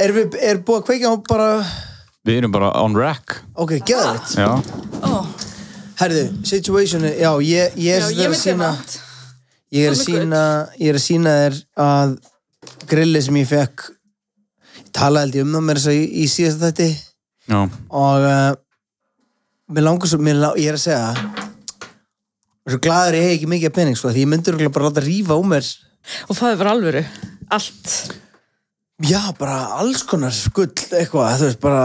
Er, við, er búið að kveikja á bara Við erum bara on rack Ok, geðvægt Já, Ó, Herðu, situation er, já, ég, ég er já, ég að myndi sýna vant. Ég er að Alveg sína Ég er að sína þér að grillið sem ég fekk ég talaði held ég um það mér þess að í, í síðast þetta já, og uh, mér langar svo, mér lang, ég er að segja og svo glaður ég hef ekki mikið af pening sko, því ég myndur bara að láta rífa úr mér Og það er bara alvöru. Allt. já, bara alls konar gull eitthvað, þú veist, bara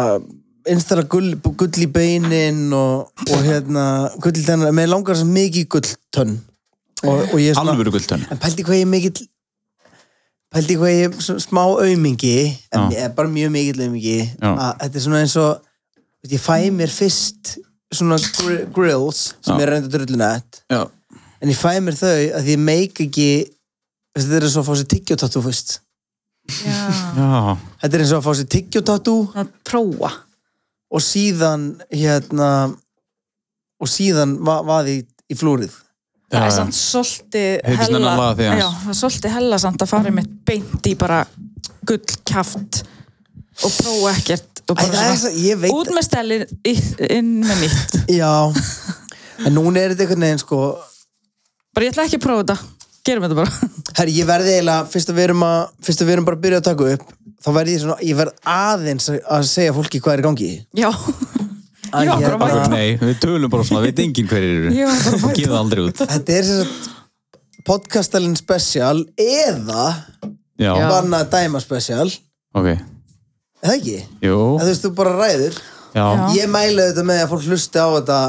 einstara gull, gull í beinin og, og hérna, gull í tennar mér langar svo mikið í gulltönn og, og ég er svona alvöru guldtönn En pældi hvað ég er mikill pældi hvað ég er svo- smá aumingi en Já. ég er bara mjög mikill aumingi Já. að þetta er svona eins og veit, ég fæ mér fyrst svona gr grills sem Já. er reynda drullinett Já, en ég fæ mér þau að ég meik ekki þessi, þetta er eins og að fá sér tyggjótatú fyrst Já. já, þetta er eins og að fá sér tyggjótatú Að prófa. og síðan hérna og síðan va vaði í, í flúrið Já, Það er já. samt svolítið Hugsa hella, nennan laga því aðeins. já, það er svolítið hella samt að fara með beint í bara gullkjaft og prófa ekkert Æ, og bara það er svo, ég veit út með stelin, í- inn með nýtt. já, en núna er þetta einhvern veginn sko Bara ég ætla ekki að prófa þetta. Gerum þetta bara. Herri, ég verði eiginlega, fyrst að við erum, að, fyrst að við erum bara að byrja að taka upp þá verði ég svona, ég verð aðeins að segja fólki hvað er í gangi hérna, Já. Æ, Ég var ég er bara að bara- mæta. Nei, við tölum bara svona, veit enginn hverjir Ég var bara að eru mæta. Gíða aldrei út Þetta er sem sagt podcastalinn special eða Já, Já. bannað dæma special ok, Er það ekki? jú, Það þú veist, þú bara ræður já Já. Ég mæla þetta með að fólk hlusta á þetta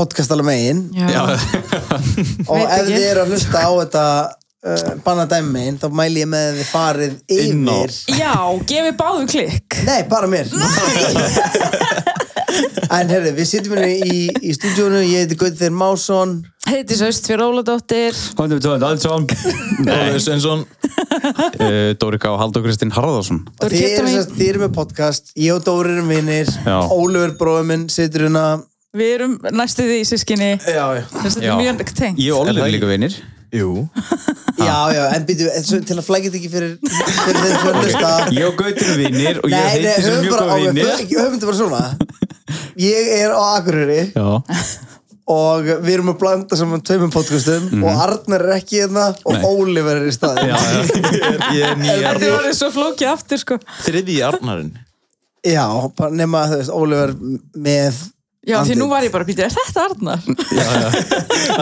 podcastala megin Já, og Veit ef ekki. þið eru að hlusta á þetta uh, bannað dæma megin þá mæli ég með að þið farið Inn á. yfir Já, gefið báðu klikk. Nei, bara mér En herri, við sittum hérna í, í stúdíónu Ég heiti Guðþir Másson Heiti Söst fyrir Óladóttir. Hvað er þetta? Aldsson Ólið Svensson Eh, Dóri K. Haldur Kristinn Harðarsson og Dóri Þið eru Kittamín. sem sagt- þið eru með podcast Ég og Dóri erum vinnir Já. Ólöfur bróður minn situr hérna Við erum næstu því í sískinni. Já, já Þetta Já. er mjög tengt. Ég og Ólið líka vinir Jú, Já, já, en býtu, svo- til að flækja þetta ekki fyrir, fyrir þeim sem Ok, hlusta Ég og Gautir er vinir og ég Nei, nei, heiti sem höfum mjög bara á góð Höfum vinir þetta bara svona Ég er á Akureyri Já, og við erum að blanda saman tveimum podcastum og Arnar er ekki hérna og Mhm. Nei. Ólífer er í staðin já, já ég er, ég er nýja Þetta voru svo flókið aftur, sko. Þriði í Arnarinn Já, bara nema þú veist, Ólífer með Já, andlit. því nú var ég bara að býta, er þetta Arnar?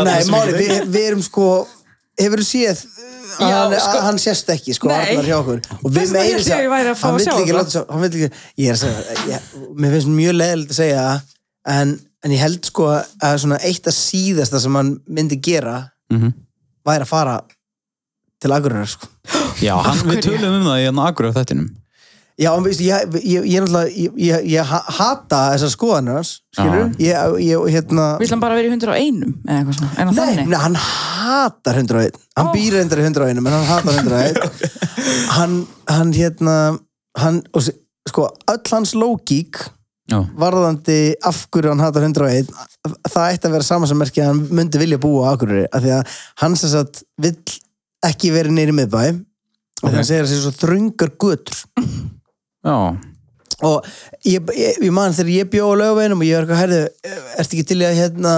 Nei, máli, við, við erum sko hefur þú séð Já, að hann, sko. að hann sést ekki, sko, Nei. Arnar hjá okkur og Þess við vegna meiri hélt ég að ég væri að fá hann að vill sjá ekki það. láta svo, hann vill ekki ég er að segja, ég, mér finnst mjög leðilegt að segja það, en, en ég held sko að svona eitt af síðasta sem hann myndi gera Mhm. væri að fara til Akureyrar, sko Já, hann, við hverju? tölum um það í hann akkur á þettinum Já, en veistu, ég, ég, ég, náttúrulega- ég, ég, ég ha- hata þessar skoðanir hans, skilur ég, ég, hérna Við ætlum bara að vera í 101 eða eitthvað svona. En að Nei, þannig. nei, hann hatar 101 Hann Ó. býr reyndar í 101, menn hann hatar 101 Hann, hann hérna hann, og s- sko, öll hans lógík Já, varðandi af hverju hann hatar 101 það ætti að vera samansammerki að hann myndi vilja búa á Akureyri, af því að hann sem sagt vill ekki verið neyri miðbæ og okay. hann segir að sér svo þröngar gutur já, og ég, ég, ég man þegar ég bjó á laugaveginum og ég var eitthvað herðu ertu ekki til í að hérna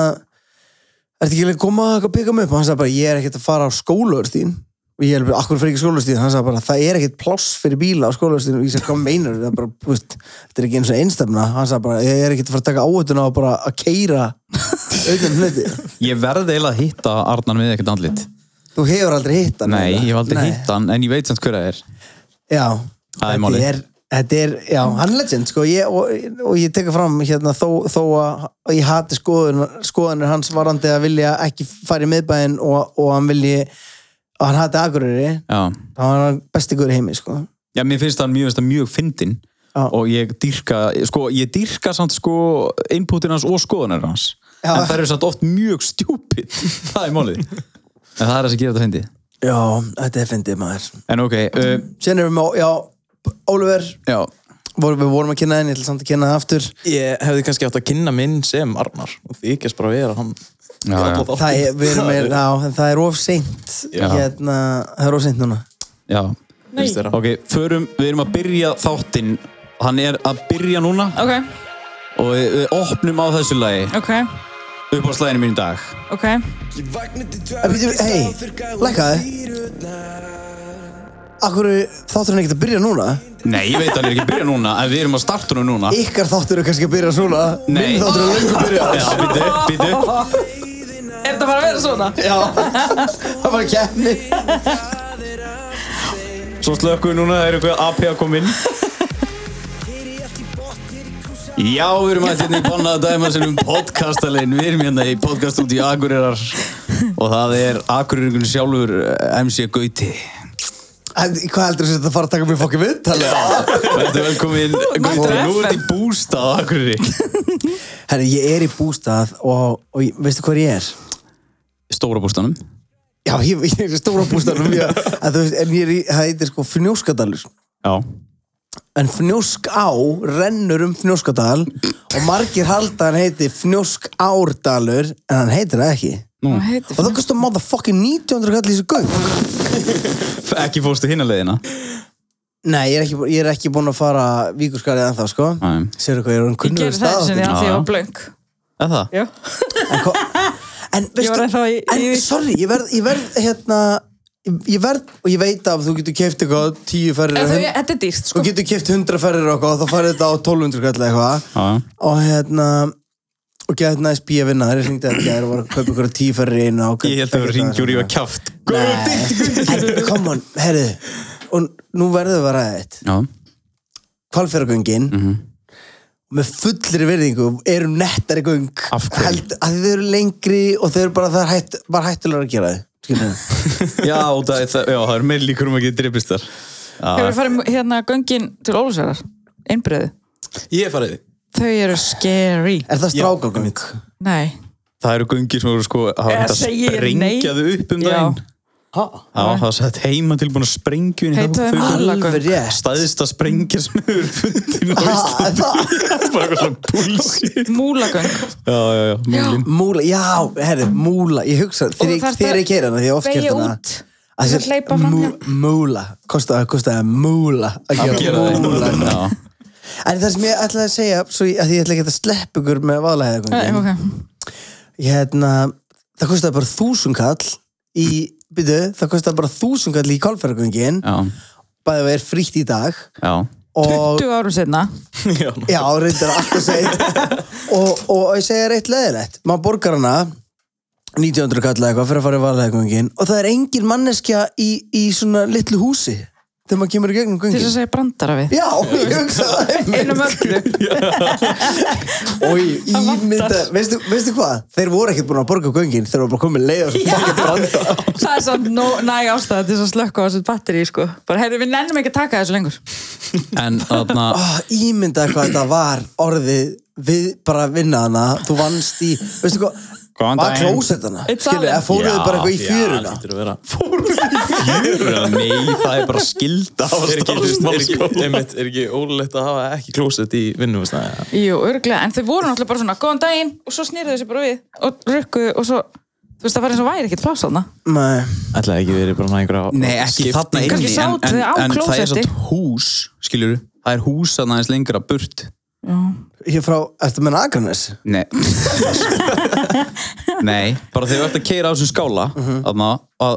ertu ekki til í að koma að byggja mig upp og hann sagði bara ég er ekkert að fara á skólaugurstýn og ég er bara, akkur fyrir ekki skólaugurstýn hann sagði bara það er ekkert pláss fyrir bíla á skólaugurstýn og ég sagði hvað meinar það er bara, þú veist, þetta er ekki eins og einstefna hann sagði bara ég er ekkert að fara að taka áhættuna og bara að keira auðvitað hluti ég verði eiginlega að hitta Arnar með ekkert andlit þú hefur aldrei hitt hann Nei, eða? ég hef aldrei Nei. hitt hann, en ég veit samt hverja er Já, Það er þetta málið. er, þetta er, já, hann er legend sko, ég, og, og ég teka fram hérna þó, þó að að ég hati skoðun, skoðunir hans varandi að vilja ekki fara í miðbæinn og, og hann vilji að hann hati Akureyri Já, þá var hann besti guður í heimi sko já mér finnst hann mjög, mjög fyndin Já. og ég dýrka, sko, ég dýrka samt sko inputin hans og skoðunar hans Já. en það eru samt oft mjög stjúpid það er málið en það er það sem gerir þetta fyndi Já, þetta er fyndið maður en ok, uh, Sérna erum við, með- já, Oliver já voru, við vorum að kynna henni, ég ætla samt að kynna það aftur Ég hefði kannski átt að kynna minn sem Arnar og þykjast bara vera hann Já, já. það er, við erum, með- já, en það er of seint Já. hérna, það er of seint núna já, Nei. finnst þér það? Ok, förum, við erum að byrja þáttinn Hann er að byrja núna Ok, og við, við opnum á þessu lagi ok, upp á slæðinu mín í dag ok Hei, lækkaði Akkur þáttur hann ekkert að byrja núna Nei, ég veit að hann er ekki að byrja núna en við erum að starta hún núna Ykkar þáttur er kannski að byrja svona Nei. Minn þáttur er lengur byrja Já, býtu, býtu Er þetta bara að vera svona? Já, það var keppni Svo slökkum við núna, það er eitthvað AP að koma inn Já, við erum að hérna í bannaða dæma sem um podcastalegin Við erum hérna í podcaststúdíu Akureyrar og það er Akureyringun sjálfur eh, MC Gauti En hvað heldur þú að þetta fara að taka mér fokkin við? Þetta er velkomin Gauti, nú ert í bústað á Akureyri Herri, ég er í bústað og, og ég- veistu hvað ég er? Stóra bústanum Já, ég, ég er í stóra bústaðnum ég, en, þú veist, en ég er í, það heitir sko fnjóskadalur Já En Fnjóská rennur um Fnjóskadal og margir halda hann heiti Fnjóskárdalur en hann heitir það ekki. Nú, Og það kostar motherfucking 1900 kall í þessu göng. Ekki fórstu hinna leiðina Nei, ég er ekki, ég er ekki búinn að fara víkurskarið ennþá, sko. Nei. Sérðu hvað, ég er hann Ég kunnur gerði það sinni að því ég var blöng Er það? Já, En, hva- en Ég var ennþá í- en í- sorry, ég verð, ég verð, hérna, ég- ég verð, og ég veit að þú getur keift eitthvað tíu ferrir. En þau, þetta er dýrt Þú sko getur keift 100 ferrir og eitthvað og þá farið þetta á 1200 kall eða eitthvað. Já, já og hérna og gett næst bíja vinna það er hringt að það er að kaupa ykkur tíferri í einu og- Ég held að það ringjur í að kjáft Nei, come on, herðu og nú verðum við að ræða þetta Já kvalfjörgöngin Mhm. með fullri virðingu eru nettari göng Af hverju? held að þau eru lengri og þau eru bara, það er hætt, bara hættulega að gera þau skilurðu. Já, og það, það, já, það er meir líkur um að geta drippist þar Hefur við farið hérna göngin til Ólusverðar Einbreiðu Ég hef farið Þau eru scary er það strákagöng? Nei, Það eru gungir sem eru sko hafa Eða hægt að Eh, segi ég sprengja nei? þau upp um Já. daginn Já, það var sett heima tilbúin að sprengju inn í Heitu þá- þeim þau- halagöng. alveg rétt Stæðista sprengja sem hefur fundin á Ha, er Íslandi það- Bara eitthvað svona púlsi múlagöng Já, já, já, múlin Múla, já, herri, múla, ég hugsa þegar ég- þarft þegar ég keira hana, því ég hef oft beygja gert hana út til að hleypa fram hjá. Múla, kostaði kostaði múla að gera Að gera það múla Já, En það sem ég ætlaði að segja, svo ég, að ég ætla ekki að sleppa ykkur með Nei, vaðlæðið ok. hérna, Það kostaði bara þúsungall í, byrju, það kostaði bara þúsungall í kálferðargöngin já, bæðið að vera frítt í dag já og 20 árum setna já, reyndar alltaf segið og, og, og ég segja reitt leðilegt maður borgar hana 1900 kall eða eitthvað fyrir að fara í vaðlæðagöngin og það er engin manneskja í, í svona litlu húsi þegar maður kemur í gegnum til þess að göngin segja brandara við Já, ég hugsa það einmitt. einum öllu Ói, Það vantar. ímynda, veistu, veistu hvað? Þeir voru ekkert búin að borga göngin þeir voru bara komið leið og svo fokkin branda það er samt no, næg ástæða til þess að slökka á þessu batteri sko. bara heyrðu við nennum ekki að taka þessu lengur En þarna oh, Ímynda hvað þetta var orðið við bara að vinna hana þú vannst í, veistu hvað? Góðan Var daginn. klósett hana? Einn Skilur, salinn. eða fóruðu Já, bara eitthvað í Já, fjöruna? hlýtur að vera. Fjöra, nei, það er bara skilda á Er ekki, er starfsmann ekki, sko einmitt, er ekki ólulegt að hafa ekki klósett í vinnum jú, örglega, en þau voru náttúrulega bara svona góðan daginn og svo snýrðu þessu bara við og rukkuðu og svo þú veist það var eins og væri ekkert pláss þarna Nei, Ætlaði ekki verið bara með einhverja Nei, ekki þarna inni Kannski En, sátu en, þau á en það er klósetti. satt hús, skiljur Það er hús að næðis lengra burt ég frá, ertu með Akranes? Nei Nei, bara þegar þú ert að keira á þessum skála Mhm. þarna, að,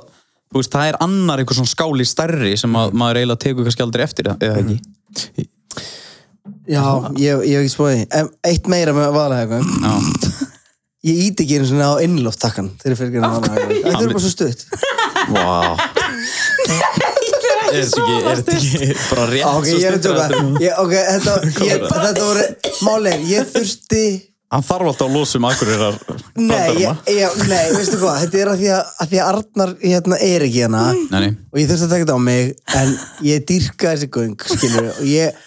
þú veist, það er annar eitthvað svona skáli stærri sem Mhm. að maður eiginlega tekur kannski aldrei eftir eða ekki Já, ég ég hef ekki spóið því En Eitt meira með vaðlæðagöng Já, Ég íti ekki einu svona á innlóftakkan þegar ég fyrir ekki vaðlæðagöng Þetta er bara svo stutt vá Er þetta ekki, er þetta ekki bara rétt Ah, Ok, ég er að tjóka Ok, þetta, ég, þetta voru Málið, ég þurfti Hann þarf alltaf að losa um akureyrar Nei, ég, ég, nei, veistu hvað, þetta er að því að, að, því að Arnar hérna, er ekki hérna Nei, nei, og ég þurfti að taka þetta á mig en ég dýrka þessi göng skilur, og ég,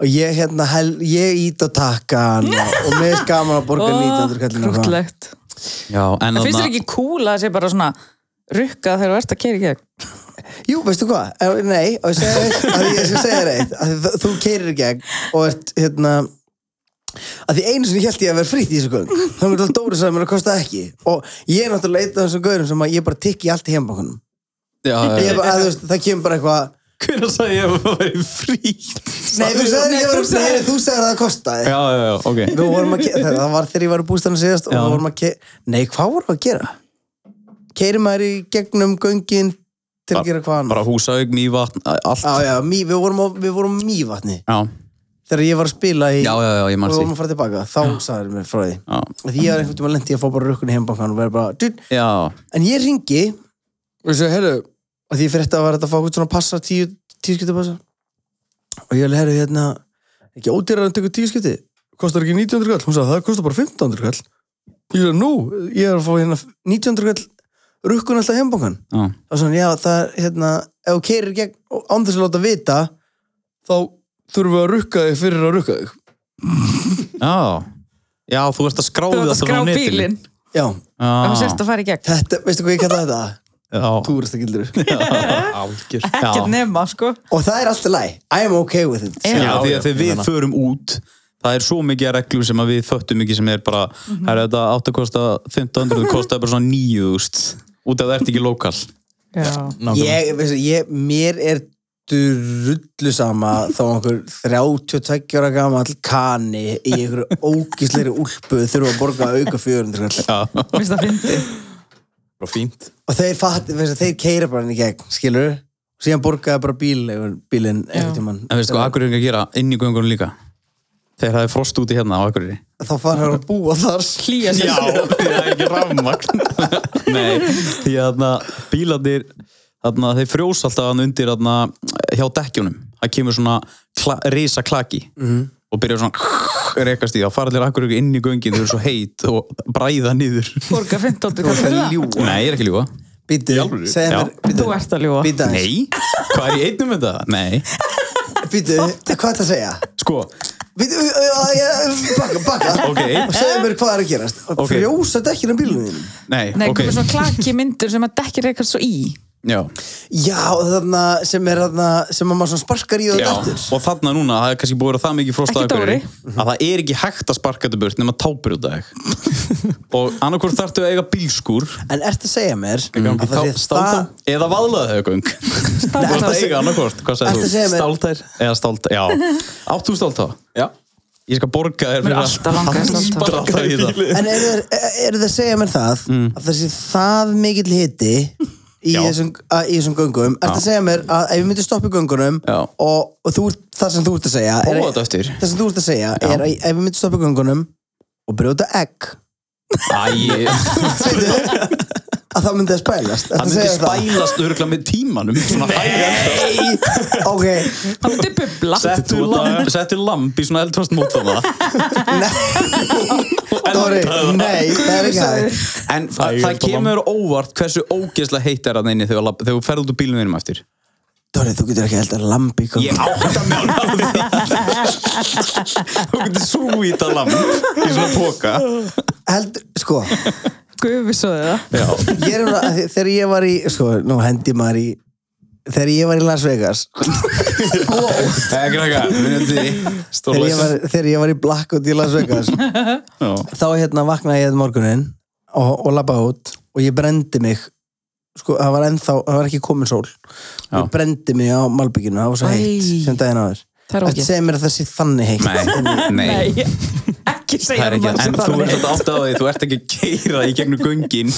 og ég, hérna, hel, ég ít og taka hann og, og mér er gaman að borga 1900 kallin og hvað. krútlegt já, en en finnst þér þarna ekki cool að það sé bara svona rukkað þegar þú ert að keyra í gegn Jú, veistu hvað, Eh, nei, og ég segi reitt að því ég skal segja reitt að þið- þú keirir í gegn og ert, hérna að því einu sinni held ég að vera frýtt í þessu göng þá mér alltaf Dóri sagði mér að kosta ekki og ég er náttúrulega eitt af þessum gaurum sem að ég bara tikki allt í heimabakunum já, ég, bara, að, þú veist, það kemur bara eitthvað Hvernig sagði ég að það væri frítt? Nei, þú sagðir Nei, ekki að þú vera- sagðir- nei, þú sagðir að það kostaði Já, já, já, ok Við vorum að ke- Það var þegar ég var í bústæðan síðast og Já. við vorum að ke- Nei, hvað vorum við að gera? Keirir maður í gegnum göngin til að gera hvað annað? Bara húsauk, mývatn, a- allt Já, já, mý, við vorum á, við vorum á mývatni Já, þegar ég var að spila í já, já, já ég og mann við því vorum að fara tilbaka, þá sagðir mér frá því Já, því ég var einhvern tímann lent í að fá bara rökkun í heimbankan og vera bara, dýr, já, en ég ringi og ég segi, herru og því ég fyrir þetta að vera þetta að fá eitthvað svona passa tíu, tíu skipti passa og ég alveg, herru, hérna ekki ódýrar en tekur tíu skipti kostar ekki 1900 kall, hún sagði, það kostar bara 1500 kall ég sagði, nú, ég er að fá hérna 1900 kall rökkun alltaf í heimbankan já, og svona, já, það er, hérna, ef þú keirir gegn og án þess að láta vita þá þurfum við að rukka þig fyrir að rukka þig já Já, þú ert að skráði Þú ert að skrá bílinn já, og þú Já, sérst að fara í gegn þetta, veistu hvað ég kalla þetta? já, túristagildur Algjör ekkert Já. nema sko og það er alltaf læg, I am okay with it já, Já, því já, að þegar ég við meina. förum út það er svo mikið af reglum sem að við föttum ekki sem er bara, Mhm. það er þetta átt að kosta 1500, kostaði bara svona 9000 út af það ert ekki lokal já. Nákvæmlega. ég, veistu, ég, mér er drullu sama þá einhver 32 ára gamall kani í einhverju ógísleiri úlpu þurfa að borga auka 400 kall Já, Mér finnst það fyndi Bara fínt og þeir, fatt, veistu, þeir keira bara henni gegn, skilur síðan borgaði bara bíl, bílinn Já. einhvern tímann en veist sko, akkur er ekki að gera inn í göngunum líka þegar það er frost úti hérna á akkurri þá fara hann að búa þar hlýja sér því það er ekki rafmagn Nei, því að þarna, bílandir þarna, þeir frjós alltaf hann undir þarna, hjá dekkjunum það kemur svona kla, risa klaki -hmm. og byrjar svona rekast í þá fara allir akkur inn í göngin þau eru svo heit og bræða niður borga 15 kall fyrir það ljúa Nei, ég er ekki að ljúga Býtu, alvöru? segðu Já. mér býtu, Þú ert að ljúga. Býtu, aðeins. Nei, hvað er ég einnum með það? Nei, býtu, hvað ætla að segja? sko, Býtu, ö, ö, ö, bakka, bakka Ok. Og segðu mér hvað er að gerast Ok. Frjósa dekkir um bílunum þínum nei, Nei, ok komið svona klaki myndur sem að dekki reykast svo í Já, Já, þarna sem er þarna sem að maður svona sparkar í og já, dættur og þarna núna það er kannski búið að vera það mikið frost á Ekki Akureyri Dóri. að það er ekki hægt að sparka þetta burt nema tábrjóta þig og annarkvort þarftu að eiga bílskúr En ertu að segja mér Mm. að Gangi það tá- sé það stálta eða vaðlaðaugöng Þú Stálta. varst að eiga annarkvort, Ertu hvað sagði að þú? segja mér Stáltær Eða stálta, já Átt þú stálta? Já Ég skal borga þér Mér fyrir er alltaf langað í stálta. Sparka alltaf í það En eru er það að segja mér það að það sé það mikill hiti í Mm. Já. þessum, að, í þessum göngum Ertu að segja mér að ef við myndum stoppa í göngunum Já. og, og þú, ert- það sem þú ert að segja er- Prófa þetta eftir. Það sem þú ert að segja er að ef við myndum stoppa í göngunum og brjóta egg Æ, veitu, að það myndi að spælast Ertu það að myndi segja það? spælast örgla með tímanum Svona hægast Nei, ok Það myndi bubla Settu lamb, settu lamb í svona eldfast mót þannig Dóri, nei, það er ekki hægt En það, það kemur óvart hversu ógeðslega heitt er að neini þegar labb- þegar þú ferð út úr bílunum þínum eftir Dóri, þú getur ekki held að lambi í Ég göngunum átta mig á því Þú getur súvítað lamb í svona póka Held, sko Gufi svo það Já, ég er, nefnilega- að- þegar ég var í sko, nú hendi maður í þegar ég var í Las Vegas ekki rækka þegar ég Stórlega var, þegar ég var í Blackout í Las Vegas þá hérna vaknaði ég einn morgunin og, og labbaði út og ég brendi mig sko, það var ennþá, það var ekki komin sól Já. ég brendi mig á malbygginu það var svo heitt Æ. sem daginn áður Það er Þetta ógeð segir mér að það sé þannig heitt Nei, nei Nei, ekki Það segja er ekki, maður sem en þú það ert að átta á því, þú ert ekki að keira í gegnum göngin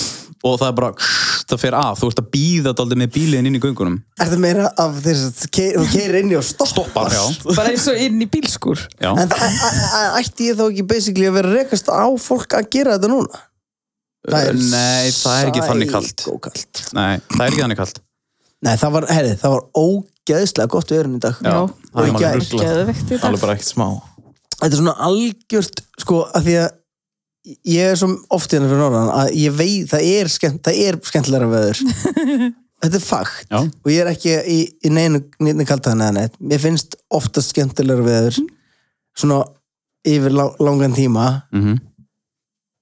og það er bara, það fer af, þú ert að býða daldið með bíliðin inn í göngunum. Er það meira af þess að ke- þú keirir inn í og stoppar? Stoppar, já. Bara eins og inn í bílskur Já, En það- a- a- a- ætti ég þá ekki basically að vera að rekast á fólk að gera þetta núna? nei, það er ekki þannig kalt. sækókalt. Nei, það er ekki þannig kallt. Nei, það var, herri, það var ógeðslega gott við erum í dag. Já. Og það í er gær. alveg ruggla. Geðvegt í dag Alveg bara ekkert smá Þetta er svona algjört, sko, að því að ég er svo oft hérna fyrir norðan að ég veit, það er, skemmt, það er skemmtilega veður. þetta er fakt. Já. Og ég er ekki í, í neinu, neinu kaltaðan eða neitt. Mér finnst oftast skemmtilega veður, svona yfir lang, langan tíma. Mhm,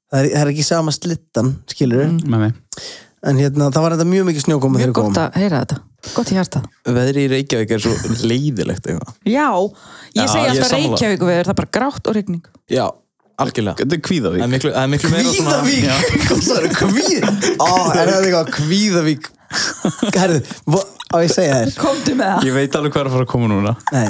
það er, það er ekki sama slittan, skilur með mig. en hérna, það var þetta mjög mikið snjókoma þegar Mjög við komum gott að heyra þetta Gott í hjarta Veðri í Reykjavík er svo leiðilegt eitthvað Já, Já, ég ég segja er alltaf sammála. Reykjavík við Það er bara grátt og rigning Já, algjörlega Þetta er Það kvíðavík. er miklu, það er miklu meira svona Kvíðavík, hvað það eru kvíð Á, er þetta eitthvað kvíðavík Herðu, vo- á ég að segja þér komdu með það Ég veit alveg hvað er að fara að koma núna Nei,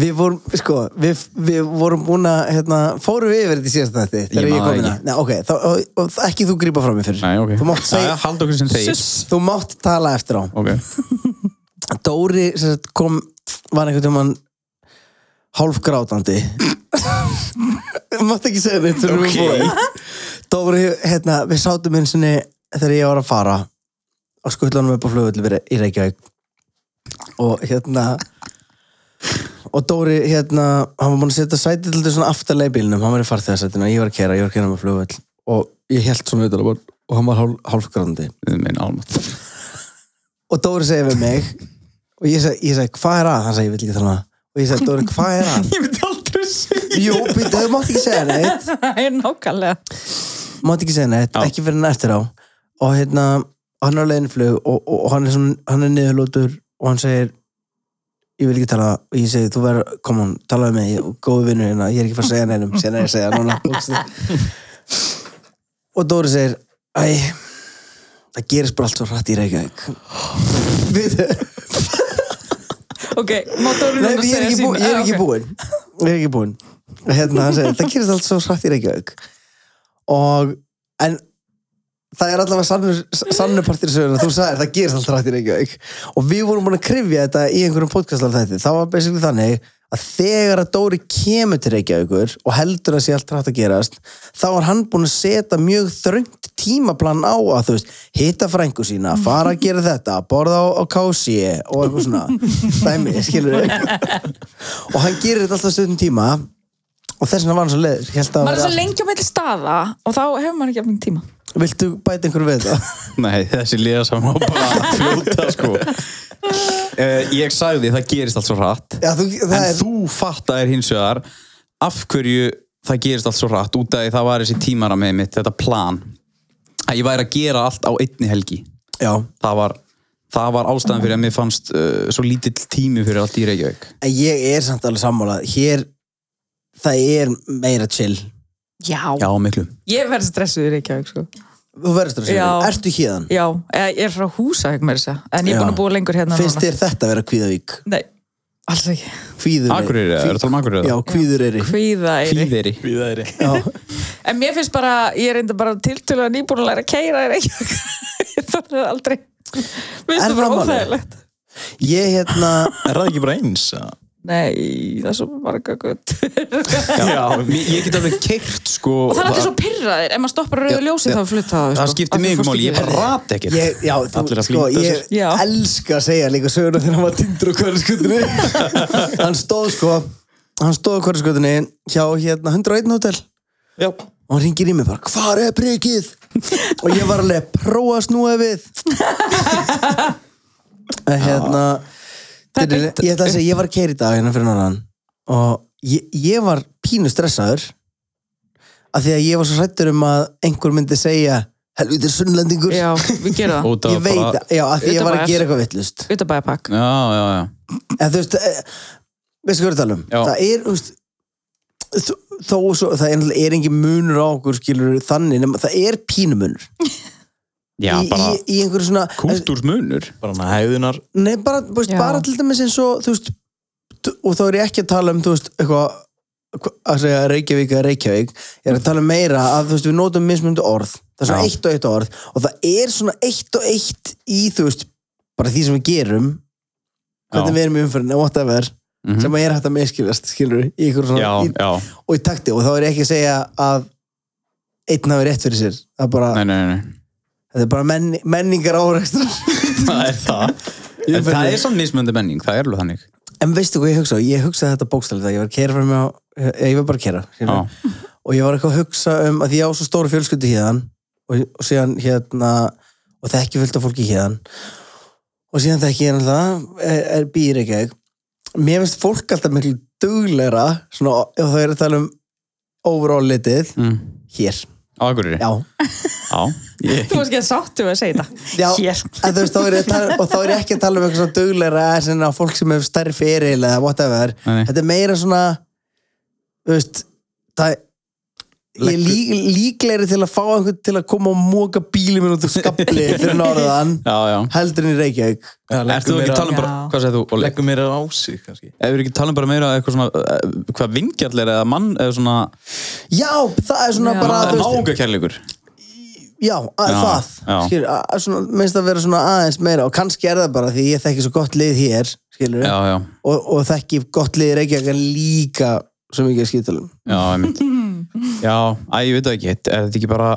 við vorum, sko, við, við vorum búin að, hérna, fórum við yfir þetta í síðasta þetta þegar Ég ég, man ég kom það inn ekki. að- Nei, ok, þá, og, og, ekki þú grípa fram í fyrir. Nei, ok Þú mátt, segja, Hald okkur sem þeir Suss. þú mátt tala eftir á. Ok Dóri sem sagt, kom, var einhvern tímann hálfgrátandi. Þú mátt ekki segja þetta, þú erum við búin. Dóri, hérna, við sátum eins og þegar ég var að fara á skutlanum upp á flugvöldu í Reykjavík og hérna... og Dóri hérna, hann var búinn að setja sætið til svona aftarlega í bílnum, hann var í farþegarsætinu og ég var að kera, ég var að kera með flugvöll og ég held svona auðvitað og hann var hálf, hálfgrandi Þið minn álmátt og Dóri segi við mig og ég segi, ég segi hvað er að, hann segi ég vil ekki tala um það." og ég segi Dóri hvað er að Ég myndi aldrei segja jú, býttu, þú mátt ekki segja neitt það er nákvæmlega mátt ekki segja neitt, Já. ekki fyrir hann eftir á og hérna, hann er á leiðin í flug og, og, og hann er, svona, hann er niðurlótur og hann segir ég vil ekki tala og ég segi, þú verður, kom on, talaðu með mig og góðu vinnu hérna, ég er ekki fara að segja neinum sem er að segja núna og Dóri segir æ, það gerist bara allt svo hratt í Reykjavík við ok, máttu Nei, að ég er segja Ah, ekki, bú, ég er ekki búinn Ég er ekki búinn hérna, hann segir, Það gerist allt svo svart í Reykjavík Og En það er allavega sannur, sannur partur í söguna Þú sagðir, það gerist allt svart í Reykjavík Og við vorum búin að krifja þetta í einhverjum podcastar þetta Það var basically þannig að þegar að Dóri kemur til Reykjavíkur og heldur að sé allt rætt að gerast þá var hann búin að setja mjög þröngt tímaplan á að þú veist hitta frængu sína, fara að gera þetta borða á, á kási og eitthvað svona dæmi, skilur og hann gerir þetta alltaf stundum tíma og þess vegna var hann svo leiður Hélt að maður er væri svo lengi á milli staða og þá hefur maður ekki að minn tíma allt- viltu bæta einhverju við þetta? Nei, þessi liða saman var bara að fljóta sko uh, Ég sagði það gerist allt svo hratt Já, þú, það En er, þú fattaðir hins vegar af hverju það gerist allt svo hratt út af því það var þessi tímara með mitt, þetta plan að ég væri að gera allt á einni helgi já, það var, það var ástæðan fyrir að mér fannst uh, svo lítill tími fyrir allt í Reykjavík en ég er samt alveg sammálað hér, það er meira chill já, Já, miklu ég verð stressuð í Reykjavík sko. þú verður þetta Já. sér, ertu híðan? já, eða ég er frá Húsavík með þess að en ég er Já. búin að búa lengur hérna finnst núna þér þetta vera kvíðavík? nei, alls ekki Kvíður Akureyri, eða? Eru að tala um Akureyri? Já, kvíður er hvíða eiri Fýðeri Við það er en mér finnst bara, ég er enda bara tiltölulega nýbúin að læra að keira í Reykjavík ég þarf aldrei Er minnst það bara það málið? óþægilegt Ég hérna, Er það ekki bara eins? eða? nei, það er svo marga gutt Já, Mér- ég get alveg keirt sko og það er allir svo pyrraðir ef maður stoppar rauðu ljósi þá flutta það sko. það skiptir mig mjög máli, ég bara rati ekkert ég, já, þú, Allir að sko, flýta sér. ég Já. elska að segja líka söguna þegar hann var tindur á kvörnskutunni Hann stóð sko, hann stóð á kvörnskutunni hjá hérna 101 hótel Já. og hann ringir í mig bara, hvar er prikið? og ég var alveg, prófa að snúa við En hérna Það er ég ætla að segja, ég var að keira í dag hérna fyrir norðan og ég, ég var pínu stressaður af því að ég var svo hrættur um að einhver myndi segja, helviti sunnlendingur já, við gerum það Út af ég veit, bara- já, af því ég Utan var að bara- gera eitthvað vittlust utabæðapakk Já, já, já en þú veist, eh, veistu hvað við talum Já. það er, þú veist þó- þó svo, það er, er engin munur á okkur skilur þannig, nema það er pínumunur Já, í, bara í, í einhverju svona kultúrsmunur Bara hann hæðunar nei, bara, þú veist, Já. bara til dæmis eins og þú veist, t- og þá er ég ekki að tala um þú veist, eitthvað hva- að segja Reykjavík eða Reykjavík ég er að tala um meira að þú veist, við notum mismunandi orð það er svona Já. eitt og eitt orð og það er svona eitt og eitt í þú veist, bara því sem við gerum hvernig Já. við erum í umfyrinni, whatever Mhm. sem að ég er hægt að meðskiljast, skilur í ykkur svona, Já, í, já, og í takti og þá er ég ekki að segja að einn hafi rétt fyrir sér það er bara, nei, nei, nei þetta er bara menn, menningar áreikstur Það er það En það er samt mismöndi menning, það er alveg þannig en veistu hvað ég hugsa, ég hugsaði þetta bókstæli þegar ég var að kera fyrir mig á, eh, ég, ég var bara að kera Já, skilur. og ég var eitthvað að hugsa um að því ég á svo stóru fjölskyldu hérðan og, og síðan hérna og þekki fullt af fólki hérðan og síðan þekki ég náttúrulega er, er býr ekki mér finnst fólk alltaf miklu duglegra svona, ef það er að tala um overall litið mm. hér, Akureyri já Já, ég, þú varst ekki að sáttu að segja Já, þetta en þú hér veist, þá er ég, að tala, og þá er ég ekki að tala um eitthvað svona duglegra sem að fólk sem hefur stærri feril eða whatever, Nei, nei. þetta er meira svona þú veist, það ég er lík, líklegri til að fá einhvern til að koma og móka bíli minn út úr skabli fyrir norðan Já, já. heldur en í Reykjavík Ert þú ekki að tala um bara, Já. hvað segir þú, Óli? Leggum mér á sig kannski Ef við ekki tala um bara meira eitthvað svona, eh, hvað vingjall er eða mann, eða svona já, það er svona Já. bara þú veist, náungakærleikur. já, að, Já, það já. skilur, að, að svona, minnst að vera svona aðeins meira og kannski er það bara því ég þekki svo gott lið hér skilur, Já, já, og, og þekki gott lið í Reykjavík en líka svo mikið að skýtalum já, einmitt. Já, æ, ég veit það ekki, er þetta ekki bara,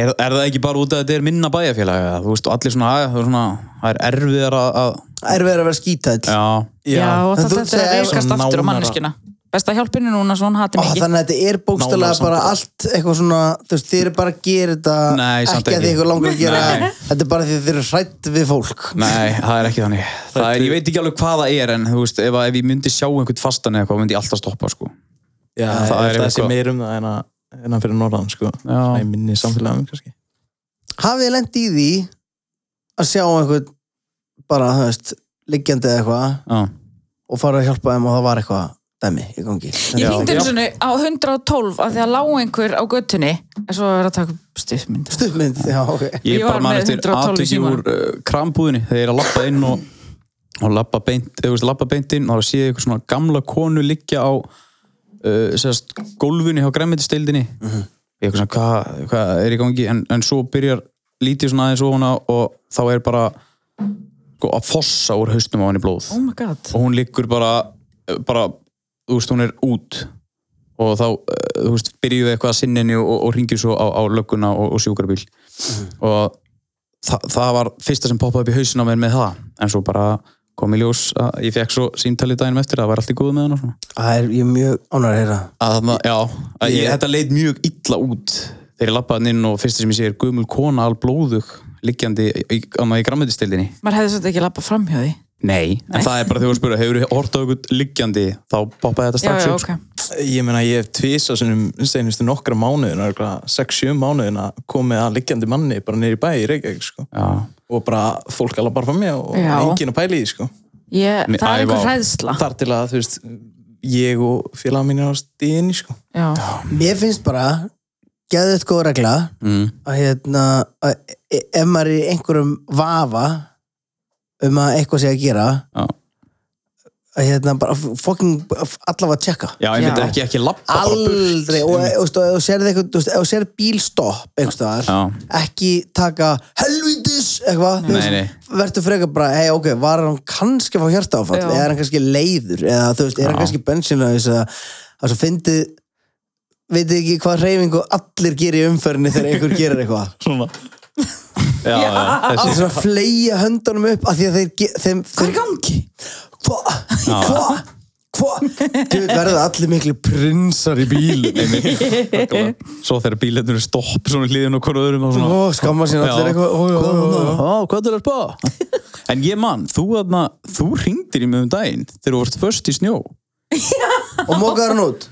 er, er það ekki bara út af að þetta er minna bæjarfélag, eða, þú veist, og allir svona, æ, það er svona, það er erfiðar að, að erfið að vera skítall já, Já, og en það þú þetta er að segir- veikast aftur á Nánara. manneskina. Besta hjálpinu núna svo hann hati Ó, mikið. þannig að þetta er Nánar bókstallega samtal. bara allt eitthvað svona, þú veist, þið eru bara að gera þetta Nei, samt ekki að ekki. þið ykkur langar að gera Nei. þetta er bara því að þið eru hrætt við fólk Nei, það er ekki þannig það er, Ég veit ekki alveg hvað það er en þú veist, ef, að- ef ég myndi sjá einhvern fastan eða eitthvað myndi ég alltaf stoppa sko. Já, Það það er er þessi eitthvað- meir um það en að, en að fyrir norðan sko Svona í minni samfélagum kannski hafið þið lent í því að sjá einhvern bara, þú veist, liggjandi eða eitthvað Já, og fara að hjálpa þeim og það var eitthvað dæmi í gangi Ég Já. hringdi Já. eins og á 112 af því að lá einhver á göttunni en svo er að taka stuðmynd. stuðmynd, já, ok Ég Ég er var bara mann með eftir 112 í aðtöki úr símanum. uh, krambúðinni þegar ég er að lappa inn og, og lappa beint, eða, þú veist, lappa beint inn og þá sé ég eitthvað svona gamla konu liggja á uh, sérst, gólfinu hjá græmmetistildinni ég er eitthvað svona, hvað hva er í gangi en, en svo byrjar lítið svona aðeins ofan á og þá er bara sko, að fossa úr haustum á henni blóð Oh my god. og hún liggur bara, eh, bara þú veist, hún er út og þá, eh, þú veist, byrjuðu eitthvað að sinni henni og, og ringjum svo á, á lögguna og, og sjúkrabíl og þa það var fyrsta sem poppaði upp í hausin á mér með það, en svo bara kom í ljós að ég fekk svo símtali daginn eftir að það var allt í góðu með hann og svona það er, ég er mjög ánægður að heyra að þarna, já, að ég, þetta leit mjög illa út þegar ég lappaði hann inn og fyrsta sem ég sé er gömul kona alblóðug liggjandi í, í, í, í grammöndistildinni Maður hefði svolítið ekki lappa fram hjá því. Nei, en það er bara þegar þú spurði, hefur þú hort á ykkur liggjandi, þá poppaði þetta Já, strax já, upp ok. sko. Ég meina ég hef tvisa sem steinustu nokkra mánuðina 6-7 mánuðina komið að liggjandi manni bara neyri bæ í Reykjavík sko Já. og bara fólk alveg bara fram mér og Já. enginn að pæla í því sko Ég, Mér- Æ, það er vá. einhver hræðsla. þar til að þú veist ég og félaga mín er á stíðinni sko Já. mér finnst bara, geðu eitt góð regla Mm. að hérna að e- ef maður er í einhverjum vafa um að eitthvað sé að gera Já. að hérna bara f- fucking f- allavega tjekka Já, ég veit Já. ekki, ekki lappa bara burt. aldrei og e- þú veist, og ef þú sérð eitthvað þú veist, ef þú sérð bílstopp einhverstaðar Já. ekki taka helvítis eitthvað þú Nei, veist, nei. verður frekar bara hei ok, var hann kannski að fá hjarta áfall Já. eða er hann kannski leiður eða þú veist, er hann Já. kannski bensinlaðis eða það svo fyndið veitir ekki hvað hreyfingu allir gerir í umferðinni þegar einhver gerir eitthvað Svona. Já, já, Það er þessi. svona að fleia höndunum upp af því að þeir, ge- þeim, Hvað þeir er í gangi? hva, Já. hva, hva þú veit verða allir miklu prinsar í bíl Svo þegar bílarnir eru stopp svona hlýðin og hverju öðrum og svona. Ó, skamma sín allir Já. eitthvað, ó, ó, ó, ó, ó. Já, hvað er þetta? En ég mann, þú, þarna, þú ringdir í mig um daginn þegar þú vart först í snjó. og mókaður hann út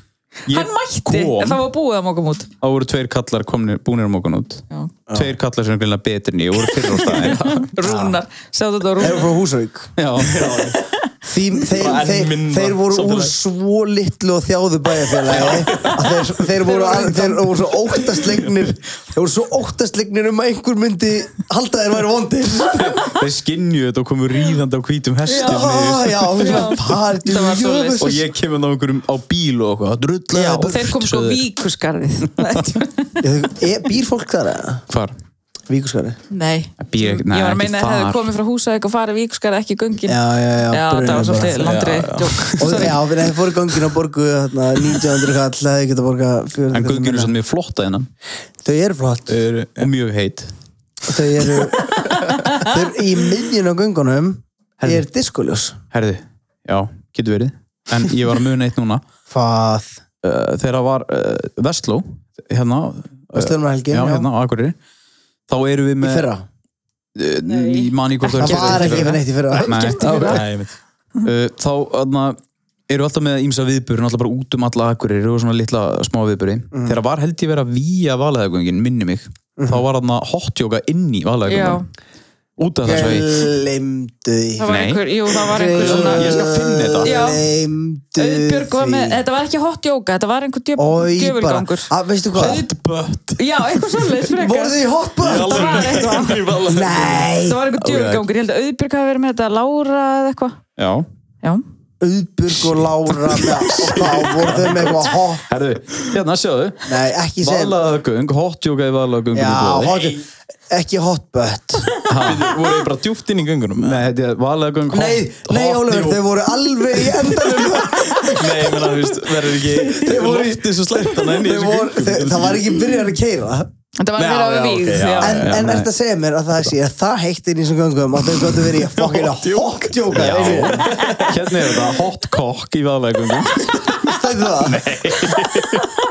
Ég Hann mætti, kom- en það var búið að um móka mút. þá voru tveir kallar komnir, búnir um okkur út Já. tveir kallar sem er greinlega betri en ég voru fyrir á staðin Rúnar, segðu þetta á Þeir eru Rúnar. frá Húsavík já, já, Því, þeir, Bara enn þeir, minna þeir voru úr samfélagi. svo litlu og þjáðu bæjarfélagi að þeir, þeir, voru, að, þeir voru svo óttaslegnir þeir voru svo óttaslegnir um að einhver myndi halda þeir væri vondir þeir skinju þetta og komu ríðandi á hvítum hestum Já, já, Já. party Það var svoleiðis. og ég kemur ná einhverjum á bíl og okkur að drulla Já, þeir kom sko víkusgarðið. e- Býr fólk þar eða? hvar? Víkurskari Nei. Býr ekki- nei, Ég var að ekki meina að hefðu þar. komið frá húsæk og farið víkusgarð ekki í göngin. Já, já, já, Já, brunar það var bara. svolítið landrið. djók. Og já, við hefum fóru göngin og borgu þarna, 1900 kall, það hefði getað borga en gönginu sem er flotta hennan Þau eru Eh. flott og mjög heit Þau eru, þau eru í miðjun á göngunum er diskoljós herði, já, getur verið en ég var að muna eitt núna Hvað? uh, þegar það var uh, Vestló hérna, uh, Vestlunum helgin, já, já, hérna á Akureyri þá erum við Í með eh, fyrra Í manni hvort Það gerst var í ekki fyrra. fyrir neitt í fyrra Nei. Nei, einmitt. Uh, þá aðna, eru alltaf með ímsa viðbúrin alltaf bara út um alla akkurir og svona litla smá viðbúri Mhm. þegar var held ég verið að víja valaðagöngin minni mig, þá var þarna hotjóka inn í Já. valaðagöngin út af þessu að ég- Glemdu því Það var Nei. einhver, jú, það var einhver svona Ég skal finna þetta. Já. Glemdu Auðbjörg var með, þetta var ekki hot yoga, þetta var einhver Ói djöf, bara djöfulgangur að, Veistu hvað? Headbutt Já, eitthvað svolítið Voru frekar þið í hotbutt? Nei Það var einhver djöfulgangur, ég held að Auðbjörg hafi verið með þetta Lára eða eitthvað Já Já, Auðbjörg og Lára með Þá voru þau með eitthvað hot Herðu, hérna sjáðu Nei, ekki sem Valaðagöng, hotjóka í valaðagöngunum Já, hot, ekki hotbutt voru ég bara djúft inn í göngunum Nei, þetta er valaðagöng Nei, nei Ólafur, þau voru alveg í endanum nei ég meina, þú veist, verður ekki Þeir voru í- loftið svo slæmt þarna inn í Þau þessu voru, göngum. þau, Það var ekki byrjar að keira þetta var Já, verið á já, víð ok, já, En, já. en ert að segja mér að það sé að það heitt inn í þessum göngum að þau gotu verið í að fokkina hotjóka Já, hérna er þetta hotkokk í valaðagöngum Stættu það? Nei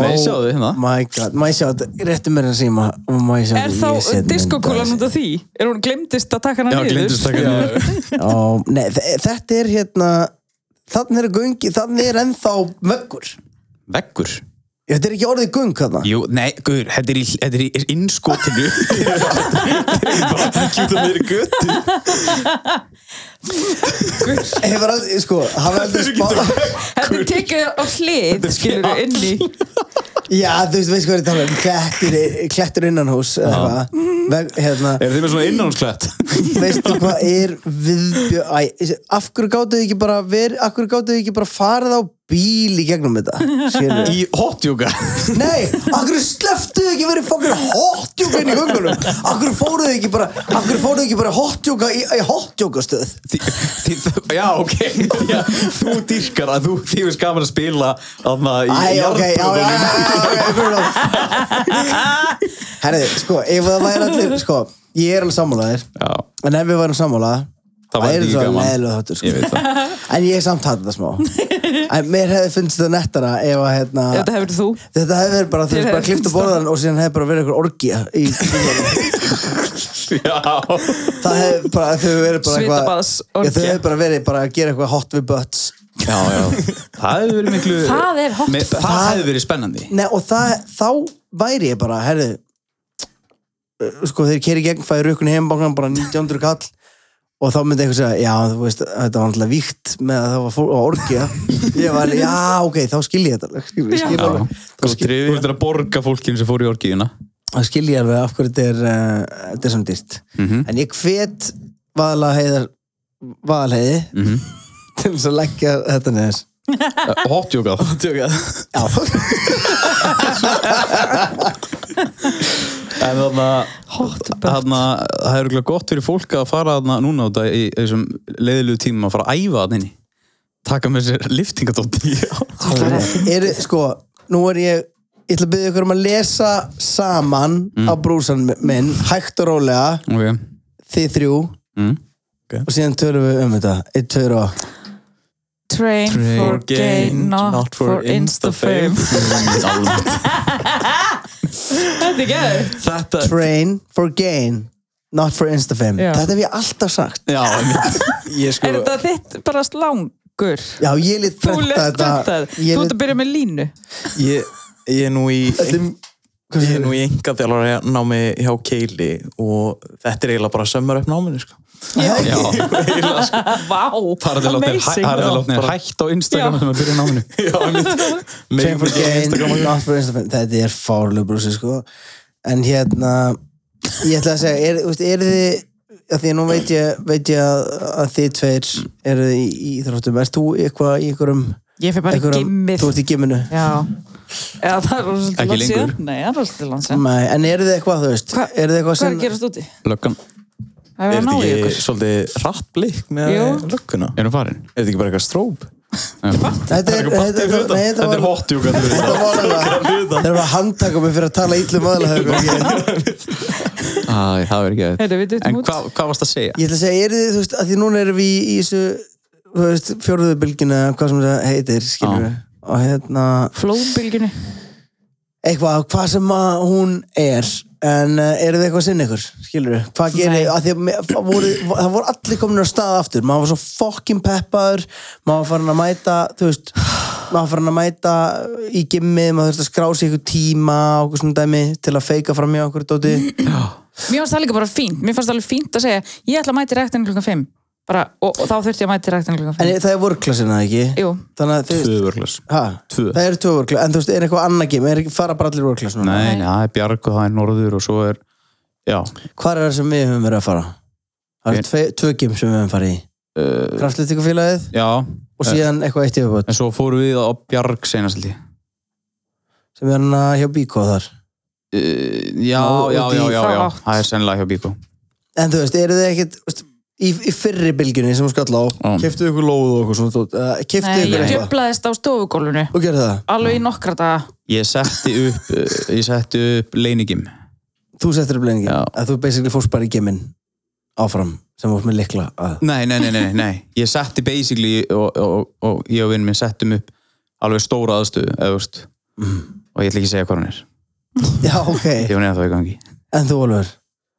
Nei, sjáðu hérna My god, má ég sjá þetta, réttu mér að síma og má ég sjá Er þá diskokúlan út af því? Er hún glemdist að taka hana Já, niður? glemdist taka niður Ó, nei, þe- þetta er hérna þannig er göngi, þannig er ennþá möggur Veggur Þetta er ekki orðið göng hérna Jú, nei, guður, þetta er í, þetta er í innskotinu kjúta niður í götu Hefur aldrei, sko, hafa aldrei spá Þetta er tekið á hlið, skilur við inn í Já, þú veist, veist hvað ég tala um klettur, klettur innanhús eða eitthvað. Veg- hérna, Er þið með svona innánsklætt? veistu hvað er viðbjör Æ, af hverju gátuðu ekki bara verið, af hverju gátuðu ekki bara farið á bíl í gegnum þetta Skilur. Í hotjóka Nei, akkur sleftuðu ekki verið fokkar hotjóka inn í göngunum Akkur fóruðu ekki bara Akkur fóruðu ekki bara hotjóka í, í hotjókastöð Já, ok Já, Þú dýrkar að þú þið veist gaman að spila aðna í Æ, ok, já, já, já, jarðböðunum. já, já, já, já Herði, sko, ef það væri allir Sko, ég er alveg sammálaðir Já, En ef við værum sammálaðir Það væri væri ekki svo gaman. leðilega þáttur sko. ég veit það En ég samt hata það smá En mér hefði fundist það nettara ef að hérna Þetta hefur þú Þetta hefði verið bara, þú veist, Þér bara hefði klifta fundist það. borðan og síðan hefði bara verið einhver orgía í, Já Það hefði bara, þau hefði verið bara Svitabaðsorgía. Já, Þau hefði bara verið bara að gera eitthvað hot við butts Já, já Það hefði verið miklu Það er hot Me- Það Það- hefði verið spennandi Nei, og það, þá væri ég bara, herðu uh, Sko, þeir keri gegn fæði rökunni heimbangan bara 1900 kall Og þá myndi einhver segja, já, þú veist, þetta var alltaf víkt með að það var fólk á orgja. Ég var, alveg, já, ok, þá skil ég þetta. alveg, Skil, skil, Já, alveg, þú ert að borga fólkinu sem fór í orgiðuna þá skil ég alveg af hverju þetta er, uh, þetta er samt dýrt. Mhm. En ég hvet vaðalaheiðar, vaðalaheiði Mhm. til þess að leggja þetta neður. Hotjókað Hotjókað Já, En þarna Hot butt þarna, það er örugglega gott fyrir fólk að fara þarna núna út í þessum leiðilegu tímum að fara að æfa þarna inni taka með sér liftingadótti er, sko, nú er ég ég ætla að byrja ykkur um að lesa saman á brúsan minn hægt og rólega, ok, þið þrjú Mm. og síðan törum við um þetta eitt, tveir og Train for gain, not for insta fame Þetta er gæður Þetta train for gain not for instafame, Já. þetta hef ég alltaf sagt Já, einmitt. ég sko Er þetta þitt bara slangur? já, ég lít Þú prenta lest þetta þetta Þú ég ert að lít byrja með línu ég, ég er nú í þetta er- hvað ég er segirðu? nú í enga þjálfara námi hjá Keili og þetta er eiginlega bara sömmar upp náminu sko. Já, Vá, það er það látnir amazing látnir hægt á Instagram Já. sem að byrja náminu já, train for gain not for instafame, þetta er fárlega brúsi sko, en hérna ég ætla að segja, er, þú veist, er þið að því að nú veit ég, veit ég að, að þið tveir eru í í íþróttum er þú eitthvað í einhverjum, Ég fyrir bara í einhverjum gimmið þú ert í gimminu Já Eða það er rosalega Ekki langt síðan lengur. Nei, það er rosalega langt síðan Nei, en eru þið eitthvað, þú veist Hva- eru þið eitthvað Hvað er sem að gerast úti? Löggan, Það er er að ná þetta í ekki ykkur svolítið hratt blik með Jú. lökkuna er erum farin þetta ekki bara eitthvað stróp þetta er, þetta er, nei, þetta Þetta er var hotjóka þetta var alveg þeir eru að handtaka mig fyrir að tala ítlum aðlega ég Það verður ekki að Heyrðu, við duttum En út. hvað hvað varst að segja? ég ætla að segja, eru þið, þú veist, að því núna erum við í- í þessu, þú veist, fjórðu bylgina hvað sem það heitir, skilur við og hérna, Flóðbylginu eitthvað, hvað sem að hún er en uh, eru þið eitthvað sinn ykkur, skilur við hvað gerir, Nei. að því að me- það voru, það voru allir komin á stað aftur, maður var svo fokkin peppaður maður var farin að mæta, þú veist maður fyrir að mæta í gimmi maður þurfti að skrá sig ykkur tíma og okkur svona dæmi til að feika fram í okkur dóti Mér fannst það líka bara fínt, mér fannst það alveg fínt að segja ég ætla að mæti ræktinu klukkan 5 bara, og, og þá þurfti ég að mæti ræktinu klukkan 5 en það er vörklassina ekki Jú, þannig að þið Tvöðurglas ha, Tvö. það eru tvö vörklass en þú veist, er eitthvað annað gimmi er ekki fara bara allir vörklass núna Nei, nei, það er bjarg og það er norður og svo er Já, hvað er það sem við höfum verið að fara það eru Ég- tve, tvö gimm sem við höfum farið í uh, kraftlitikafélagið já og síðan eitthvað eitt yfirbót En svo fórum við á bjarg seinast held ég sem er hann að hjá Bíko þar Eh, Já, Nú, já, út í já, já, þá já átt. Það er sennilega hjá Bíko En þú veist, eru þið ekkert þú veist, í, í fyrri bylgjunni sem hún skall á Já. keftu ykkur lóð og okkur svona uh, keftu ykkur Nei, ég eitthvað djöflaðist á stofugólfinu og gerði það alveg í nokkra daga Ég setti upp, eh, ég setti upp leinigim þú settir upp lengi Já. að þú basically fórst bara í geminn áfram sem fórst með likla að Nei, nei, nei, nei, nei Ég setti basically og, og, og, og ég og vinn minn settum upp alveg stóra aðstöðu, eða þú veist og ég ætla ekki að segja hvað hann er já ok Ég var neða þá í gangi en þú Oliver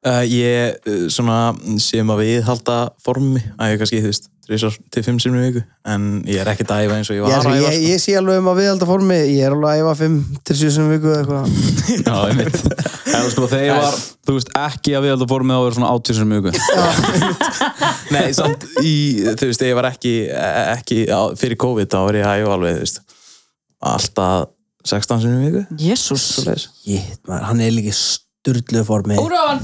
Uh, ég uh, svona sem að við halda formi að ég kannski, þú veist, þrísar til fimm sinni í viku en ég er ekkert að æfa eins og ég, ég var er, að æfa ég, ég sé alveg um að viðhalda formi ég er alveg að æfa 5-7 sem viku eða eitthvað Já, ég veit En sko þegar ég var, þú veist, ekki að við heldur fórum með að vera svona um átísur mjög sko. Nei, samt í, þú veist, ég var ekki, ekki á, fyrir COVID þá var ég að æfa alveg, þú veist alltaf 16 sinni í viku Jésús Jitt, maður, hann er líka í sturlu formi Úrón,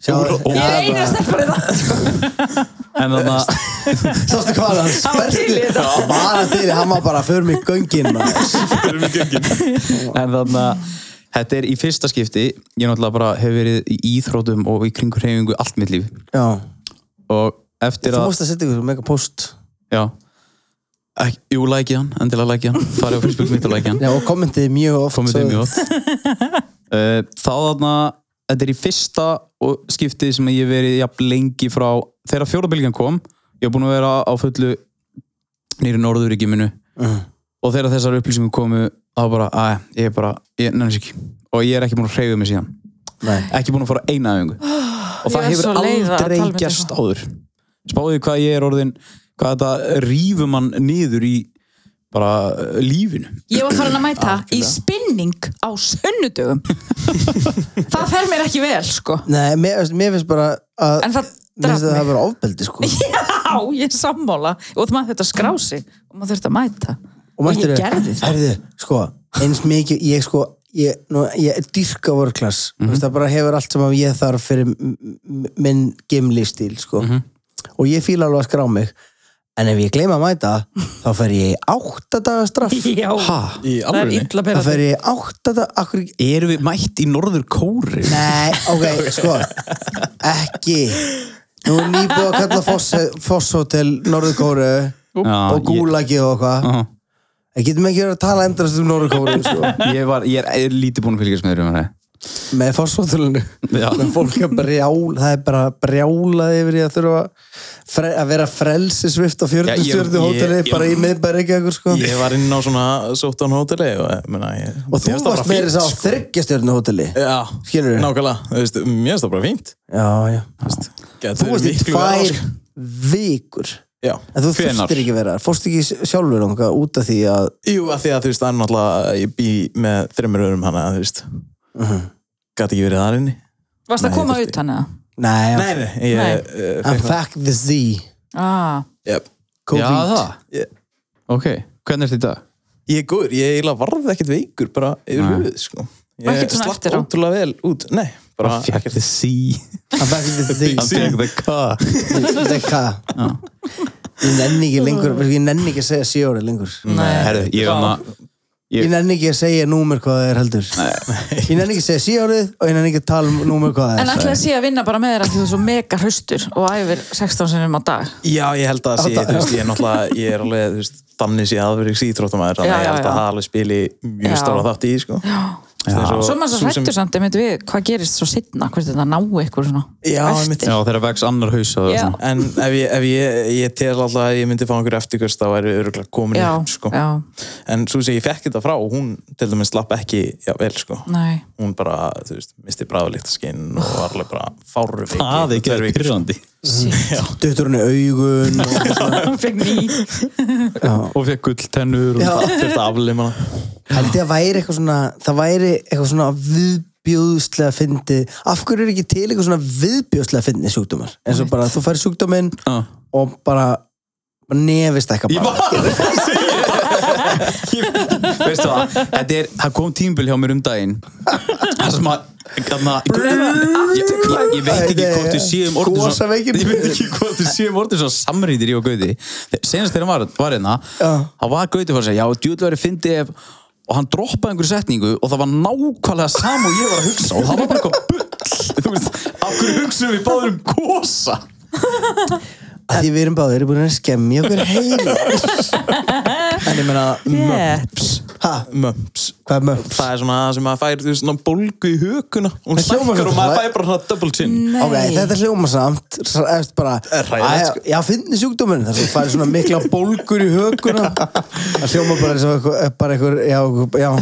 Sjá- ég Já, er eina bara- stelpur í það En þannig að sástu hvað hann Hann var til í sperti þetta. hann var til í hann var bara fyrir mig göngin maður. en þannig að þetta er í fyrsta skipti ég náttúrulega bara hef verið í íþrótum og í kringur hefingu allt mitt líf já og eftir þú að múst að setja ykkur mega post já, Ek, jú, lækja hann, endilega lækja hann farið á Facebook mitt og lækja hann já, og kommentið mjög oft komið svo- þið mjög oft Eh, þá þannig að þetta er í fyrsta og skipti sem ég hef verið jafn lengi frá þegar fjórabilgjan kom ég hef búin að vera á fullu nýri norðuríkjuminu Mhm. og þegar þessar upplýsingum komu þá bara, að ég er bara, ég nefnir ekki og ég er ekki búin að hreyfa mig síðan Nei. ekki búin að fara á eina æfingu og það ég er hefur svo leið að aldrei tala um þetta gerst áður spáðu því hvað ég er orðin hvað þetta rýfur mann niður í bara eh, lífinu Ég var farin að mæta í spinning á sönnudögum Það fer mér ekki vel, sko Nei, mér, veist, mér finnst bara að En það mér finnst draf að það mig vera ofbeldi sko Já, ég er sammála og það maður þurfti að skrá sig og maður þurfti að mæta og, ég gerði það herðu, sko, eins mikið ég sko, ég, nú, ég dýrka vörklass, Mhm. mm -hmm. það bara hefur allt sem að ég þarf fyrir m- m- minn gimlífstíl sko Mhm. og ég fíla alveg að skrá mig en ef ég gleyma að mæta, þá fer ég í átta daga straff Já, það Í er alveg illa að þá bera fer ég í átta daga, akkur erum við mætt í norður kóri Nei, ok, sko ekki Nú er nýbúið að kalla Foss- Fosshótel Norðurkóru Já, og Gúlagi og eitthvað Aha. Það getum ekki verið að tala endast um Norðurkóru sko. ég, var, ég er, er lítið búin að fylgjast með þér um það með fórsvátulinu Já. fólk er brjál, það er bara brjálað yfir í að þurfa fre, að vera frelsisvift á Já, 40 ég- stjörnu hóteli ég- bara í miðbæri ekki eitthvað sko. Ég var inn á svona sóttan hóteli og, ég meina, ég, og þú mér finnst það bara varst með fínt, þess að sko. þryggja stjörnu hóteli Já, Skilurðu? nákvæmlega, þú veist, mér finnst það bara fínt já, já. Getur þú varst í miklu verra, tvær sko. vikur Já, en þú Hvenær? þurftir ekki að vera þar. fórst ekki sjálfur langa út af því að Jú, að því að þú veist, það er náttúrulega ég bý með þreymur öðrum hana, þú veist Uh-huh. Gat ekki verið þar inni Varst að Nei, koma þurfti- utan eða? nei, Nei, nei, ég Nei. eh, I'm fekk það. back the Z Ah, Jep. já COVID það, Ég- ok, hvernig er þetta? Ég er góður, ég eiginlega varð ekkert veikur bara yfir Nei. höfuð, sko Var Ég ekkert svona slapp eftir á? ótrúlega vel út, nei bara ekkert the sea I'm back the Z I'm taking the car Þetta er hvað? Ég nenni ekki lengur, ég nenni ekki að segja sjóri lengur. Herru, ég er hann að Ég nenni ekki að segja númer hvað það er heldur. Ég nenni ekki að segja sjóri og ég nenni ekki að tala um númer hvað en það er. ætlaði að sé að vinna bara með þér að því þú er svo mega hraustur og æfir 16 sinum á dag Já, ég held að það sé, þú veist, ég er náttúrulega ég er alveg, þú veist, dannis í aðverjum sítróttamæður þannig Já, að ég já, held að já. það alveg spili Já. mjög stóra þátt í, því, sko Já, Svo er maður svo hrættu samt, ég við, hvað gerist svo sittna, hvert þetta ná ykkur svona. Já, Eftir. einmitt. Já, þegar vex annar haus að það Já. svona. En ef ég, ef ég, ég tel alltaf að ég myndi fá einhver eftirkvist þá væri öruglega komin í Já, hann sko. já, En svo sem ég fekk þetta frá, hún til dæmis slapp ekki já, vel sko. nei. Hún bara, þú veist, misti bráðlíktaskinn og var alveg bara fárur veiki. Það er ekki verið pyrrandi. Duttur henni augun og svona. Hann fekk ný. Og fekk gull tennur og Já. Þetta aflum hana. Held ég að væri eitthvað svona það væri eitthvað svona viðbjóðslega fyndið af hverju er ekki til eitthvað svona viðbjóðslega fyndið sjúkdómar eins og bara þú fær sjúkdóminn Já. og bara bara nefist eitthvað Ég bara var að segja Veistu það, þetta er, það kom tímbil hjá mér um daginn Það sem að Þarna, ég, ég, ég veit ekki hvort við séum orðið svona- Gosaveikin. Ég veit ekki hvort við séum orðið svona samrýndir í og Gauti Senast þegar hann var, var hérna Já. Það var Gauti fyrir að segja, já, djúðlega verið fyndi ef Og hann droppaði einhverju setningu Og það var nákvæmlega sam og ég var að hugsa Og það var bara eitthvað bull Þú veist, af hverju hugsaðum við báður um gosa að því við erum báðir búin að skemmja okkur heila En ég meina, Yeah. mömps. ha, Mömps. hvað er möps? Það er svona það sem maður fær, þú veist, svona bólgu í hökuna. Hún Það hljómar slækkar og svolítið. maður fær bara svona double chin. ok, þetta hljóma samt s- eftir bara, Er hræðilegt, sko. Æ, já, fyndið sjúkdóminn þar sem þú færi svona mikla bólgur í höguna það hljóma bara eins og eitthvað, eh, bara eitthvað já, eitthvað- já,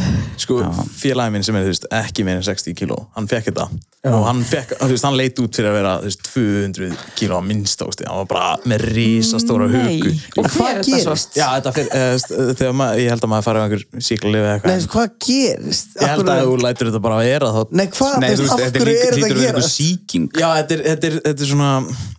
Sko, félagi minn sem er, þú veist, ekki meira en 60 kíló, hann fekk þetta. Og hann fekk, þú veist, hann leit út fyrir að vera, þú veist, 200 kíló á minnstósti. Hann var bara með risastóra höku. Og Hvað hvað gerist? gerist? Svo? Já, þetta fyrir, eh, þú veist, þegar maður, ég held að maður farið á einhver síklarlif eða nei, eitthvað. veist, hvað gerist? Ég held að ef þú lætur þetta bara að vera þá. nei, hvað, Nei, þú veist, af þetta hverju líka- er þetta að hlýtur vera einhver gerast? sýking Já, þetta er, þetta, er, þetta er svona,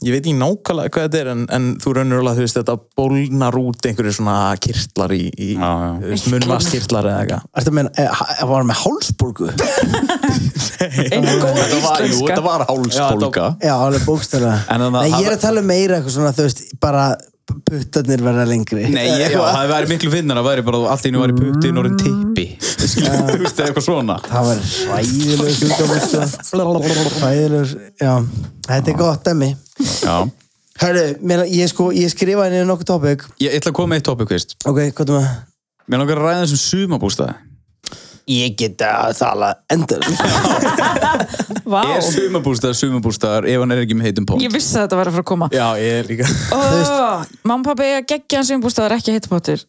ég veit ekki nákvæmlega hvað þetta er, en, en þú raunur alveg, þú veist, þetta bólnar út einhverju svona kirtlar í, í Já, já. þú veist, munnvaskirtlar eða eitthvað. Ertu að meina, e, ha- var hann með hálsbólgu? Einu góð íslenska. var hálsbólga. Já, alveg bókstæla. En þannig að Nei, ég hafa- er að tala um meira eitthvað svona, þú veist, bara puttarnir verða lengri. Nei, ég, Eh, Mm. já, það væri miklu finnar að væri bara að allt í einu væri putin og orðin tippi Skilur, þú veist, eða eitthvað svona Það var ræðilegur sjúkdómur, sko. Ræðilegur, já. Þetta er gott, emmi. Já Hörru, mér- ég sko, ég skrifaði niður nokkuð topic. Ég ég ætla að koma með eitt topic, veist Ok, hvað er maður? Mér langar að ræða þessum sumabústaði Ég get að tala endur. Vá. Er sumabústaði sumabústaðar ef hann er ekki með heitum pól? Ég vissi að þetta var að fara að koma. Já, ég er líka. Ó, Mamma, pappi, ég geggja hans umbústaðar ekki heitpottur.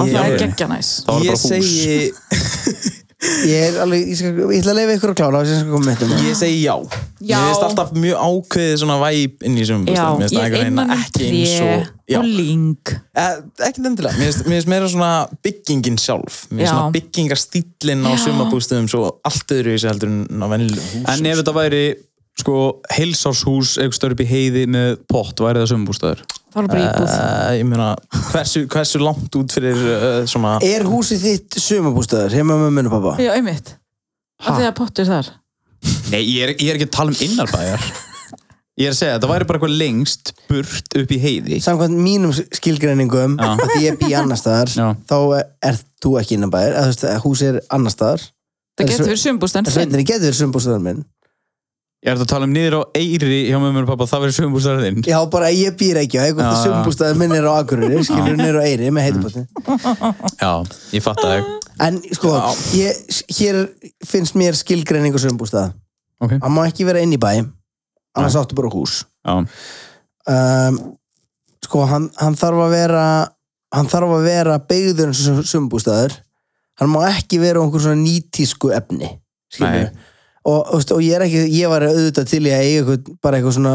Og það er geggja næs. Það var bara Ég hús segi, Ég er alveg, ég, skal, ég ætla að leifa ykkur að klára og ég skal koma með þetta. ég segi já. Já. Mér finnst alltaf mjög ákveðið svona væp inn í sumum. Já, ég er er innan um ekki eins tré og... Já, og ling. Eh, ekki endilega, mér finnst- mér finnst meira svona byggingin sjálf, mér finnst Já. svona byggingastýllin á Já. sumabústöðum svo allt öðru í sig heldur en á vennilegum húsum En ef þetta væri, sko, heilsárshús eitthvað stöður upp í heiði með pott væri það sumabústaðar Það var bara íbúð. Eh, ég meina, hversu, hversu langt út fyrir uh, svona Er húsið þitt sumabústæður, heima með munni pappa? Já, einmitt. Af því að pottur þar. Nei, ég er, ég er ekki að tala um innarbæjar Ég er að segja, þetta væri bara eitthvað lengst burt upp í heiði samkvæmt mínum skilgreiningum Já. að því ég bý annar staðar Já. þá er þú ekki innanbæðir eða þú veist að hús er annar staðar Það getur svo- verið sumbústaðan en þinn. sveitinni getur verið sumbústaðar minn Ég er að tala um niður á Eyri hjá mömmu og pappa, það verður sumabústaðar þinn já bara ég býr ekki á eitthvað Já, já. sumbústaðar minn er á Akureyri skilur hann er á Eyri með heitubotni Já, ég fatt að það en sko ég, hér finnst mér skilgreiningu sumbústaða Ok hann má ekki vera inn í bæ annars áttu bara hús Já, um, sko hann, hann þarf að vera hann þarf að vera beigður eins og sumbústæður hann má ekki vera á einhver svona nýtísku efni skilurðu. Nei. og, og, veist, og ég er ekki, ég var auðvitað til í að eiga eitthvað, bara eitthvað svona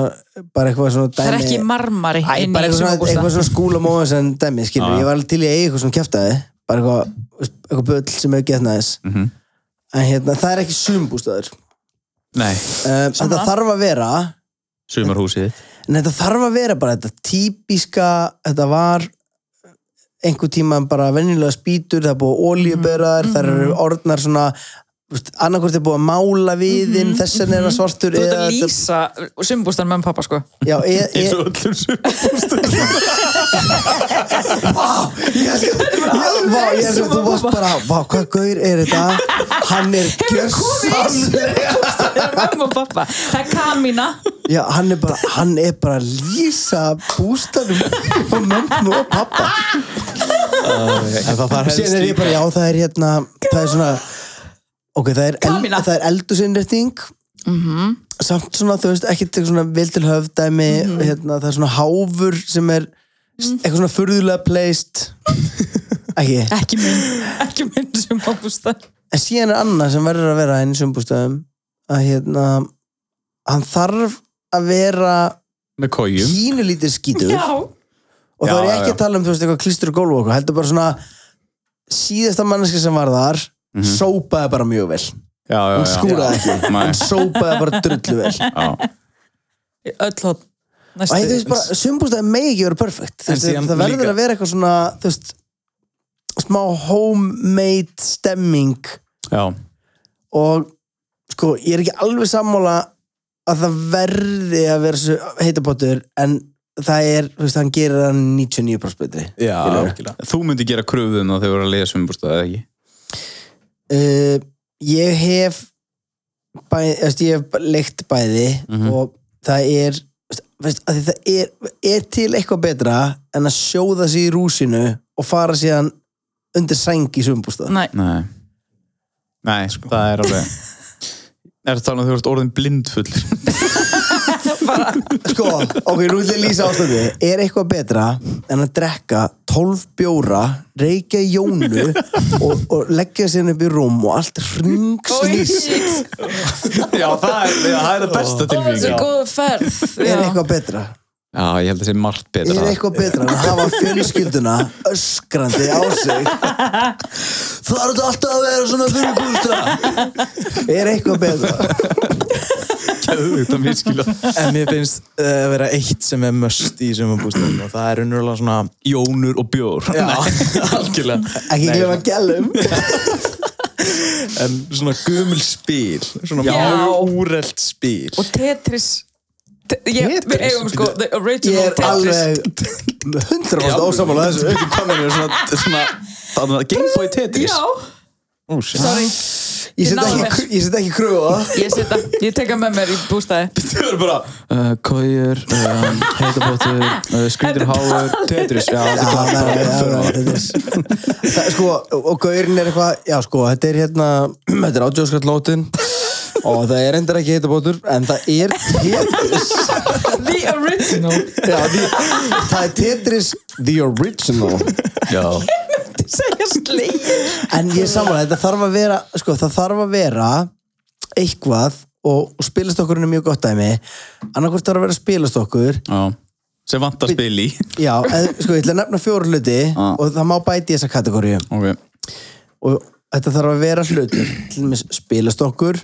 bara eitthvað svona Það er ekki marmari Æ, inn bara í eitthvað svona, eitthvað sumbústaðan. svona skúla móðans en dæmi, skilur, Já, já. ég var alveg til í að eiga eitthvað svona kjæftæði, bara eitthvað veist, eitthvað böll sem hefur gett næðis Mhm. en hérna, það er ekki sumbústæður nei, um, þetta þarf að vera sumarhúsið þitt. En þetta þarf að vera bara þetta típiska, þetta var einhver tíma bara venjulega spýtur, það er búið oljuberaðar, mm Mhm. það eru orðnar svona, annarkvort er búið að mála viðinn, mm -hmm. þessan er að svartur. Mhm. Þú ert eða að þetta- lýsa sumbústaðan með pappa, sko. Já, eða, eins eða, og öllum sumar vá, ég er svo, þú varst bara, vá, hvað gaur er þetta? Hann er gjörsann. Það er mamma og pappa. Það er kamina. Já, hann er bara, hann er bara að lýsa bústanum og mömmu og pappa. en það þarf Síðan er ég bara, já, það er hérna, það er svona ok, það er, el, Kamilla. það er eldusinnrétting Mhm. samt svona, þú veist, ekki til svona vil til höfdæmi, hérna, það er svona háfur sem er s- eitthvað svona furðulega placed ekki, Ekki minn, ekki minn sem ábústar. en síðan er annað sem verður að vera henni sumbústöðum að hérna hann þarf að vera með kójum pínulítið skítur Já, og Já, það er já, ekki já. að tala um, þú veist, eitthvað klístur og gólf og okkur, heldur bara svona síðasta manneska sem var þar Mhm. sópaði bara mjög vel já, já, hún já. skúraði ekki, Nei. hún sópaði bara drullu vel Já. í öll hótt. og þú veist bara, sumbústæði megi ekki vera perfekt En það síðan verður líka- að vera eitthvað svona þú veist, smá homemade stemming já, og sko, ég er ekki alveg sammála að það verði að vera svo heitapottur en það er, þú veist, hann gerir hann 99% betri Já, Skilurðu? algjörlega. þú myndi gera um kröfuðum að þau voru að leiða sumbúrstað eða ekki uh, ég hef bæ, eftir, ég hef leikt bæði og það er veist- veist, af því það er, er til eitthvað betra en að sjóða sig í rúsinu og fara síðan undir sæng í sumbústað Nei, nei, nei Sko. það er alveg er það talað um að þau voru orðin blindfull bara, sko, ok, nú ætlum ég að lýsa ástandi er eitthvað betra en að drekka 12 bjóra, reykja í jónu og, og leggja sér upp í rúm og allt oi, hringslýs shit, já, það er, já, það er það besta það var svo tilfengið góð ferð. er Já. eitthvað betra já, ég held að það sé margt er betra eitthvað betra en að hafa fjölskylduna öskrandi á sig þarf þetta alltaf að vera svona fyrirkústa er eitthvað betra þetta miskila En mér finnst uh, vera eitt sem er möst í sumabústæðinu og það er unnurlega svona jónur og bjór Já. Nei, algjörlega ekki glefa gælum en svona gömul spil svona Já. mjög úrelt spil Og Tetris. Te- Ég, við Tetris? eigum sko, the ég original er Tetris. alveg 100% ósamála þessu ekki komin í svona, svona þannig að Gameboy Tetris Já, Ó, shit. sorry, ég set ekki, ég set ekki kröfu á það. ég setja, ég teka með mér í bústæði. Þau eru bara uh, Kójur, um, heitabóttur, uh, skrýtur háur, tetris Já, Já, þetta það er- það er- þetta er- það er sko, og gaurinn er eitthvað já sko, þetta er hérna þetta er átjóðskallótin og það er endur ekki heitabótur en það er Tetris The original. já, því, það er Tetris the original Já, Þið segja slegir. En ég samanlega, þetta þarf að vera sko, það þarf að vera eitthvað og, og spilast okkur er mjög gott dæmi annarkvort þarf að vera spilast okkur já sem vantar spil í já, en, sko, ég ætla að nefna fjóra hluti Ah. og það má bæti í þessa kategóriu okay. og þetta þarf að vera hlutur til dæmis spilast okkur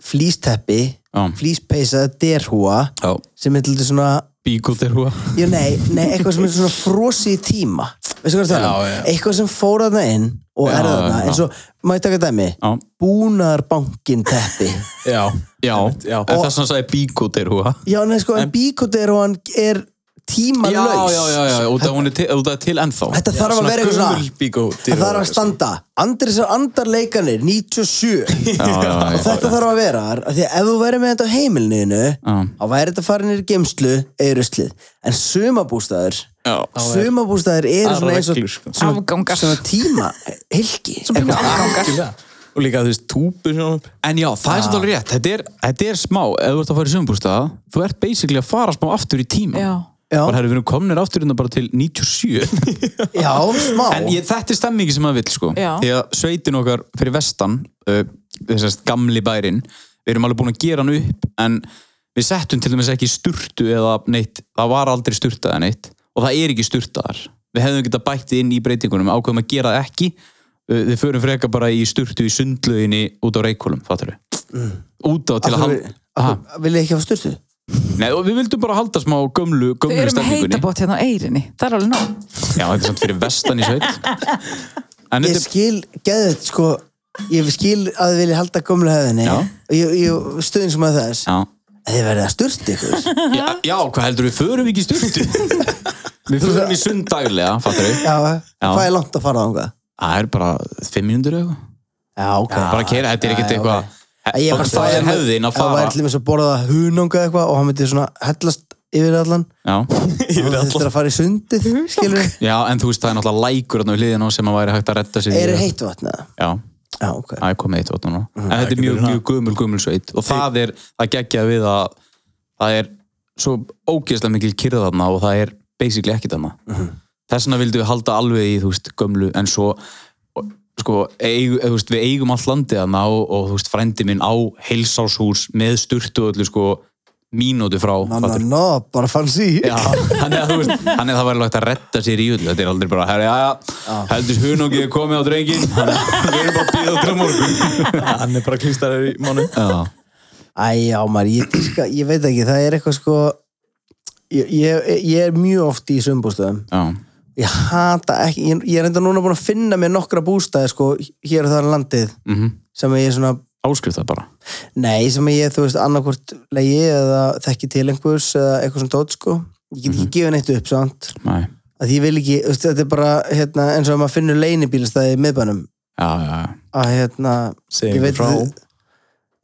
flýsteppi Já. flýspeysa, derhúa Já, sem er til dæmis svona bíkútt er húa já, nei, nei, eitthvað sem er svona frosi í tíma veistu hvað það er Já, það? já. eitthvað sem fór þarna inn og Já, er þarna já. eins og, má ég taka dæmi Já, búnaðarbankin teppi Já, já, já. en það sem hann sagði bíkútt er húa já, nei, sko, en bíkotir og hann er tímanlaus Já, já, já, já, út af hún er til, út af til ennþá þetta Já, þarf að vera eitthvað gömul svona bíkó það þarf að standa, Andris er andarleikanir 97 Já, já, já, og þetta þarf að vera þar, af því að ef þú verður með þetta á heimilinu Já. þá væri þetta farin í gemslu eða í ruslið, en sumabústæður Já. sumabústæður eru Aðrar svona eins og reglur, sko. svona- Afgangar. svona tíma, hilki og líka þú veist túpu sem hann upp En já, það er svolítið alveg rétt, þetta er, þetta er smá ef þú ert að fara í sömbúrstað, þú ert basically að fara smá aftur í tíma Já. Já. Bara herri, við erum komnir aftur innan bara til 97 já, smá En ég, þetta er stemmingi sem maður vill sko Já. Því að sveitin okkar fyrir vestan uh, þessast gamli bærin við erum alveg búin að gera hann upp en við settum til dæmis ekki sturtu eða neitt, það var aldrei sturtaðar neitt og það er ekki sturtaðar við hefðum getað bætti inn í breytingunum ákveðum að gera það ekki uh, við förum freka bara í sturtu í sundlöginni út á reikólum, fattur við Mm. út á til að halda Ha? vil ég ekki hafa styrtu? Nei, og við vildum bara halda smá gömlu, Þau gömlu eru með stemmingunni heitabót hérna á eirinni. Það er alveg nóg. Já, þetta er samt fyrir vestan í sveit ég En þetta er skil geðið sko ég skil að þið vilja halda gömlu hefðinni Já. og ég, ég stuðin sem að þess Já. að þið verðið að styrst ykkur Já, já, hvað heldur við, förum við ekki í sturtu? við förum í sund daglega, fattur við? já, hvað er langt að fara þangað Það er bara 500 eða eitthvað. já, ok Bara að keira, þetta er ekkert Já, já, eitthvað. Að ég bara Það er hefðin að það fara. var allir að borða hunanga eitthvað og hann myndi svona hellast yfir allan Já. yfir allan þetta er að fara í sundið skilur já, Ah, en þú veist, það er náttúrulega lækur þarna við hliðina á sem að væri hægt að redda sér. í. er heitt vatn eða? Já. Já, ok. Það er komið eitt vatn núna. En þetta er ekki mjög, byrjun á. mjög gömul, gömul sveit og það er, það geggja við að það er svo ógeðslega mikil kyrða þarna og það er basically ekkit þarna. Þess vegna vildum við halda alveg í, þú veist, gömlu en svo, og, sko, eig, eð, veist, við eigum allt landið þarna og, og þú veist, frændi minn á heilsáshús með sturtu og öllu, sko, mínútu frá. Ná, fattar- ná, ná, bara fann sí. Já, þannig að þú veist, þannig að það væri lagt að retta sér í öllu, þetta er aldrei bara, herra, já, já, heldur hunungið er komið á drengin, þannig að við erum bara að býða til á morgun. Hann er bara klístarar í mánu Já, Æ, já, maður, ég, dýrka, ég veit ekki, það er eitthvað sko... Ég, ég, ég er mjög oft í sömbústöðum. já, Ég hata ekki, ég, ég er enda núna búin að finna mér nokkra bústæði sko hér og þar um landið mhm, sem ég er svona, áskrift það bara. nei, sem ég, þú veist, annarkvort legi eða þekki til einhvers eða eitthvað svona tótt sko. Ég get ekki gefið neitt upp samt. Nei, Að ég vil ekki, þú veist, þetta er bara hérna, eins og að maður finnur leinibílastæði í miðbænum já, já, já, að hérna Segðu ég mér veit frá. að-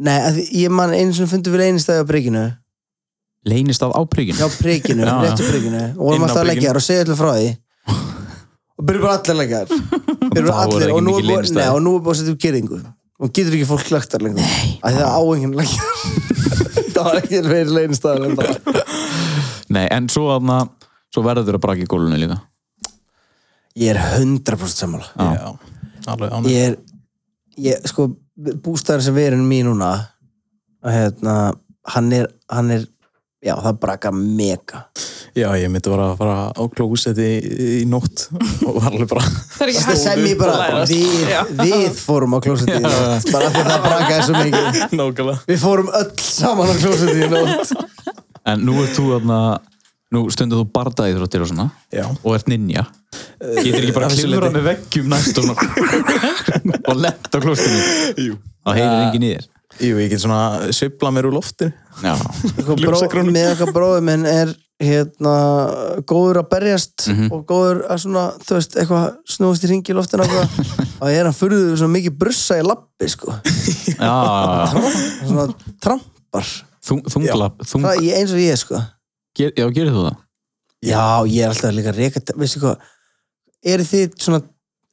Nei, að því- ég man einu sem fundum við leinistæði á prikinu leynist það á Já, príkinu. prikinu, Já, já. réttu prikinu og vorum Inn á alltaf að prikinu. leggja þær og segja allir frá því og byrjum bara allir að leggja þær byrjum Þá er allir ekki og nú er mikið búið leynistaður. nei, og nú er búið að setja upp gerðingu og getur ekki fólk lagt þær lengur að því það á enginn að leggja þær. það var ekki verið leinistæðar en það Nei, en svo aðna, svo verður að braka í gólunni líka. ég er 100% sammála Já, alveg ánæg ég er ég, sko, bústæðan sem við erum í núna að hérna hann er, hann er já, það brakar mega Já, ég myndi bara að fara á klósetti í, í nótt og var alveg bara það er ekki það sem ég bara, lærast. við, Já. við fórum á klósettið í nótt, bara af því að það brakaði svo mikið Nákvæmlega við fórum öll saman á klósettið í nótt En nú ert þú aðna, nú stundar þú bardaði þróttir og svona, Já. og ert ninja. Getur ekki bara að að þessu klifra leyti. með veggjum næst og svona, og lett á klostinu. Jú, Það heyrir enginn í þér. Jú ég get svona svipla mér úr lofti Já, Sko, bró, með okkar bróðum minn er hérna, góður að berjast Mhm. og góður að svona, þú veist, eitthvað snúist í ringi í loftin og ég er hann furðuð svo mikið brussa í lappi, sko já, já, já. svona trampar Þung- Þungla, þung, það, ég, eins og ég, sko ger, já, gerir þú það? Já, ég er alltaf líka að reka veistu hvað, eru þið svona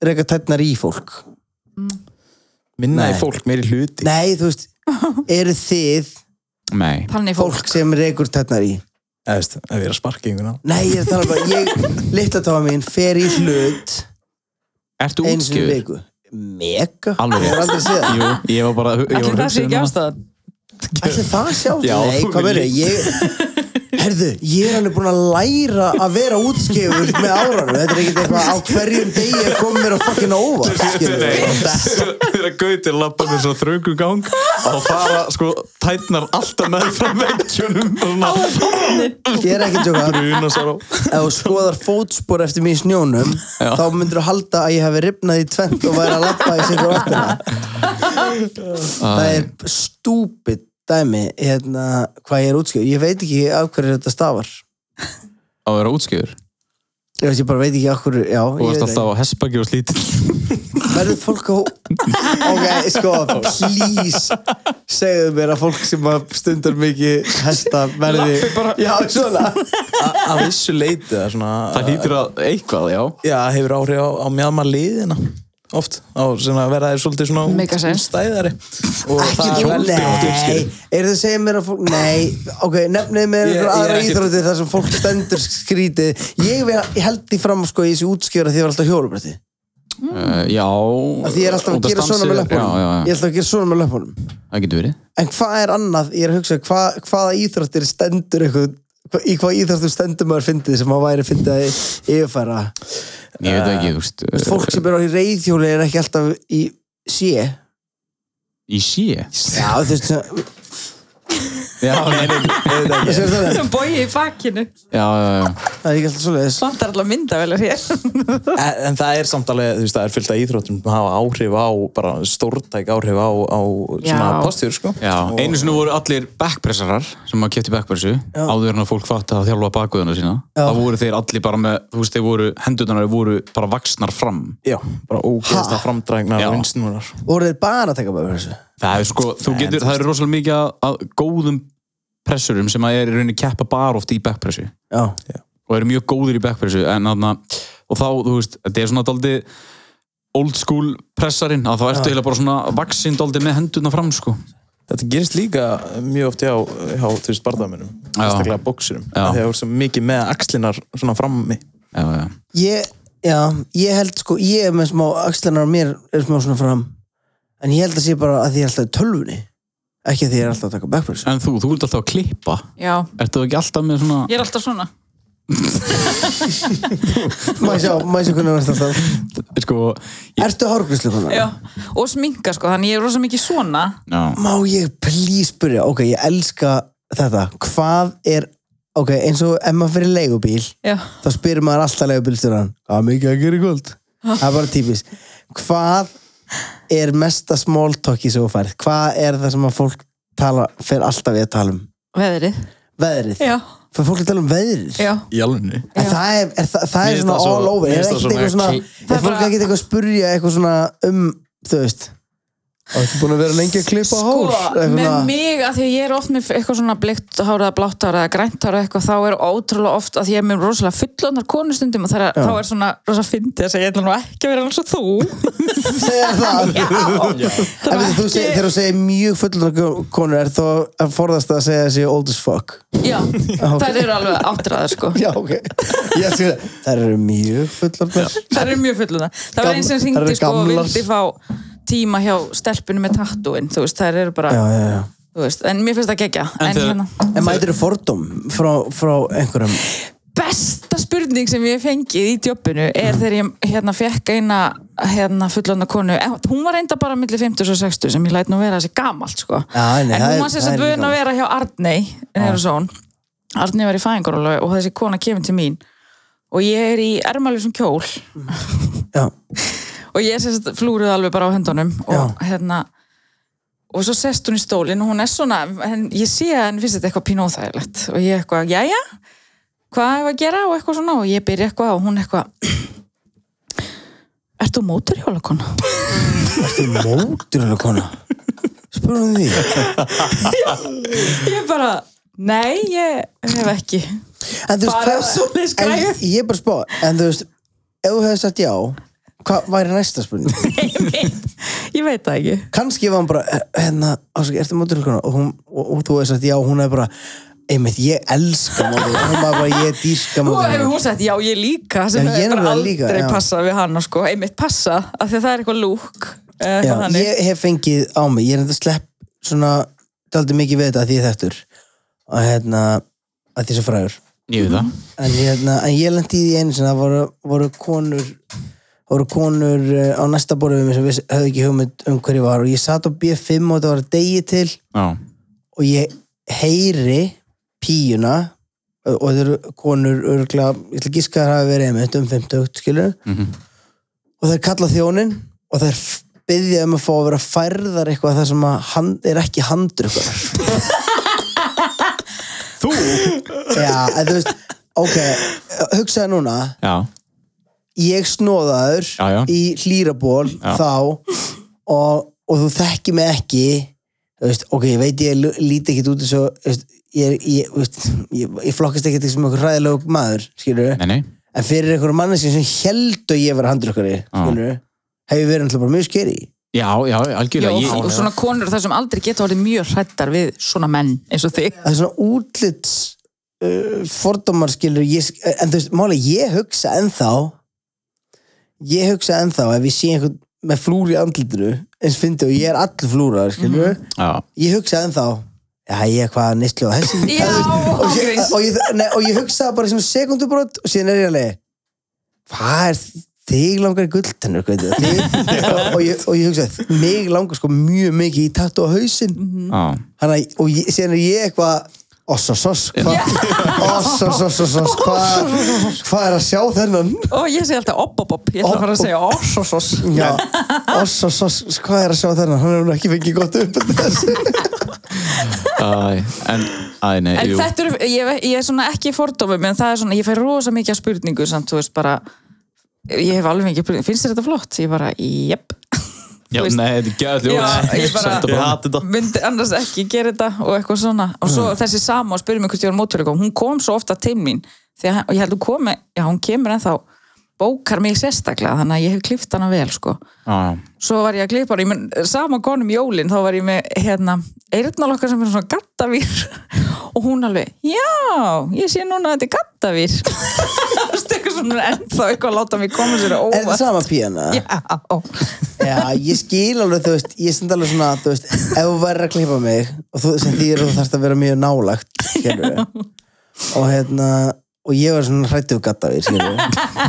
reka tætnar í fólk? Minna Nei. í fólk, meiri hluti Nei, þú veist, eru þið Nei. þannig fólk fólk sem rekur tætnar í? Eða veist, ef ég er að sparka í einhvern á Nei, ég er að tala bara, ég litla tóa mín fer í hlut Ertu eins og útskjöður? viku. Mega? Alveg. Ég er aldrei að segja það. Jú, ég var bara, ég allir var það sé ekki um ástæðan Ætli það sjá? Já, Nei, þú hvað verður vilt. ég? Herðu, ég er alveg búin að læra að vera útskefur með áranum. Þetta er ekkert eitthvað á hverjum degi að koma mér að fucking á óvart. skilurðu. Þegar Gauti lappa með svo þröngum gang og fara, sko, tætnar alltaf með frá vekkjunum og Ég er ekki að tjóka. bruna sér á ef þú skoðar fótspor eftir mér í snjónum þá myndur þú halda að ég hefði ripnað í tvent og væri að lappa í sigur áttina það er stúpid dæmi hérna, hvað ég er útskjöf ég veit ekki af hverju þetta stafar Að vera útskjöður ég veist ég bara veit ekki af hverju já, Þú ég varst veit ekki. alltaf á hespagi og slítil verður fólk á ok, sko, please segðu mér að fólk sem að stundar mikið hesta verði já, svona A- Að vissu leiti það er svona Það hýtir að eitthvað, já Já, hefur áhrif á, á mjadma liðina oft, á svona að vera þeir svolítið Make svona sense. stæðari og ekki þú, nei, er það að segja mér að fólk nei, ok, nefnið mér einhver Ég- ég er aðra ekkert- íþrótti þar sem fólk stendur skrítið ég, vil, ég held því fram sko í þessi útskjöra því ég var alltaf hjólubrætti Uh, Já Mm. af því ég er alltaf út að gera svona dansi- með Já, já, löpunum ég já, er alltaf að gera svona með löpunum það getur verið en hvað er annað, ég er að hugsa hva, hvaða íþróttir stendur eitthvað hva- í hvað íþróttum stendur maður fyndið sem maður væri fyndið að yfirfæra Ég veit ekki, þú veist uh, fólk sem er á reyðhjóli er ekki alltaf í sé eh, Í sé já, þú veist, svona- Já, nei, nei, ég veit ekki sér það sem bói í bakkinu Já, já, já það er ekki alltaf svoleiðis samt er allar myndavelar hér En, en það er samt alveg, þú veist, það er fyllt af íþróttum sem hafa áhrif á, bara stórtæk áhrif á, á svona Já. postur, sko. Já, Og- einu sinni voru allir backpressarar sem að kefti backpressu áður en að fólk fatt að þjálfa bakvöðuna sína Já. þá voru þeir allir bara með, þú veist, þeir voru hendurnar voru bara vaksnar fram Já, bara ógeðslega framdrægnar Já. og vinsnúrar. voru þeir bara að taka bara þessu það er sko, þú getur, það er rosalega mikið að, að góðum pressurum sem að er í rauninni keppa bara oft í backpressu já og eru mjög góðir í backpressu en þarna, og þá, þú veist, þetta er svona daldi old school pressarinn að þá ertu eiginlega bara svona vaksind aldrei með hendurna fram sko Þetta gerist líka mjög oft hjá, hjá þú veist, barðamönnum, Já. einstaklega bóksurum Já. þegar voru svo mikið með axlinar svona frammi já, já. Ég, já, ég held sko, ég er með smá axlunar mér er smá svona fram en ég held að sé bara að því ég er alltaf í tölvunni ekki að því ég er alltaf að taka backpress en þú, þú ert alltaf að klippa Já, ertu ekki alltaf með svona ég er alltaf svona Má ég sjá, má ég sjá hvernig verður þetta alltaf sko, ég, Ertu hárgrislu konar? Já, og sminka sko, þannig ég er rosa mikið svona já, Má ég please spyrja, ok, ég elska þetta Hvað er, ok, eins og ef maður fyrir leigubíl Já, þá spyrir maður alltaf leigubílstjóran Hvað er mikið að gera í kvöld? Það er bara típist Hvað er mesta small talki sem þú færð? Hvað er það sem að fólk tala, fer alltaf í að tala um? veðrið Veðrið? Já, fyrir fólk að tala um veðrið já, í alveg en það er, er, það, það er Mér finnst svona það svo- all over mér er finnst það ekkert svona eitthvað svona er Það er fólk bara- ekki eitthvað að spurja eitthvað svona um þú veist Það er búin að vera lengi að klippa sko, með mig að því að ég er oft með eitthvað svona blikt hára eða blátt hára eða grænt hára eitthvað, þá er ótrúlega oft að því ég er með rosalega fullandar konustundum og það er, þá er svona rosa fyndið að segja, ég ætla nú ekki að vera eins og þú Segja það Já, En veitir, þú segir- Þegar þú segir mjög fullur konur er þó að forðast að segja þessi old as fuck Já, ok. þær eru alveg áttræðar sko Já, ok Ég sé það Það eru mjög fullur Það eru mjög fulluna. Það var Gam- eins sem þær hringdi eru sko og gamlar. vildi fá tíma hjá stelpunum með tattúin, þú veist, það eru bara, Já, já, já þú veist, en mér finnst það gegja. En En, þegar- hérna, En mætir þú fordóm frá, frá einhverjum besta spurning sem ég hef fengið í djöppinu er þegar ég hérna fekk eina hérna fullanda konu, en hún var enda bara millir 50 og 60 sem ég læt nú vera þessi gamalt sko, Já, nei, en það er- hún var sér það sem er vön líka- að vera hjá Arnei Nerusson, Arnei var í fæðingarólau og þessi kona kemur til mín og ég er í ermalisum kjól Já, og ég sérst flúruð alveg bara á hendunum og hérna og svo sest hún í stólinn og hún er svona en ég sé að henni finnst þetta eitthvað pínóþægilegt og ég eitthvað, jæja hvað hefur að gera og eitthvað svona og ég byrja eitthvað og hún eitthvað Ert þú móturhjólakona? ertu móturlega kona Spurðum því Ég bara, nei, ég hef ekki En þú Bara svoleiðis en græjur. ég er bara að spá en þú veist, ef þú hefði sagt já hvað væri næsta spurning? Ég veit, ég veit það ekki kannski var hann bara, eh, hérna, ásaki, ertu móturlíkuna? Og, hún- og, og þú hefði sagt já, hún hefði bara einmitt, ég elska móturlíkuna hún var bara, ég dýrka Nú hefur móturlíkuna hún sagt, já, ég líka sem Já, ég hefur bara nefnilega aldrei líka, já. passað við hana sko, einmitt passa, af því að það er eitthvað lúk já, ég hef fengið á mig, ég er enda slepp svona, daldi mikið við þetta að því ég er þettur og hérna, að því sem frægur ég veit það en, hérna, en ég lendi í því einu sinna voru, voru konur voru konur eh, á næsta borðið við mig sem við höfðu ekki hugmynd um hverju var og ég satt á B5 og þetta var að degi til já. og ég heyri píuna eh, og þetta eru konur örgla, ég ætla að gíska að það hafi verið einmitt um 50 skilur Mhm. og það er kallað þjónin og það er byggðið um að fá að vera færðar eitthvað þar sem að hand, er ekki handrukar þú? Já, en þú veist, ok hugsaði núna já, ég snóðaður Já, já. í hlýraból þá og, og þú þekki mig ekki þú veist, ok, ég veit ég lu- líti ekkit út eins og þú veist, ég, er- ég, þú veist, ég, ég flokkast ekkit sem einhver ræðilegu maður skilur nei, nei en fyrir einhverjum manneski sem held að ég var handrukkari skilur hefur verið náttúrulega bara mjög skeri já, já, algjörlega Já, og ég, svona konur þar sem aldrei geta orðið mjög hrættar við svona menn eins og þig. það er svona útlits uh, fordómar skilur ég, en þú veist, máli, ég hugsa ennþá ég hugsa ennþá ef ég sé einhvern með flúr í andlitinu eins fyndi og ég er allur flúrar skilur já, ég hugsa ennþá já, ég er hvað neslu á hessin Já, og, ég, ángríns. og, ég, nei, og ég hugsa bara í svona sekundubrot og síðan er ég alveg hvað er þig langar í gulltennur hvað veit ég, þig, og, ég, og ég hugsa mig langar sko mjög mikið í tattu á hausinn Mm. já, Hanna, og ég, síðan er ég eitthvað ossosos ossosos hvað hvað er að sjá þennan Og ég segi alltaf opp-opp-opp, ég ætla að fara að segja oss-oss-oss. Já, ossosos, hvað er að sjá þennan hann hefur nú ekki fengið gott upp eftir þessu. Æ, en, æ, nei, En jú þetta eru, ég, ég er svona ekki í fordómum, en það er svona, ég fær rosa mikið af spurningu samt, þú veist, bara, ég hef alveg mikið, spurningu. finnst þér þetta flott? Ég bara, jep. já, þú veist- nei, þetta er gæðið Já, ég bara- Ég hati þetta myndi annars ekki gera þetta og eitthvað svona og svo þessi sama og spyrir mig hvort ég var móttölukom hún kom svo ofta til mín þegar, og ég held hún komi, já hún kemur ennþá bókar mig sérstaklega þannig að ég hef klift hana vel sko já, já. svo var ég að klippa hana, ég mun, sama konum jólin þá var ég með, hérna, eyrnalokkar sem er svona gattavýr og hún alveg, já, ég sé núna að þetta er gattavýr þú veist eitthvað svona ennþá eitthvað að láta mig koma sér Er á það óvart sama píana? já, Já, ég skil alveg, þú veist, ég stend alveg svona, þú veist, ef þú væri að klippa mig og þú sem þýr þú þarfst að vera mjög nálagt, skilur Og hérna, og ég var svona hrættu við gattavir, skilur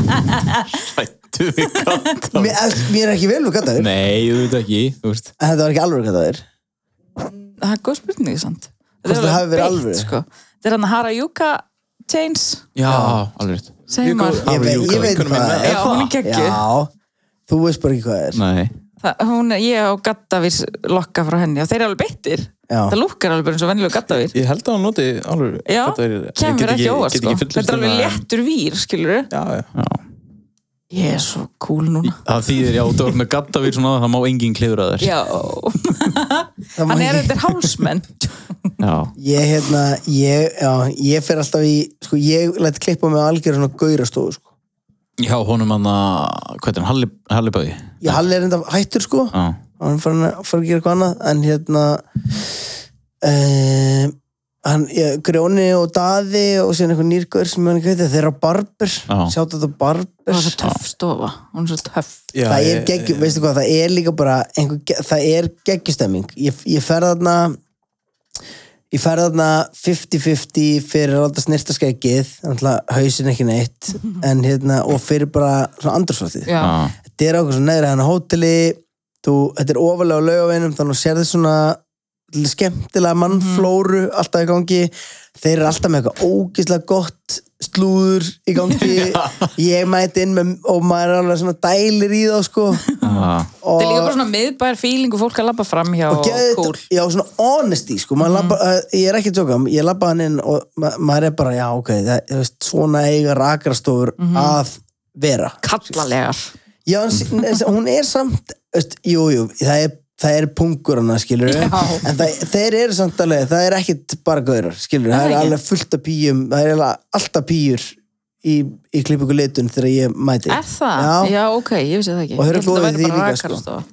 Hrættu við gatt mér, ef- mér er ekki vel við gattavir, Nei, þú veit ekki, þú veist en þetta var ekki alveg gattavir. það er góð spurning samt Hvort það hafi verið beitt, alvöru? sko. þetta er hann Harajuka Chains Já, alveg rétt segir maður Ég, veit- ég veit hvað það Já, hún er geggjuð. Já, þú veist bara ekki hvað það er. Nei Það, hún, ég á gattavís lokka frá henni og þeir eru alveg beittir Já. það lúkkar alveg bara eins og vennilega gattavís Ég held að hann noti alveg já, þetta er- ég get kemur ekki óvart get sko. fullyrt þetta er alveg um að- léttur vír skilur Já, já Já. ég er svo cool núna Það þýðir, já, þú var með gattavir svona það má enginn klifra þér já, Það má hann er ekki- þetta hálsmenn Já. Ég, hérna, ég, já, ég fer alltaf í, sko, ég lætt klippa mig á algjör svona gaurastóðu, sko. Já, honum hann að, hvað er hann, Halli, Hallibæði Ég halli er enda hættur, sko. Já, hann fór að, fór að gera eitthvað annað en hérna uh, hann, ég, Grjóni og Daði og síðan eitthvað nýrgur sem hann ekki veit þeir eru á Barber, Já. sjátt þetta það Barber var svo töff stofa hún er svo töff Já, það er ég- geggju, veistu hvað, það er líka bara einhver, ge- það er geggjustemming ég, ég ferð þarna ég ferð þarna 50-50 fyrir alltaf snirtaskeggið hausin ekki neitt en, hérna, og fyrir bara svona andursvartið já, já, þetta er okkur svona neðri hann á hóteli þú, þetta er ofalega á laugavinum þannig að sér þið svona skemmtilega mannflóru Mhm. alltaf í gangi þeir eru alltaf með eitthvað ógislega gott slúður í gangi ég mæti inn með, og maður er alveg svona dælir í þá sko já, þetta er líka og, bara svona miðbæðar fíling og fólk að labba fram hjá og og geðið cool Mhm. já, svona honesty sko mm labba, uh, ég er ekki að tjóka, ég labba hann inn og ma maður er bara, já ok það, þú veist, svona eiga rakrastofur Mhm. að vera kallalegar Já, en sí- en sí- hún er samt veist, Jú, jú, það er, það er pungur hana, skilur Já. En það, þeir eru samt alveg, það er ekkit bara gaurar, skilur Það Það er er ekki. alveg fullt af píum, það er alveg alltaf píur í, í klippingu litun þegar ég mæti er það? Já, já, ok, ég vissi það ekki Og þeir eru Ég held að góðir það væri því bara líka, sko. rakarastofa.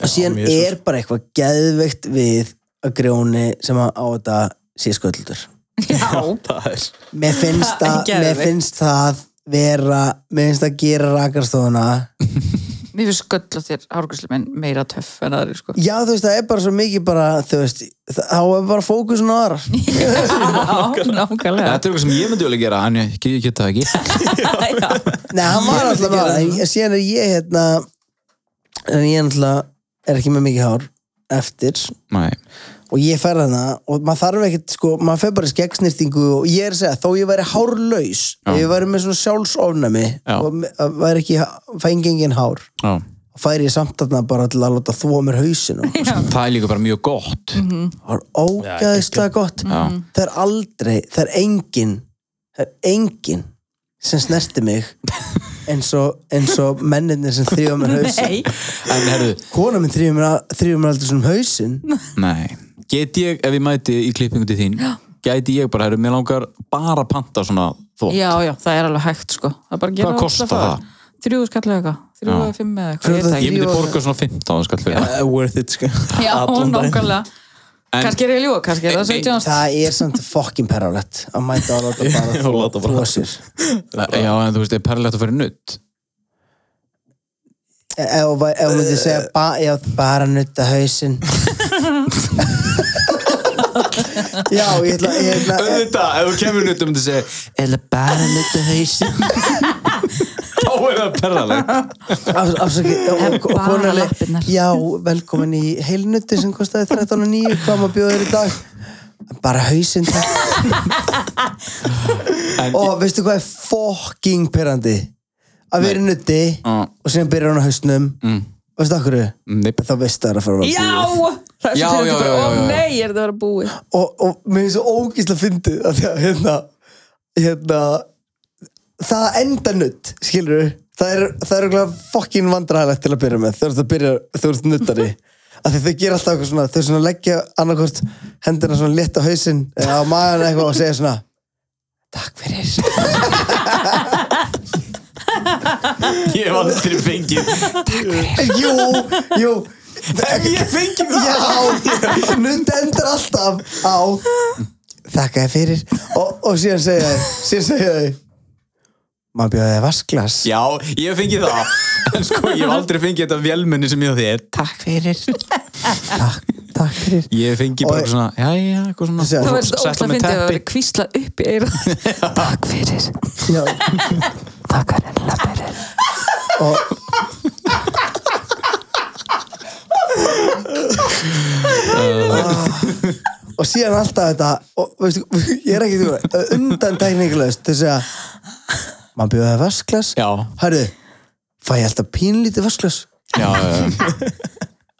og síðan Já, Jesús. er bara eitthvað geðveikt við að grjóni sem að á þetta sé sköldur já, Það er Mér finnst það, Geðveikt. mér finnst það vera, mér finnst það gera rakarstofuna Mér finnst sköll að þér hárgríslu minn meira töff en aðri sko. Já, þú veist, það er bara svo mikið bara, þú veist, það- þá er bara fókusun á aðra Já, nákvæmlega. Þetta er eitthvað sem ég myndi alveg gera, en ég, ég get það ekki Já. Nei, hann var alltaf með það en síðan er ég hérna en ég náttúrulega er ekki með mikið hár eftir Nei, og ég fer hana og maður þarf ekkert sko, maður fer bara í skeggsnýrtingu og ég er að segja, þó ég væri hárlaus Já. ef ég væri með svona sjálfsofnæmi Já. og me- að væri ekki, fængi engin hár já og færi ég samt þarna bara til að láta þvó mér hausinu Það er líka bara mjög gott Mhm. það var ógæðislega gott Já. það er aldrei, það er engin það er engin sem snerti mig eins og, eins og menninir sem þrýfa mér hausin Nei, En herðu, kona minn þrýfur mér, þrýfur mér aldrei svona um hausinn Nei, get ég, ef ég mæti í klippingu til þín, gæti ég bara, herru, mér langar bara að panta svona þvó. já, já, það er alveg hægt sko. Það er bara að gera Hvað alla kostar fara. það? Þrjú skallega eitthvað, þrjú Já. eða fimm eða Þrjú eitthvað, ég veit eða Ég það ekki. myndi Þrjú- borga svona 15 skall fyrir það. uh, worth it, sko Já, Allan daginn. nákvæmlega. En- Kannski er ég að ljúa, kannski er það 17 ást. það er samt fokkin perralett að mæta að láta bara og láta þvó- bara- þvó sér Já, en þú veist, er perlilegt að fara í nutt? E- ef þú væ- ef þú myndir segja ba, já, bara nutta hausinn já, ég ætla, ég ætla Auðvitað, ef þú kemur í nutt, þú myndir segja, eða bara nutta hausinn þá er það perlilegt. Af- afsakið, og- og- En og bara konan er- lappirnar. já, velkomin í heilnutti sem kostaði 13.9 hvað maður bjóður í dag bara hausinn takk. En- og veistu hvað er fucking perandi að vera í nutti Já. og síðan byrja hann á hausnum mm. veistu okkur Nei, þá veistu það er að fara að vera Já, búið. það er Já, svo fyrir já, þetta bara, já, ó já, já. nei, er þetta að vera búið. og, og mér finnst svo ógísla fyndið að því að hérna, hérna það enda nutt skilur það er, það er okkur fokkin vandræðilegt til að byrja með þegar þú ert að byrja, þú ert nuttari af því þau gera alltaf eitthvað svona þau svona leggja annarkvort hendina svona létt á hausinn eða á maðurinn eitthvað og segja svona takk fyrir Ég hef aldrei fengið Jú, jú Ef ég fengi það? Já, nund endur alltaf á Þakka þér fyrir Og, og síðan segja þau Síðan segja þau Maður bjóði þér vasklas Já, ég hef fengið það En sko, ég hef aldrei fengið þetta vélmenni sem ég á þér Takk fyrir Takk, takk fyrir Ég hef fengið Og- bara eitthvað svona Jæja, eitthvað svona Þessi- Það verður Sett ósla með fyndið að teppi. vera kvísla upp í eira Takk fyrir Já, Takk hérna fyrir og Ah. og síðan alltaf þetta og veistu, ég er ekki þú undan tekniklaust þess að maður bjóði það vasklas Já. hörðu, fæ ég alltaf pínlítið vasklas Já, já, já.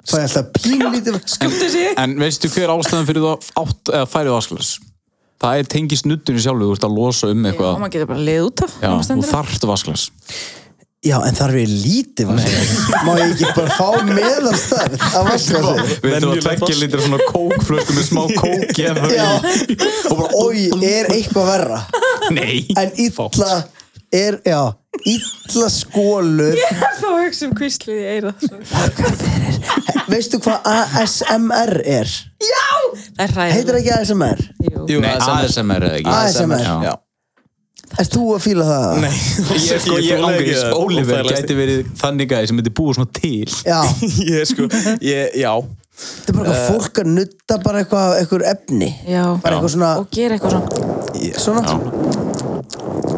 fæ ég alltaf pínlítið vasklas Skumdu sig En veistu hver ástæðan fyrir það átt, eða færið vasklas? Það er tengist nuttinu sjálfu, þú ert að losa um Og eitthvað maður getur bara leið út af Já, maður þú stendur upp. þarft vasklas já, en þarf ég lítið vasklas má ég ekki bara fá meðalstað að Ah. vasklasi Við þurfum að tveggja lítra svona kókflösku með smá kóki en það já, er og bara, oi, er eitthvað verra Nei en illa er, já, illa skólur Ég er þá að hugsa um kvíslið í eira veistu hvað ASMR er? Það er heitir ræðið ekki ASMR? Jú, Nei, ASMR eða ekki ASMR. Já. Erst þú að fíla það? Nei Ég, sko, Ég ég þoli ekki ángriðis, það. Oliver Óþægilegasti. gæti verið þannig gæði sem myndi búa svona til Já, Ég sko, ég, já þetta er bara eitthvað fólk að nutta bara eitthvað, eitthvað efni Já bara eitthvað svona, Og gera eitthvað svona svona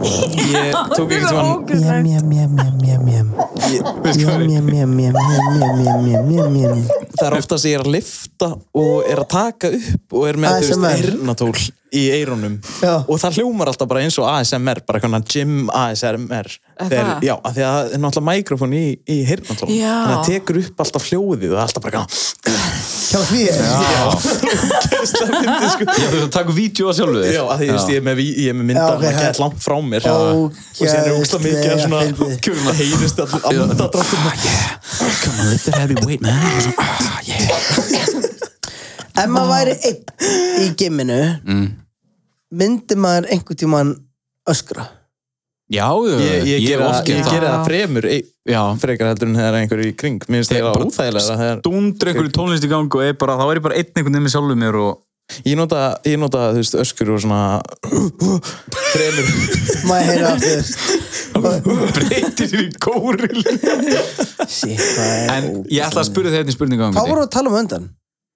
Ég tók ekki Það er tíma mjam, ógæslegt mjam, mjam, mjam, mjam, mjam mjam, mjam, mjam, mjam, mjam, mjam, mjam, mjam, mjam Það er oftast ég er að lifta og er að taka upp og er með, þú veist, ASMR. eirnatól í eirunum Já. og það hljómar alltaf bara eins og ASMR bara svona gym ASMR Er Þegar, það? Já, af því að það er náttúrulega mikrofón í, í eirnatól Já. þannig að það tekur upp alltaf hljóðið og það er alltaf bara gana Hjá því Já Ég þurfti að taka vídeo að sjálfu þér Já, að því ég veist, ég er með, ví- ég er með Já, myndar ok, okay, það- gett langt frá mér og Ógeðslega síðan er ógstlega mikið af svona fyndið. kjörum að heyrist allir andadráttum Ah, Come on, lift that heavy weight, man Og svo, ah, yeah. Ef maður væri einn í gimminu myndi maður einhvern tímann öskra Já, já, Ég, ég, ég gera, oft ég gert það. gera það fremur ei, Já. frekar heldur en þegar einhverju í kring Mér finnst Ég það bara bara úþægilega þegar, Dúndur einhverju tónlist í gang og er bara, þá er ég bara einn einhvern veginn með sjálfu mér og Ég nota, ég nota þú veist, öskur og svona fremur maður heyra aftur breytir sér í kóril Shit, hvað er En ég ætla að spyrja þér einnig spurninga Hvað voru að tala um á undan?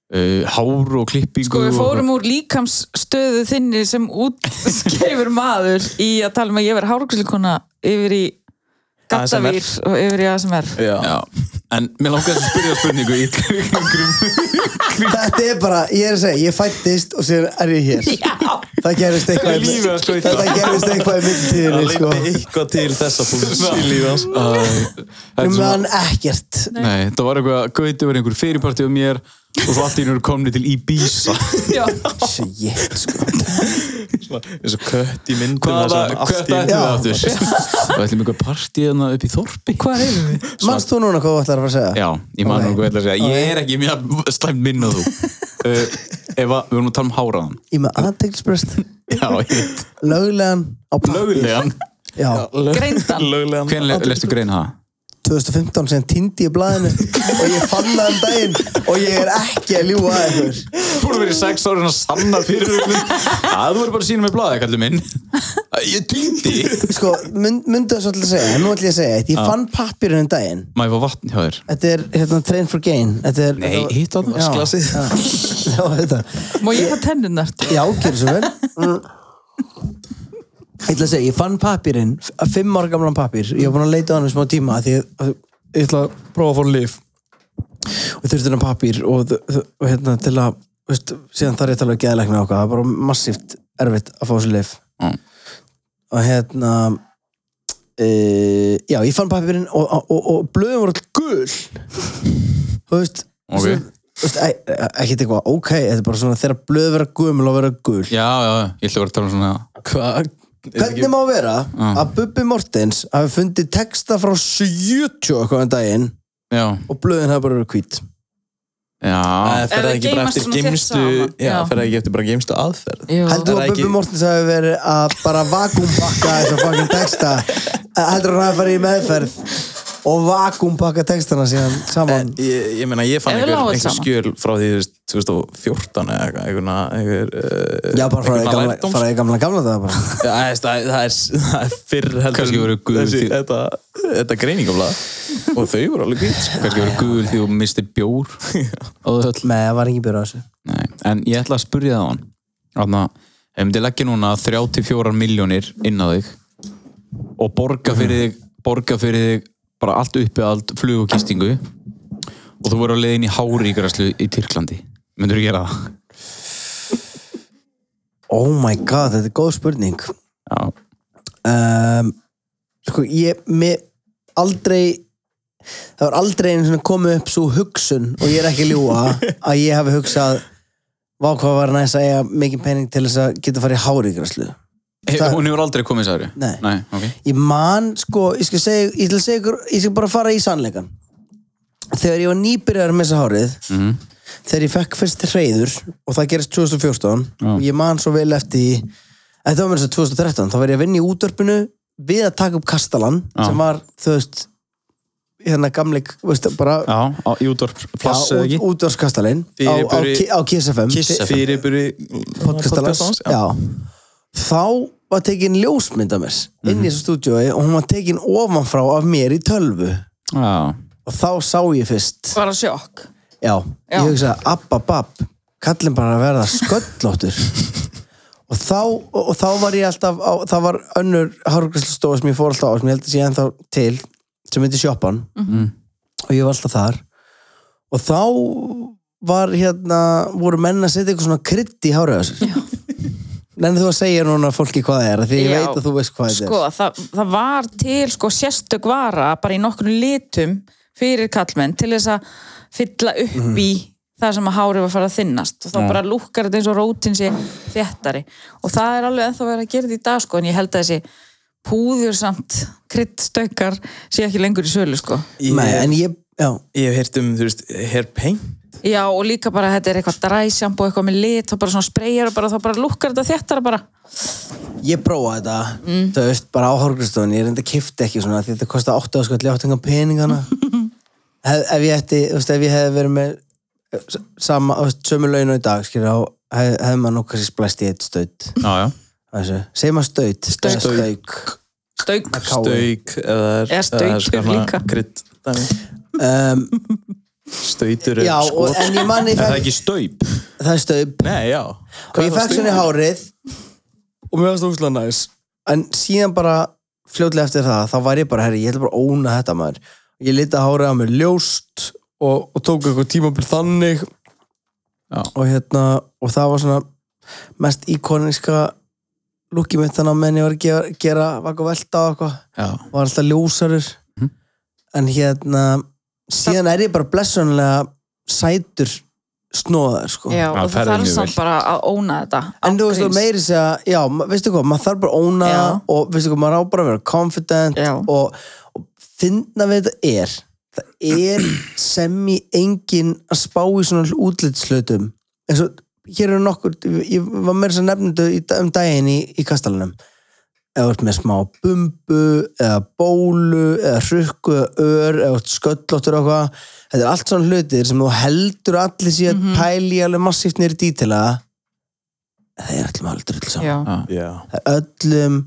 uh, Hár og klippingu Sko við og- fórum úr líkamsstöðu þinni sem útskeifur maður í að tala um að ég verið hárgríslikona yfir í gattavýr og yfir í ASMR Já, en mér langar að spyrja spurningu í kringum Þetta er bara, ég er að segja, ég fættist og sér er ég hér Já, Það gerist eitthvað í- Lífið að skauta. Þetta gerist eitthvað í Það myndtíðinni sko. leiti eitthvað til þessa fólks í lífi hans Um Þetta var- hann ekkert Nei, það var eitthvað, gauti var einhver fyrirparti á mér og svo allt í einu eru komni til Ibiza já, Shit, sko. eins og kött í myndum Hvaða, það sem allt í- hvert ættum við Já. aftur? Það ætlum einhver partí þarna upp í Þorpi hvað erum við? Manst þú núna hvað þú ætlar að fara að segja? Já, ég man Ok. nú hvað ég ætla að segja Ég er ekki mjög slæmt minn að þú uh, Ef að, við vorum að tala um háraðan Ég er með aðteglisbrest Já, ég veit Löglegan á pappír. Lögulegan Já, Greindan Löglegan Hvernig le lestu greina það? 2015 sem týndi ég blæðinu og ég fann það um daginn og ég er ekki að ljúga að ykkur Þú erum verið sex ára en að sanna fyrir öllum Það voru bara að sína með blaði, kallum minn Ég týndi Sko, mynd, myndu þess að segja, nú ætlum ég að segja eitt. Ég fann pappirinn um daginn Má ég fá vatn hjá þér? Þetta er hérna Train for Gain Þetta er, Nei, hitt á það, Vasklasið Já, þetta Má ég hafa tennunar? Já, gerðu svo vel Mm. Ég ætla að segja, ég fann papirinn Fimm ára gamlan papir Ég var búin að leita á hann um smá tíma af Því að- að ég ætla að prófa að fóra líf Og þurfti hann papir Og, þ- þ- og hérna til að veist, Síðan þarf ég að tala um geðleikna okkar Það er bara massíft erfitt að fá þessu líf Mm. Og hérna e, Já, ég fann papirinn Og, og, og, og blöðum voru all gul Þú veist Ok. svo- þú veist, e- e- Ekkert eitthvað, ok, þetta er bara svona þegar blöð vera gumul og vera gul Já, já, já, ég ætla að vera að tala um svona Hvað Hvernig má vera að Bubbi Mortens hafi fundið texta frá 70 og eitthvað en daginn Já, og blöðin hafi bara verið hvít já Það fer Ef það þau ekki bara geymast eftir svona þétt geimstu saman, Já, já. fer það ekki eftir bara geimstu aðferð Heldur þú Jú, Það að er Bubbi ekki- Mortens hafi verið að bara vakumbakka þess að fucking texta heldur hann að fara í meðferð og vakumpakka textana síðan saman Eh, ég, ég meina, ég fann Ef við einhver, lágum einhver saman. skjöl frá því þú veist, 2014 eða eitthvað, einhverna, einhver, uh, Já, bara fara í einhverna gamla, lærdóms- fara í gamla, gamla daga bara. Já, það, er- það, er- það, er, það er fyrr heldur Kannski en voru guð þessi, til- þetta, þetta greiningamlað og þau voru alveg gýt sko. kannski verið gul því þú mistir bjór á þau öll Nei, það var engin björn á þessu Nei, en ég ætla að spyrja það á hann Þannig að ef myndi leggja núna 34 miljónir inn á þig og borga fyrir þig borga fyrir þig bara allt uppi allt flug og kistingu og þú verður á leiðin í háríkraslu í Tyrklandi myndur þú gera það? Oh my god, þetta er góð spurning Já, um, sko ég mér aldrei það var aldrei einu svona komið upp svo hugsun og ég er ekki að ljúa að ég hafi hugsað vá hvað var næst að eiga mikið pening til þess að geta farið í háríkraslu He, Það- hún hefur aldrei komið særi Nei. Nei ok ég man sko ég skal, segja, ég, skal segja, ykkur- ég skal bara fara í sannleikan þegar ég var nýbyrjar með þessa hárið Mhm. þegar ég fekk fyrst reyður og það gerist 2014 og ég man svo vel eftir því- þetta var mér þess að 2013 þá var ég að vinna í útdörpinu við að taka upp Kastalan sem var þú veist hérna gamli þú veist, bara Já, á, í útvarp flass eða ekki útdörpskastalin á, á, Fyrirburi- Ki- á Kiss FM Kiss FM. fyrirbyrði podcastalans já. þá var tekin ljósmynd af mér inn í þessu stúdíói og hún var tekin ofanfrá af mér í tölvu Já, og þá sá ég fyrst Bara sjokk. já, Já. ég hugsaði abbababb, kallin bara að verða sköllóttur og þá, og, og þá var ég alltaf á, það var önnur hárgræslustofa sem ég fór alltaf á sem ég held að sé ennþá til sem myndi sjoppan Mhm. og ég var alltaf þar og þá var hérna voru menn að setja eitthvað svona krydd í hárið á sér Nenni þú að segja núna fólki hvað það er af því ég Já. veit að þú veist hvað þetta Sko, það, það var til sko, sérstök vara bara í nokkrum litum fyrir kallmenn til þess að fylla upp Mhm. í það sem að hárið var farið að þynnast og þá bara lúkkar þetta eins og rótin sé þéttari og það er alveg ennþá verið að gera þetta í dag sko, en ég held að þessi púður samt kryddstaukar sé ekki lengur í sölu sko. er Nei, en ég, já, ég hef heyrt um, þú veist, hair paint Já, og líka bara þetta er eitthvað dræsjamb og eitthvað með lit og bara svona spreyjar og bara, þá bara lúkkar þetta þéttara bara. ég prófaði þetta þú veist, bara á hárgristofun, ég reyndi að kifta ekki svona, því þetta kosti 8 áskall, ég átti engan peningana hef, ef ég ætti, þú veist, ef ég hefði verið með s- sama, þú veist, sömu laun og í dag skilur, þá hef, hefði maður nú kannski splæst í eitt stöð, já, já. þessu segjum maður stöð, Staut. stöð Stauk. stauk eða Eða stautur líka. krydd um, stautur já, og, en ég manni Er það fekk, ekki staup? það er stöð nei, já og ég fekk svona í hárið og mér varst óslega næs en síðan bara fljótlega eftir það þá var ég bara, herri, ég ætla bara að óna þetta maður ég lita hárið á mér ljóst og, og tók eitthvað tímabil þannig Já. og hérna og það var svona mest íkoniska lúkið mitt þannig að menn ég var að gera, gera vaka velta og eitthvað Já var alltaf ljósarur en hérna síðan er ég bara blessunlega sætur snóðar sko Já, Já, og það ferðin þarf mjög samt vel. bara að óna þetta. En án þú veist, og gríns. meiri segja, já, ma- veistu hvað, maður þarf bara að óna Já. það og veistu hvað, maður á bara að vera confident Já. og, og finna við þetta er það er sem í engin að spá í svona útlitslötum eins og hér eru nokkur ég var meira sem nefnindu í, um daginn í, í kastalunum eða þú ert með smá bumbu eða bólu eða hrukku eða ör eða þú ert sköllóttur og hvað þetta er allt svona hlutir sem þú heldur að allir sé að Mhm. pæli alveg massíft nýri dítila það er öllum aldrei öll saman Já, já, það er öllum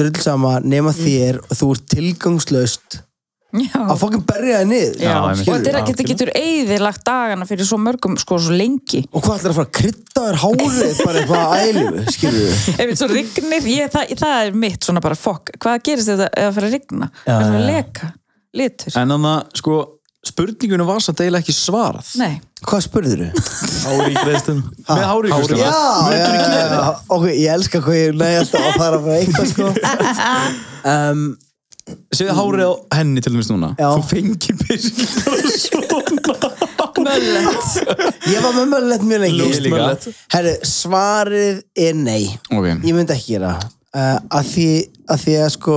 drull sama nema þér og þú ert tilgangslaust Mhm. já. að fokkin berja þig niður Já, og einmitt. þetta er að þetta getur eigðilagt dagana fyrir svo mörgum, sko, svo lengi og hvað ætlar að fara að krytta þér hárið bara eitthvað að ælu skilur við ef þetta svo rignir, ég, það, það er mitt svona bara fokk, hvað gerist þetta ef það fyrir að rigna það fyrir að leka, litur En þannig að, sko, spurningunum var samt eiginlega ekki svarað nei, hvað spurður þú? hári í greiðstum Með háríkraslu já, já, já, já, ok, ég elska hvað ég næ alltaf að fara að fara eitthvað sko um, Segðu hárið á henni til dæmis núna Já. Þú fengir byrjum möllett ég var með möllett mjög Ljóst lengi möllett. herru, svarið er nei Ok, ég myndi ekki gera það. uh, að því að því að sko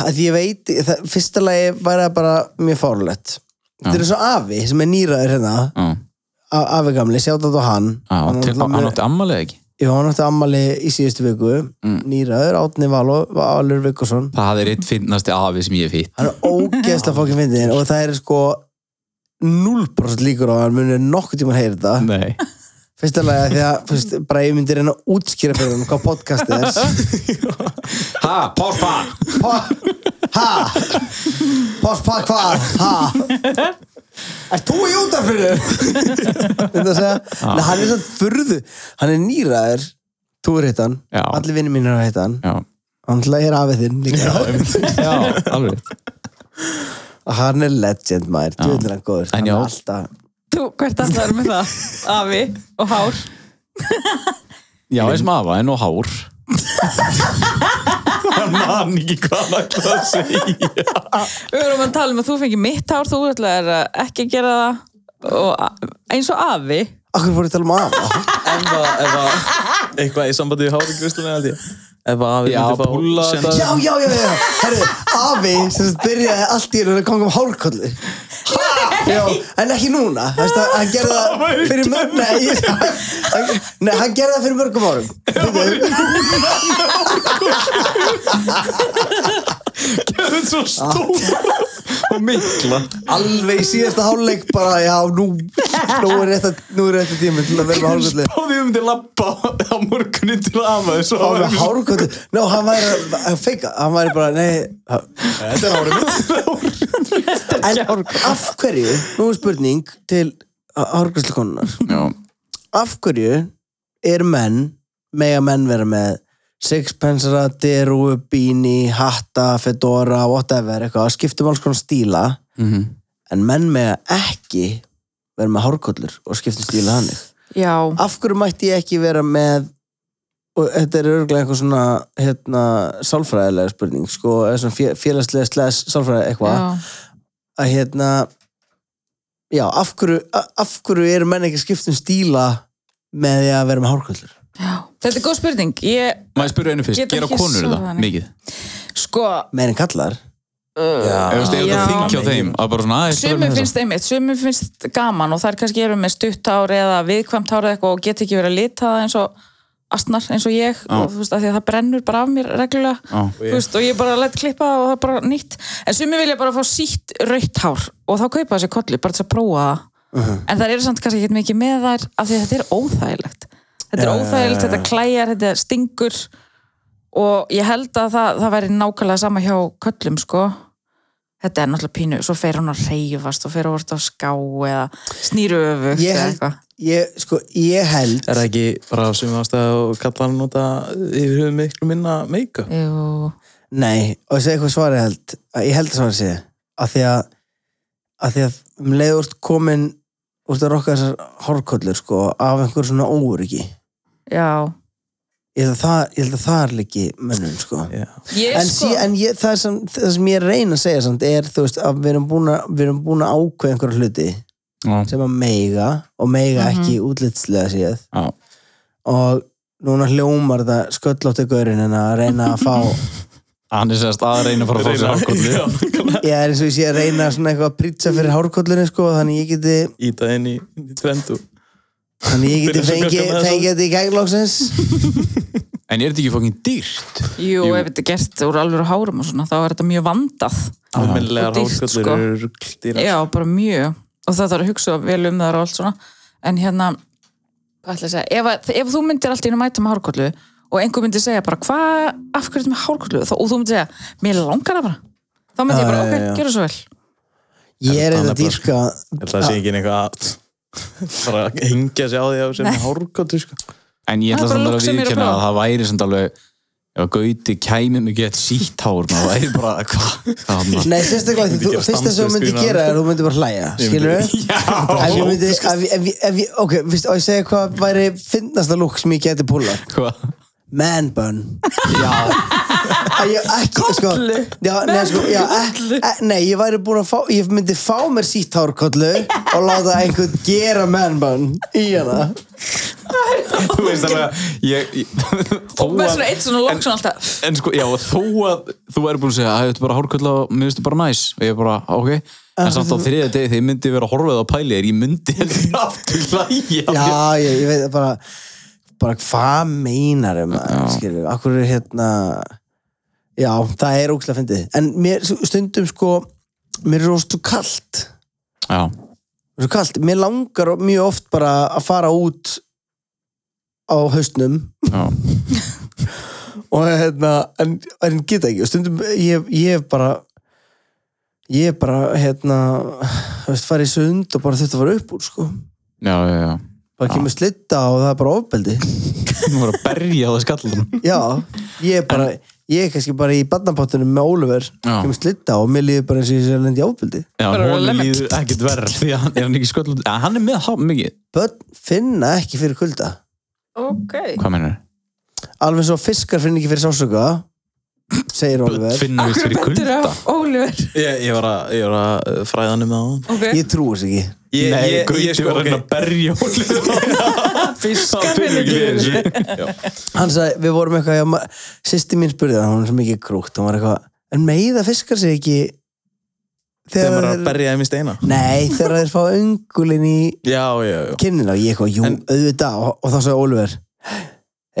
að því ég veit það, fyrsta lagi væri það bara mjög fárlegt þetta er svo afi sem er nýraður hérna já a- afi gamli, sjátt á hann Já, til- náttúrulega Hann með- átti Mm. ammalið ekki Ég var náttúrulega ammali í síðustu viku Nýraður, Átni Valur, Valur Vikursson Það er eitt finnasti afi sem ég hef hitt. Hann er ógeðslega fokkin fyndin og það er sko 0% líkur á að hann munir nokkuð tíma að heyra þetta Nei. Fyrst að lega því að fyrst, bara ég myndi reyna að útskýra fyrir hann hvað podcastið er Ha, porfa! Po ha Postpa hvað ha Er þú í útafinu? Þetta að segja Ah. Nei, hann er svo furðu Hann er nýraður Þú er hittan Já. Allir vinnir mínir er hittan Já, Hann ætla ég er afið þinn líka já, alveg. Hann er legend maður Já. Djöðnir hann góður En Hann já. er alltaf Þú, hvert alltaf er með það? Afi og hár. Já, eins og afa, en og hár. Hann man ekki hvað hann ætlaði að segja. Við vorum að tala um að þú fengir mitt hár, þú ætlaðir að ekki að gera það og eins og afi. Akkur fór ég að tala um afa ef að, ef að eitthvað í sambandi við hárugvistunni held ég ef að við Já, púlla þetta. Já, já, já, já Herru, afi sem sagt byrjaði allt í hérna kom um hálkollu Já, en ekki núna Þess að hann gerði það fyrir mörg Nei, ég- hann- nei, hann gerði það fyrir mörgum árum Bíddu, Þetta er svo Ah. stór og mikla. Alveg í síðasta hálfleik bara Já, nú, nú er þetta Nú er þetta tíma til að vera með hálkollu Báðið um til lappa á morgunni til afa þessu. Hann var með hárkvöldu Ná, hann væri að- að feika Hann væri bara, nei Þetta er hárið mitt En af hverju, nú er spurning til hárkvöldukonunnar Já, Af hverju er menn mega menn vera með sixpensara, derú, bíni hatta, fedora, whatever eitthvað, skiptum alls konar stíla mhm. en menn mega ekki vera með hárkollur og skiptum stíla hannig Já. af hverju mætti ég ekki vera með og þetta er örgulega eitthvað svona hérna, sálfræðilega spurning sko, eða svona fé- félagslega slæðis sálfræði eitthvað, Já. að hérna já, af hverju a- af hverju eru menn ekki að skipta um stíla með því að vera með hárkvöldur Þetta er góð spurning. Ég, Má ég spyrja einu fyrst, Get gera ekki konur svarað það henni. mikið? sko, meðin kallar, Ef þú veist, er þetta þing hjá þeim? Að bara svona, að ég skal vera sumum með finnst einmitt, sumum finnst gaman og þær kannski eru með stutt hár eða viðkvæmt hár eða eitthvað og get ekki verið að lita það eins og astnar eins og ég og þú veist að því að það brennur bara af mér reglulega Já. Þú veist, og ég bara lett klippa það og það er bara nýtt en sumir vilja bara fá sítt rautt hár og þá kaupa þessi kollu bara til að prófa það Uh-huh. en það eru samt kannski ekki mikið með þær af því að þetta er óþægilegt þetta er óþægilegt, þetta klæjar, þetta stingur og ég held að það, það væri nákvæmlega sama hjá köllum sko þetta er náttúrulega pínu, svo fer hún að reyfast og fer að vorta á ská eða snýru öfugt Ég eða held- eitthvað ég, sko, ég held er það ekki bara á sumum ástæðu og kalla hann nota yfir höfum miklu minna make-up Jú. Nei, og ég segi hvað svarið held að ég held að svarið sé að því að, að, því að um leið úr komin úr að rokka þessar hórkollur sko, af einhver svona óöryggi ég já held að það, ég held að það er líki mönnum sko. Já. ég en, sí, en ég, það, sem, það sem ég reyna að segja samt, er þú veist að við erum búin að, við erum búin að ákveða einhverja hluti Já, sem að meiga og meiga ekki útlitslega séð já. og núna hljómar það sköllótti gaurinn en að reyna að fá Hann er sérst að reyna að fara að fá sér ákvöldu. Ég er eins og ég sé að reyna svona eitthvað að prýtsa fyrir hárkollunni sko, þannig ég geti, íta inn í, inn í trendu þannig ég geti Byrja svo fengið klukkan með fengi þetta í gæglóksins. En er þetta ekki fokkin dýrt? Jú, ef þetta er gert úr alveg hárum og svona, þá er þetta mjög vandað. almennilegar Og dýrt, hárköllur sko. eru rugldir Já, bara mjög. Og það þarf að hugsa vel um það og allt svona. En hérna, hvað ætla ég að segja? Ef, að- ef þú myndir alltaf inn að mæta með hárkollu og einhver myndir segja bara, hvað, af hverju þetta með hárkollu? Þá- Og þú myndir segja, mér langar það bara. Þá myndir ég Já, bara, já, já. ok, gera svo vel. Ég er Þannig eitthvað bara- dýrka, það sé ekki eitthvað að bara að hengja sig á því að sem hárköllur sko En ég Það ætla er bara samt alveg lúk að sem ég er að viðkynna prófa. að það væri samt alveg ef að Gauti kæmi mig gett sítt hár maður væri bara hvað hva, hva, nei sérstaklega því myndi þú, gera fyrst þess að þú myndir standup-skrín á gera er að þú myndir bara hlæja, skilur við? Ef ég myndi, ef, ég- ef, ég- ef ég, ok, veist, og ég segja hvað væri finnasta lúk sem ég geti púla. hva. Man bun. Að ég ekki, sko. Kollu. Já, nei, sko, já, e, e, nei, ég væri búin að fá, ég myndi fá mér sítt hárkollu og láta einhvern gera man bun í hana. þú veist alveg að ég, ég, þó Og með að svona eitt svona lokk svona alltaf. en sko, já, og þó að þú væri búin að segja að þetta er bara hárkvölda og mér finnst þetta bara næs og ég bara, ok, en Uh, samt á þriðja degi þegar ég myndi vera horfið á pælið er ég myndi heldur aftur hlæja Já, ég, ég veit það bara bara hvað meinar um það, skilju, akkur er hérna já, það er ógslag fyndið, en mér stundum sko, mér er rostu kalt Já, Mér er svo kalt, mér langar mjög oft bara að fara út á haustnum já, og hérna, en, en geta ekki og stundum, ég, ég hef bara ég hef bara hérna, þú veist, farið í sund og bara þetta var upp úr, sko já, já, já. bara kemur slitta og það er bara ofbeldi Nú voru að berja á það skallum já, ég er bara ég er kannski bara í badnapottunum með Oliver Já. kemur slitta og mér líður bara eins og ég sé að lendi ofbeldi Já, Bara hún lemon. líður ekkert verð Því að hann er hann ekki sköllum ja, Hann er með hálf mikið börn finna ekki fyrir kulda ok Hvað mennur? alveg svo fiskar finna ekki fyrir sásöka segir Oliver Finna vist fyrir bentur kulda af Oliver Ég, ég var að, ég var að fræða hann um það ok, ég trúi þess ekki Ég, Nei, ég, Gauti ég, sko, var að reyna ok að berja hún Fiskar finna ekki fyrir hann sagði, við vorum eitthvað sýsti mín spurði það, hún er svo mikið krúkt hún var eitthvað, en meiða fiskar sig ekki Þegar maður er þeir- að berja þeim í steina nei, þegar þeir fá öngulinn í Já, já, já kinnina og ég eitthvað, jú, auðvitað og, og þá sagði Oliver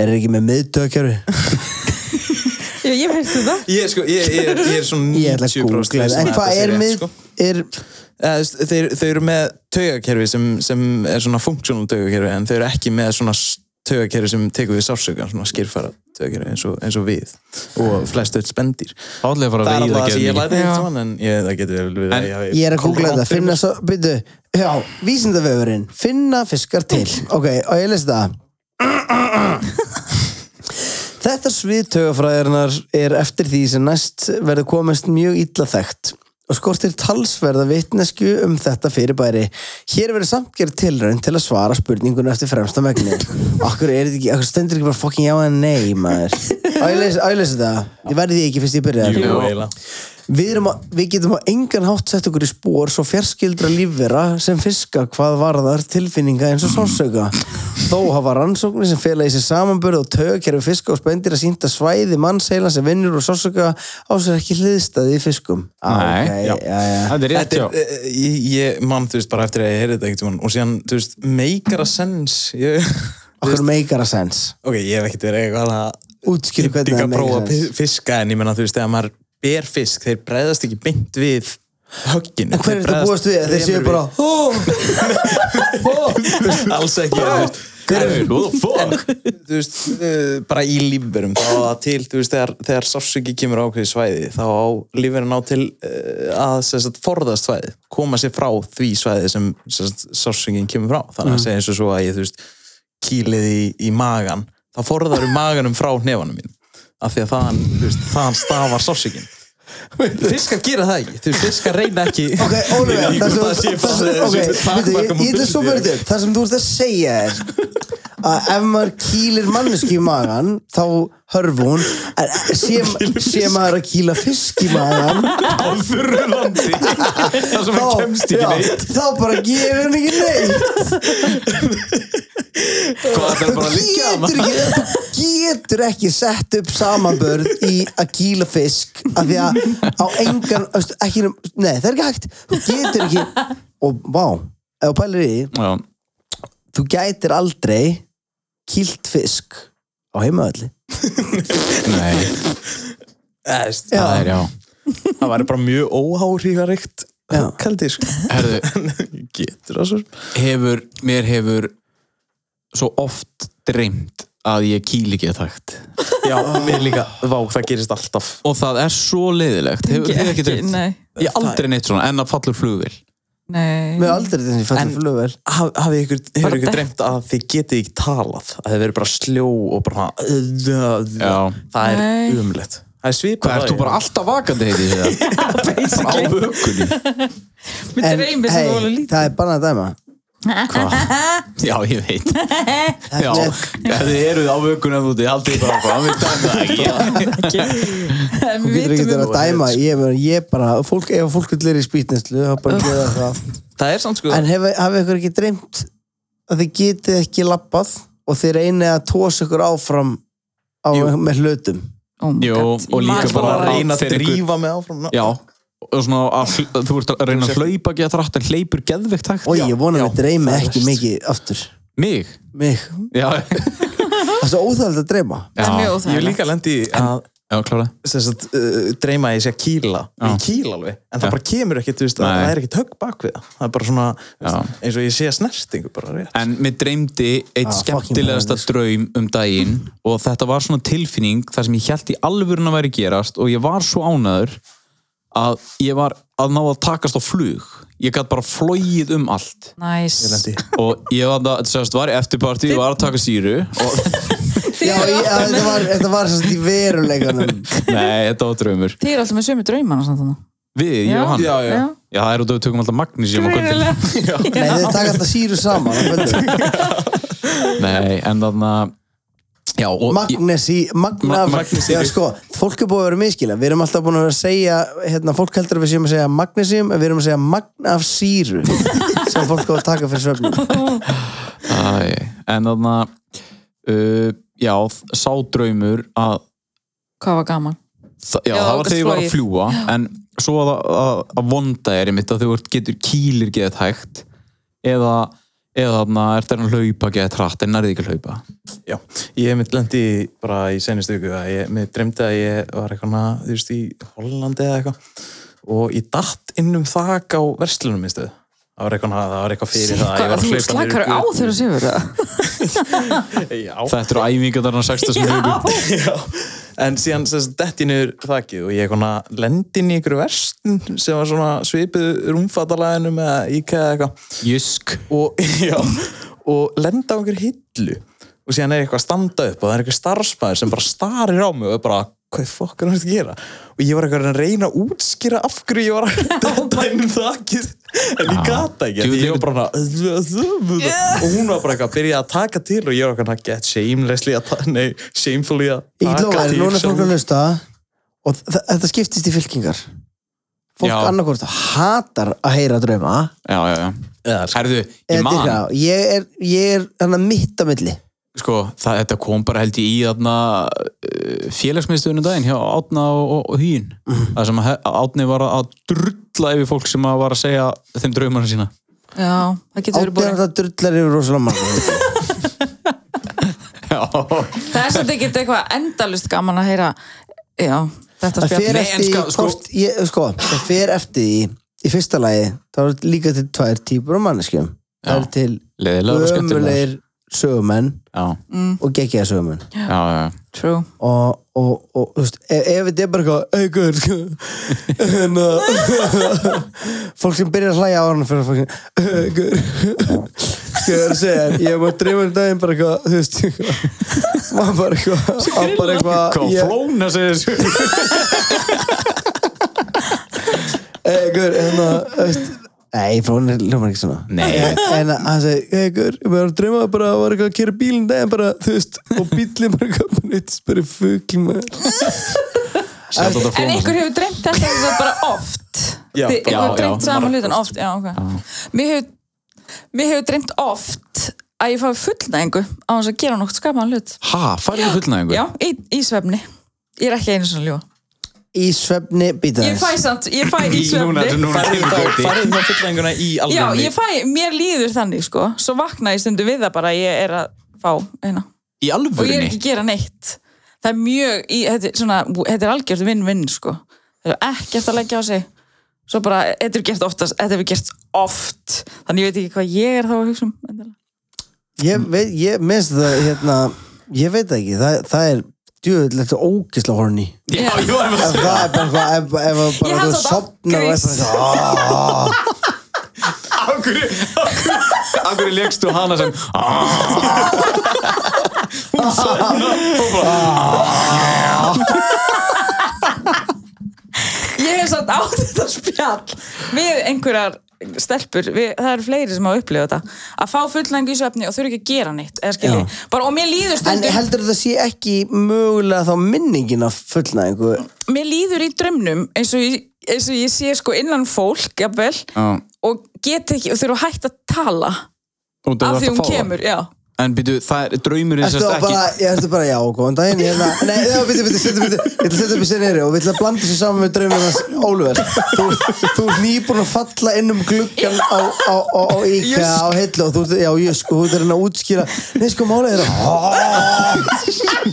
er ekki með miðtökjöru ég, ég veist það Ég, sko, ég, ég, er- ég er svona ég ætla að 90% googla viss það. en um að hvað þetta sé er rétt, mið sko. er, Eða, þú veist, þeir, þeir eru með taugakerfi sem, sem er svona funksjónal taugakerfi en þeir eru ekki með svona s- taugakerfi sem tekur við sársökan, svona skýrfara taugakerfi eins og, eins og við og flest öll spendir. Hátlega fara Það er að veiða alltaf það sem ég ekki læti eitt Já. svona en ég, það getur vel við En að ég hafi ég er að googla kolrangt þetta, fyrir finna mér. svo, byrju já, vísindavefurinn, finna fiskar til ok, og ég lesi það Þetta svið tögafræðarnar er eftir því sem næst verður komist mjög illa þekkt og skortir talsverða vitnesku um þetta fyrirbæri. Hér verður samt gerð tilraun til að svara spurningunum eftir fremsta megni. Akkur er þetta ekki, akkur stendur ekki bara fucking já en nei, maður. Á, ég les- á, ég lesi það. Ég verði því ekki fyrst ég byrja Jú, um eiginlega. Við, erum að, við getum á engan hátt sett okkur í spór svo fjarskildra lífvera sem fiska hvað varðar tilfinninga eins og sásauka. Þó hafa rannsóknir sem fela í sér samanbörð og tögakerfi fiska og spendir að sínta svæði mannsheila sem vinnur og sásauka á sér ekki hliðstæði í fiskum. Ah, Nei, já. Já, já. Þetta er rétt, Þetta já er, eh, ég, ég man, þú veist, bara eftir að ég heyrði þetta ekkert um hann og síðan, þú veist, meikara sens ég, Okkur meikara sens. ok, ég hef ekkert verið eitthvað að Útskýru Ég hvernig bygg það að prófa meikara að sens. pi- fiska en ég menna þú veist, þegar maður ber fisk þeir bregðast ekki beint við högginu En hver er Þeir þetta bregðast búast við? Þeir séu fremur bara, ó, við. alls ekki þú veist. Hey, what the fuck? þú veist, uh, bara í lífverum þá á það til, þú veist, þegar, þegar sársöki kemur á okkur svæði, þá á lífverin á til uh, að sem sagt, forðast svæði, koma sér frá því svæði sem, sem sagt, sársökin kemur frá þannig að segja eins og svo að ég, þú veist kýlið í, í magan þá forðar um maganum frá hnefanum mín af því að þaðan, þú veist, þaðan stafar sársökin fiskar gera það ekki, þú veist, fiskar reyna ekki ok, Ólafur, það sem þú- það sem- ok, veitu, ég- ég ætla að svo mörgðu upp. Það sem þú ert að segja er að ef maður kýlir manneski í magan þá hörf hún en sé, sé maður að kýla fisk í magan Á þurru landi Það sem hann kemst já, ekki neitt þá bara gefur hún ekki neitt Hvað það er bara að þú liggja hana getur ekki þú getur ekki sett upp samanbörð í að kýla fisk af því að á engan veist, ekki, nei, það er ekki hægt þú getur ekki og vá, ef þú pælir í því Já, þú gætir aldrei kýlt fisk á heimavalli nei, Æst, Já. það er já það væri bara mjög óháhrífaríkt Já. kaldið, sko Herðu, getur það svo hefur, mér hefur svo oft dreymt að ég kýli ekki þægt Já, mér líka, vá, það gerist alltaf og það er svo leiðilegt hefur þið ekki dreymt? nei, Ég hef aldrei neitt svona en að fallur flugvél nei. með aldrei þessi fættur flugvel Haf, hafið ykkur, hefur Bara ykkur dett. dreymt að þið getið ekki talað að þið verið bara sljó og bara Já. það Nei. er umlegt það er svipað Hvað, ert þú bara alltaf vakandi heiti þér? Á vökunni mér dreymir sem þú alveg lítið það er bannað að dæma Hvað? Já, ég veit Já, er- ef þið eruð á vökunni að úti haldið bara áfram, við dæmum það ekki En þú við getur ekki vitum verið að um- dæma ég, meina, ég bara, fólk, ef fólk vill er í spýtneslu þá bara gera það það er samt sko en hefur hef ykkur ekki dreymt að þið getið ekki lappað og þið reynið að tósa ykkur áfram á, með hlutum Oh my Jú, God, og ég líka man bara bara að það. reyna að þeir ykkur- drífa mig áfram Já, og svona að hl- þú ert að reyna að hlaupa ekki að þrætt en hleypur geðveikt hægt og ég vona að við dreymi ekki mikið aftur Mig? mig Já, Það er svo óþægilegt að dreyma er mjög Ég hef óþægilegt. líka lendi að Já, klára sem sagt, uh, dreyma að ég sé að kýla ég kýla alveg, en það bara kemur ekkit þú veist, að Nei. það er ekkit högg bak við það það er bara svona, þú veist, eins og ég sé að snertingu bara rétt En mér dreymdi eitt fucking skemmtilegasta draum um daginn og þetta var svona tilfinning þar sem ég held í alvörun að væri gerast og ég var svo ánæður að ég var að ná að takast á flug ég gætt bara flogið um allt Næs. og ég var að, sérst, var í eftirparti og var að taka síru og Já, ég, að þetta var, þetta var sérst í veruleikanum nei, þetta var draumur Þið eru alltaf með sömu draumana samt þannig. við, ég og hann, já, það er út af við tökum alltaf um magnísjum á kvöldin Nei, þið taka alltaf síru saman á kvöldin. nei, en þannig að já, og Magnesi, Magna Ma- Magnesi. Já, sko, fólk er búið að vera miskila Við erum alltaf búin að vera að segja hérna, Fólk heldur að við séum að segja magnesium En við erum að segja magna af síru Sem fólk á að taka fyrir svefnum Æ, en þannig að uh, já, sá draumur að Hvað var gaman? Þa, já, Já, það var ágúst þegar ég var að flogið. fljúa en svo að, að, að vonda er einmitt að þú ert- getur kýlir geðið hægt eða eða þarna ert þarna að hlaupa geðið trætt en nærði ekki að hlaupa Já, ég hef mitt lendi bara í senustu viku að ég, mér dreymdi að ég var eitthvað, svona, þú veist, í Hollandi eða eitthvað og ég datt inn um þak á verslunum í stöð það var eitthvað, það var eitthvað fyrir það að ég Hvað, var að þú hlaupa slakar á niður þeirra sigur það? götu. Já, þetta eru æfingar þarna 60 sem hlaupa Já, en síðan þess að detti niður þakið og ég konar lendin í ykkur verslun sem var svona svipið rúmfattalæðinu með IKEA eða eitthvað jysk og, já, og lenda á ykkur hillu og síðan er eitthvað að standa upp og það er eitthvað starfsmæður sem bara starir á mig og er bara hvað fokk er hann að gera og ég var eitthvað að reyna að útskýra af hverju ég var að detta inn um þakið en ég gata ekki Djú, því ég djú. var bara hana, og hún var bara eitthvað að byrja að taka til og ég var eitthvað að get shamelessly að ta- nei, shamefully að Ég get lofa taka þér, núna er fólk sjálfur. að hlusta og þ- þetta skiptist í fylkingar fólk Já. annarkvort hatar að heyra drauma já, já, já, Eða, sko, herðu, ég eða man dyrka á. ég er, ég er hann að mitt á milli sko, það, þetta kom bara held ég í þarna uh, félagsmiðstöðunum daginn hjá Átna og, og, og Hýin það sem að he- Átni var að- að drulla yfir fólk sem að var að segja þeim draumana sína Já, það getur verið átjörn búin. það drullar yfir rosalega marg já, Það er svolítið ekki eitthvað endalust gaman að heyra. Já, þetta það spjall. fer Nei, en eftir sko, ska- sko- hvort ég, sko, það fer eftir í, í fyrsta lagi það eru líka til tvær típur af manneskjum það eru til leðilega og skemmtilega ömulegir sögumenn já, og geggiða sögumenn já, já, já True. og, og, og þú veist, ef, ef þetta er bara eitthvað eitthvað sko, en að fólk sem byrjar að hlæja á hana fyrir að fólk sem eitthvað sko það er að segja, en ég var dreymur í daginn bara eitthvað, þú veist eitthvað, var bara eitthvað var bara eitthvað, Hvað ég, flóna segir þessu? eitthvað en að, þú hérna, veist Nei, frá hún er ljómar ekki svona Nei. En en að hann segi, hei ykkur, við varum að dreyma bara að var eitthvað að kera bílinn um daginn bara, þú veist og bílinn bara eitthvað, bara eitt spyrir fugl maður En ykkur hefur dreymt þetta eins og bara oft Já, Þið ykkur já, hefur dreymt já. saman hlutan oft já, okay. Mér hefur Mér hefur dreymt oft að ég fái fullnæðingu á þess að gera nokkuð skapaðan hlut Ha, farið þú fullnæðingu? Já, í, í svefni Ég er ekki einu svona ljúa Í svefni býta Ég fæ samt, ég fæ í Núna, svefni núna kemur þá Gauti. farið þá fullenguna í Já, alveg ég fæ, mér líður þannig sko Svo vakna ég stundu við það bara að ég er að fá Í hérna. Og ég er alvörunni? ekki að gera neitt Það er mjög, í, þetta, er svona, þetta er algjört vinn-vinn sko Það er ekkert að leggja á sig Svo bara, þetta er gert oftast Þetta er gert oft Þannig ég veit ekki hvað ég er þá að hugsa um endilega. Ég veit, ég minnst það, hérna, ég veit það ekki, það, það er djöðlegt og ógisla horni. Já, jú, ég var Ef það er bara eitthvað, ef, ef það Ég bara held þú að það- sopnar og grís. eitthvað eitthvað, Af hverju, af hverju- af hverju leggstu hana sem Ég hef samt á þetta spjall Við einhverjar stelpur við, það eru fleiri sem hafa upplifað þetta að fá fullnæðingu í svefni og þurfa ekki að gera neitt eða skilji, bara og mér líður en stundum heldur það sé ekki mögulega þá minningin af fullnæðingu? mér líður í drömnum eins og, ég- eins og ég sé sko innan fólk, jafnvel Já, og get ekki, og þurfa að hætta að tala út af að þú ert að því hún fá það? kemur, já En býtu, það er draumurinn Ertu sérst þá ekki bara, ég ertu bara, já, góðan daginn hérna. Nei, já, byrju, byrju, setja byrju Ég ætla að setja upp í seneri og við ætla að blanda þessu saman með draumum hans Ólver Þú, þú er nýbúin að falla inn um gluggan á, á, á, á Íka á hillu og þú, ert- já, ég sko, þú er hérna að útskýra Nei, sko, málið er að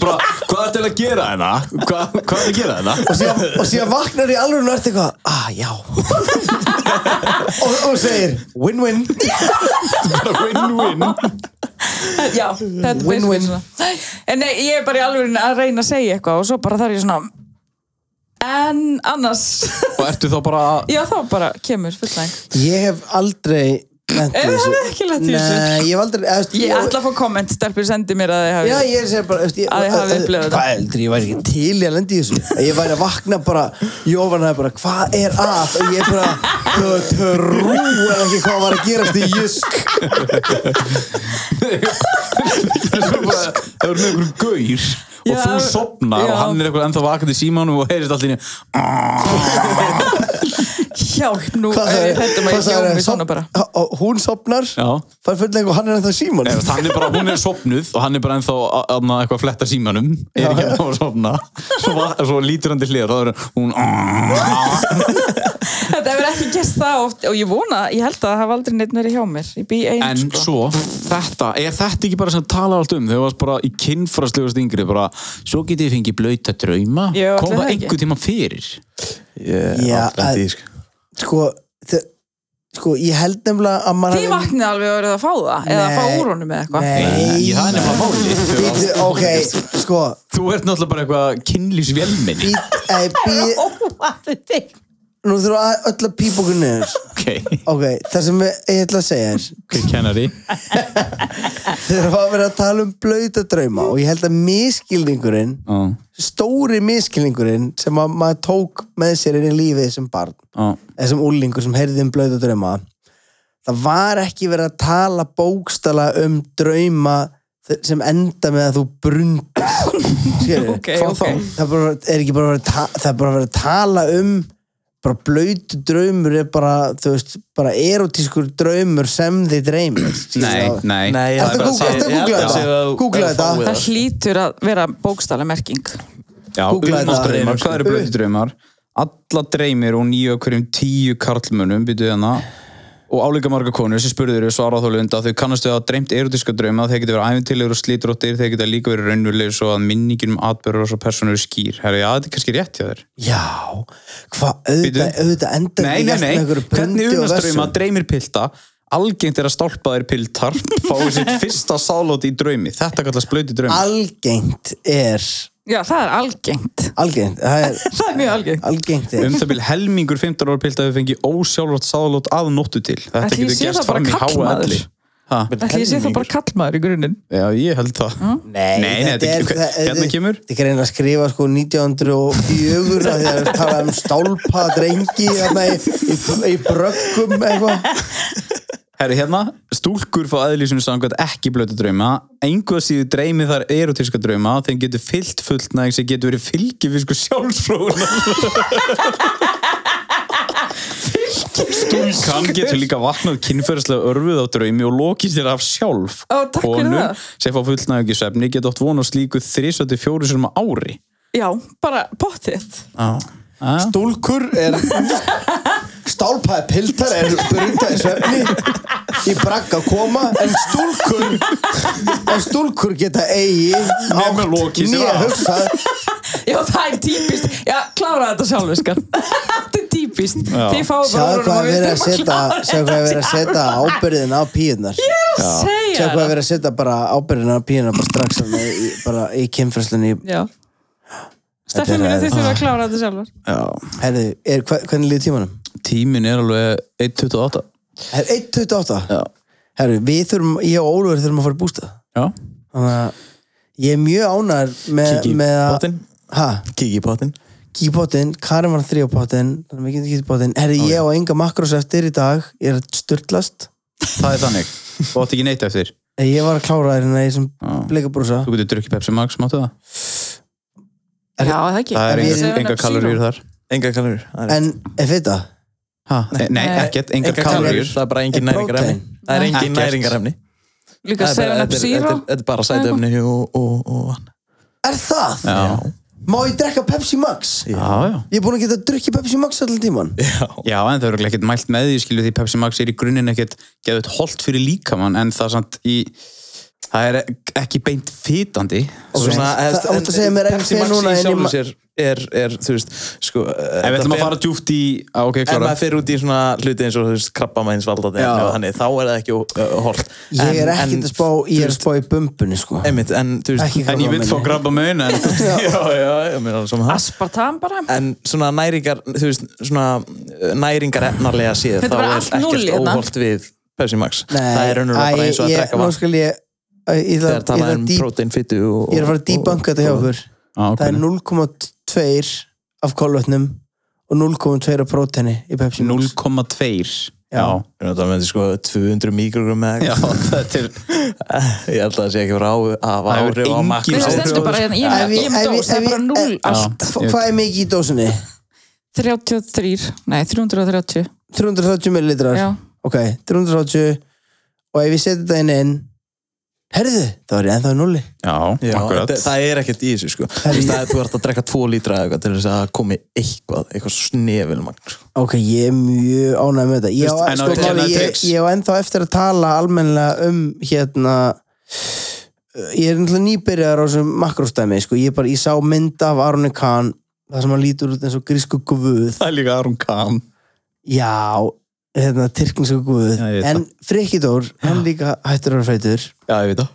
bara, Hvað er til að gera hérna? Hvað, hvað er að gera hérna? og síðan, og síðan vaknar í alveg og ert eitthvað, ah, já og, og segir, win-win Bara win-win Já, þetta er Win-win. basically svona. En nei, ég er bara í alveg að reyna að segja eitthvað og svo bara þarf ég svona En annars Og ertu þá bara að Já, þá bara kemur fullnæg Ég hef aldrei lent í Ef þessu. þú hefur ekki lent í þessu? Nei, ég hef aldrei eðst, Ég ætla að fá komment, stelpur sendi mér að þið hafi Já, ég er að segja bara eftir, Að ég hafi upplifað þetta. Hvað heldur, ég væri ekki til í að lenda í þessu Ég væri að vakna bara Jóvan hefði bara, hvað er að og ég bara, trú er ekki hvað var að gerast í Jusk Það er bara- það er með einhverjum gaur og Já. þú sopnar Já. og hann er eitthvað ennþá vakandi í símanum og heyrist allir Hjálp nú, Hvað er ég sagði- hættum að hvað ég sagði- ljómi svona sop- bara H- og Hún sopnar, Já fær fulllega og hann er ennþá síman Eða, hann er bara, hún er sopnuð og hann er bara ennþá að- að- að eitthvað að fletta símanum er ekki ennþá að sopna svo, va- svo lítur hann til hliðar og það er hún Þetta hefur ekki gæst það oft og ég vona, ég held að það hafa aldrei neitt verið hjá mér Ég bý ein, en sko svo, þetta, er þetta ekki bara sem tala allt um, þau varst bara í kinnfræslegust yngri, bara, svo getið þið fengið blöyta drauma, Jú, kom það ætli það ekki. einhver tíma fyrir Ég Já, er alltaf að- í, sko. Sko, þe- sko, ég held nefnilega að maður Þið vaknið alveg og eruð að fá það Eða að fá úr honum eða eitthvað Nei, Í það er nefnilega málið Bíddu, ok, sko þú ert náttúrulega bara eitthvað kinnlýsvélminni bít, eh, bít, Nú þurfum við öll að pípa okkur niður ok, Ok, það sem ég, ég ætla að segja er hver kennari Þegar var verið að tala um blöyta drauma og ég held að miskilningurinn Á, stóri miskilningurinn sem að maður tók með sér inn í lífið sem barn á, eða sem úlingur sem heyrði um blöyta drauma það var ekki verið að tala bókstala um drauma þe- sem enda með að þú brundis skilur Ok, ok. það er bara, er ekki bara verið að ta- það er bara verið að tala um bara blöytu draumur er bara, þú veist, bara erotískur draumur sem þið dreymir nei, skilur það? nei, Nei, ég- það er Ertu að bara að googla- ertu segja- að ég googla þetta? held að sé að þú- Googla að þetta? fáið Það hlýtur að vera bókstælega merking Já, Googlaði þetta. umnámsdraumar, hvað eru blötu draumar? Alla dreymir og nýju af hverjum tíu karlmönum, byrjuðu hérna og álíka marga konur sem spurður eru svarað þá lunda að þau kannastu að dreymt erotíska drauma þeir geta verið æfintilegur og slítróttir þeir geta líka verið raunverulegur svo að minningin um atbyrður og svo personur eru skýr Herra, já, þetta er kannski rétt hjá þér Já, hvað, auðvitað, Bíddu. auðvitað endar Nei, ekki allt nei, með nei, einhverju hvernig brundi og umnámsdrauma vessum. dreymir pilta algengt er að stálpaðir piltar fái sitt fyrsta sálót í draumi þetta kallast blötu drauma Algengt er Já, það er algengt Algengt, það er Það er mjög algengt Algengt er um það byrjum helmingur 15 ára pilt að við fengið ósjálfrátt sáðlót að nóttu til þetta Ætli ég getur sé gerst það bara fram í háa karlmaður? elli Ha? Ætli ég sé það bara kallmaður í grunninn Já, ég held það Nei, nei, þetta er það- Hérna kemur Þetta er einnig að skrifa sko 1904 af því að það tala um stálpa drengi hérna í, í, í bröggum eitthvað Herri, hérna, stúlkur fá aðlýsum samkvæmt ekki blötu drauma Engu að síðu dreymi þar erotíska drauma Þeim getur fyllt fullnæg sem getur verið sko, fylgifisku sjálfsfróðuna Stúlkan getur líka vaknað kynferðislega örfuð á draumi og lokið sér af sjálf Ó, takk fyrir Konur það. sem fá fullnægi svefni getur átt von á slíku 3-4 sem á ári Já, bara pottitt Stúlkur er Stálpaði piltar er brunda í svefni Í bragga koma En stúlkur En stúlkur geta eigi Nema átt lokið sér nýja af. hugsað Já, það er típist Já, klára þetta sjálfur skar Þetta er típist Já. Þið fáum bara Sjáðu úr hvað er honum og við verið að þurfum setja klára Sjáðu hvað er verið að setja ábyrðin á píðunar þetta. Segja Sjáðu hvað er það. verið að setja bara ábyrðin á píðunar bara strax þarna í, bara í kynfræslunni Já Stefán minni Ah. þið þurfum að klára þetta sjálfur Herðu, er, hva, hvernig líður tímanum? Tímin er alveg 1.28 Er 1.28? Herðu, við þurfum, ég og Ólfur þurfum að fara í bústað Já Þannig að ég er mjög ánægður með, Kíkja í með að pottinn. Hæ? Kíkja í pottin Kíkipotinn, Karin var þrjópotinn Þannig að við getum kíkipotinn Herðu, ég á enga makros eftir í dag Ég er að styrlast Það er þannig Þú átt ekki neitt eftir Ég var að klára þér hérna í þessum bleikabrúsa Þú getur drukkið Pepsi Max, máttu það? Já, það ekki Það er við- enga, enga kaloríur þar Enga kalorur En, er þetta? ha, Nei, Nei. ekkert, enga Enga kalorur, kaloríur það er bara engin Er prótein? Ah. næringarefni Það er engin Ekkert. næringarefni líka Það er bara- 7-Up-Zero þetta er- Þetta er bara sætöfni og, og, og vatn. Er það? Já. Má ég drekka Pepsi Max? Já, já. Ég er búin að geta að drukja Pepsi Max allan tíman Já, en það eru ekkert mælt með því, skilju því Pepsi Max er í grunninn ekkert geðut holt fyrir líkamann, en það er samt í, það er ekki beint fitandi. Svona, Það- eða- það- en- þú segir mér ekki Pepsi hver Maxi núna í en ég sjálfu ma- sér er, er, þú veist, sko Ef við ætlum að fara djúft í, á, ok, En klára. maður fyrir út í svona hluti eins og þú veist krabbamænsvaldandi Já. þannig, þá er það ekki uh, hort Ég er ekkert að spá, ég er að spá í bumbunni sko Einmitt, en þú veist Ekki En ég vil fá grabba mun, en Já, já, já, mér er alveg saman það Aspartam bara En svona næringar, þú veist, svona næringar efnarlega séð, Þetta er þá bara er allt núll ekkert hérna. óholt við Pepsi Max. Nei, það er raunverulega bara æ, eins og að ég- drekka Nú vatn. skal ég æ, Ég ætla- ég Þegar ætla talað að um dí- prótein, fytu og... ég er að fara að dýbanka þetta hjá okkur á, Það er ok. 0,2 af kolvetnum og 0,2 af próteni í Pepsi Max 0,2. Já. Það með sko 200 mikrogram með Já, þetta er, Ég held að það sé ekki frá að Það hefur áhrif á engin makkum. Mér Já, stendur bara hérna, ég Ef með- ég- ég með ef ég- dós, það er ef bara ég- 0 já. allt Hva- Hvað er mikið í dósinni? 33, nei 330 330 millilitrar Já, Ok, 330 og ef ég seti þetta inn inn Herðu, það var ég ennþá í núli já, Já, akkurat. það, það er ekkert í þessu sko Þú veist, Það er þú ert að drekka 2 lítra eða eitthvað til þess að komi eitthvað, eitthvað snefilmagn sko. Ok, ég er mjög ánægð með þetta Ég á, en á sko, ekki máli, annað ég, trix? ég á ennþá eftir að tala almennilega um hérna ég er náttúrulega nýbyrjar á þessum makróstæmi sko. ég, bara, ég sá mynd af Arne Kahn það sem hann lítur út eins og grísku guð Það er líka Aron Kahn. já, hérna, tyrkingsku guð Já, ég veit en Frikkidór, hann líka hættur að vera feitur Já, ég veit það.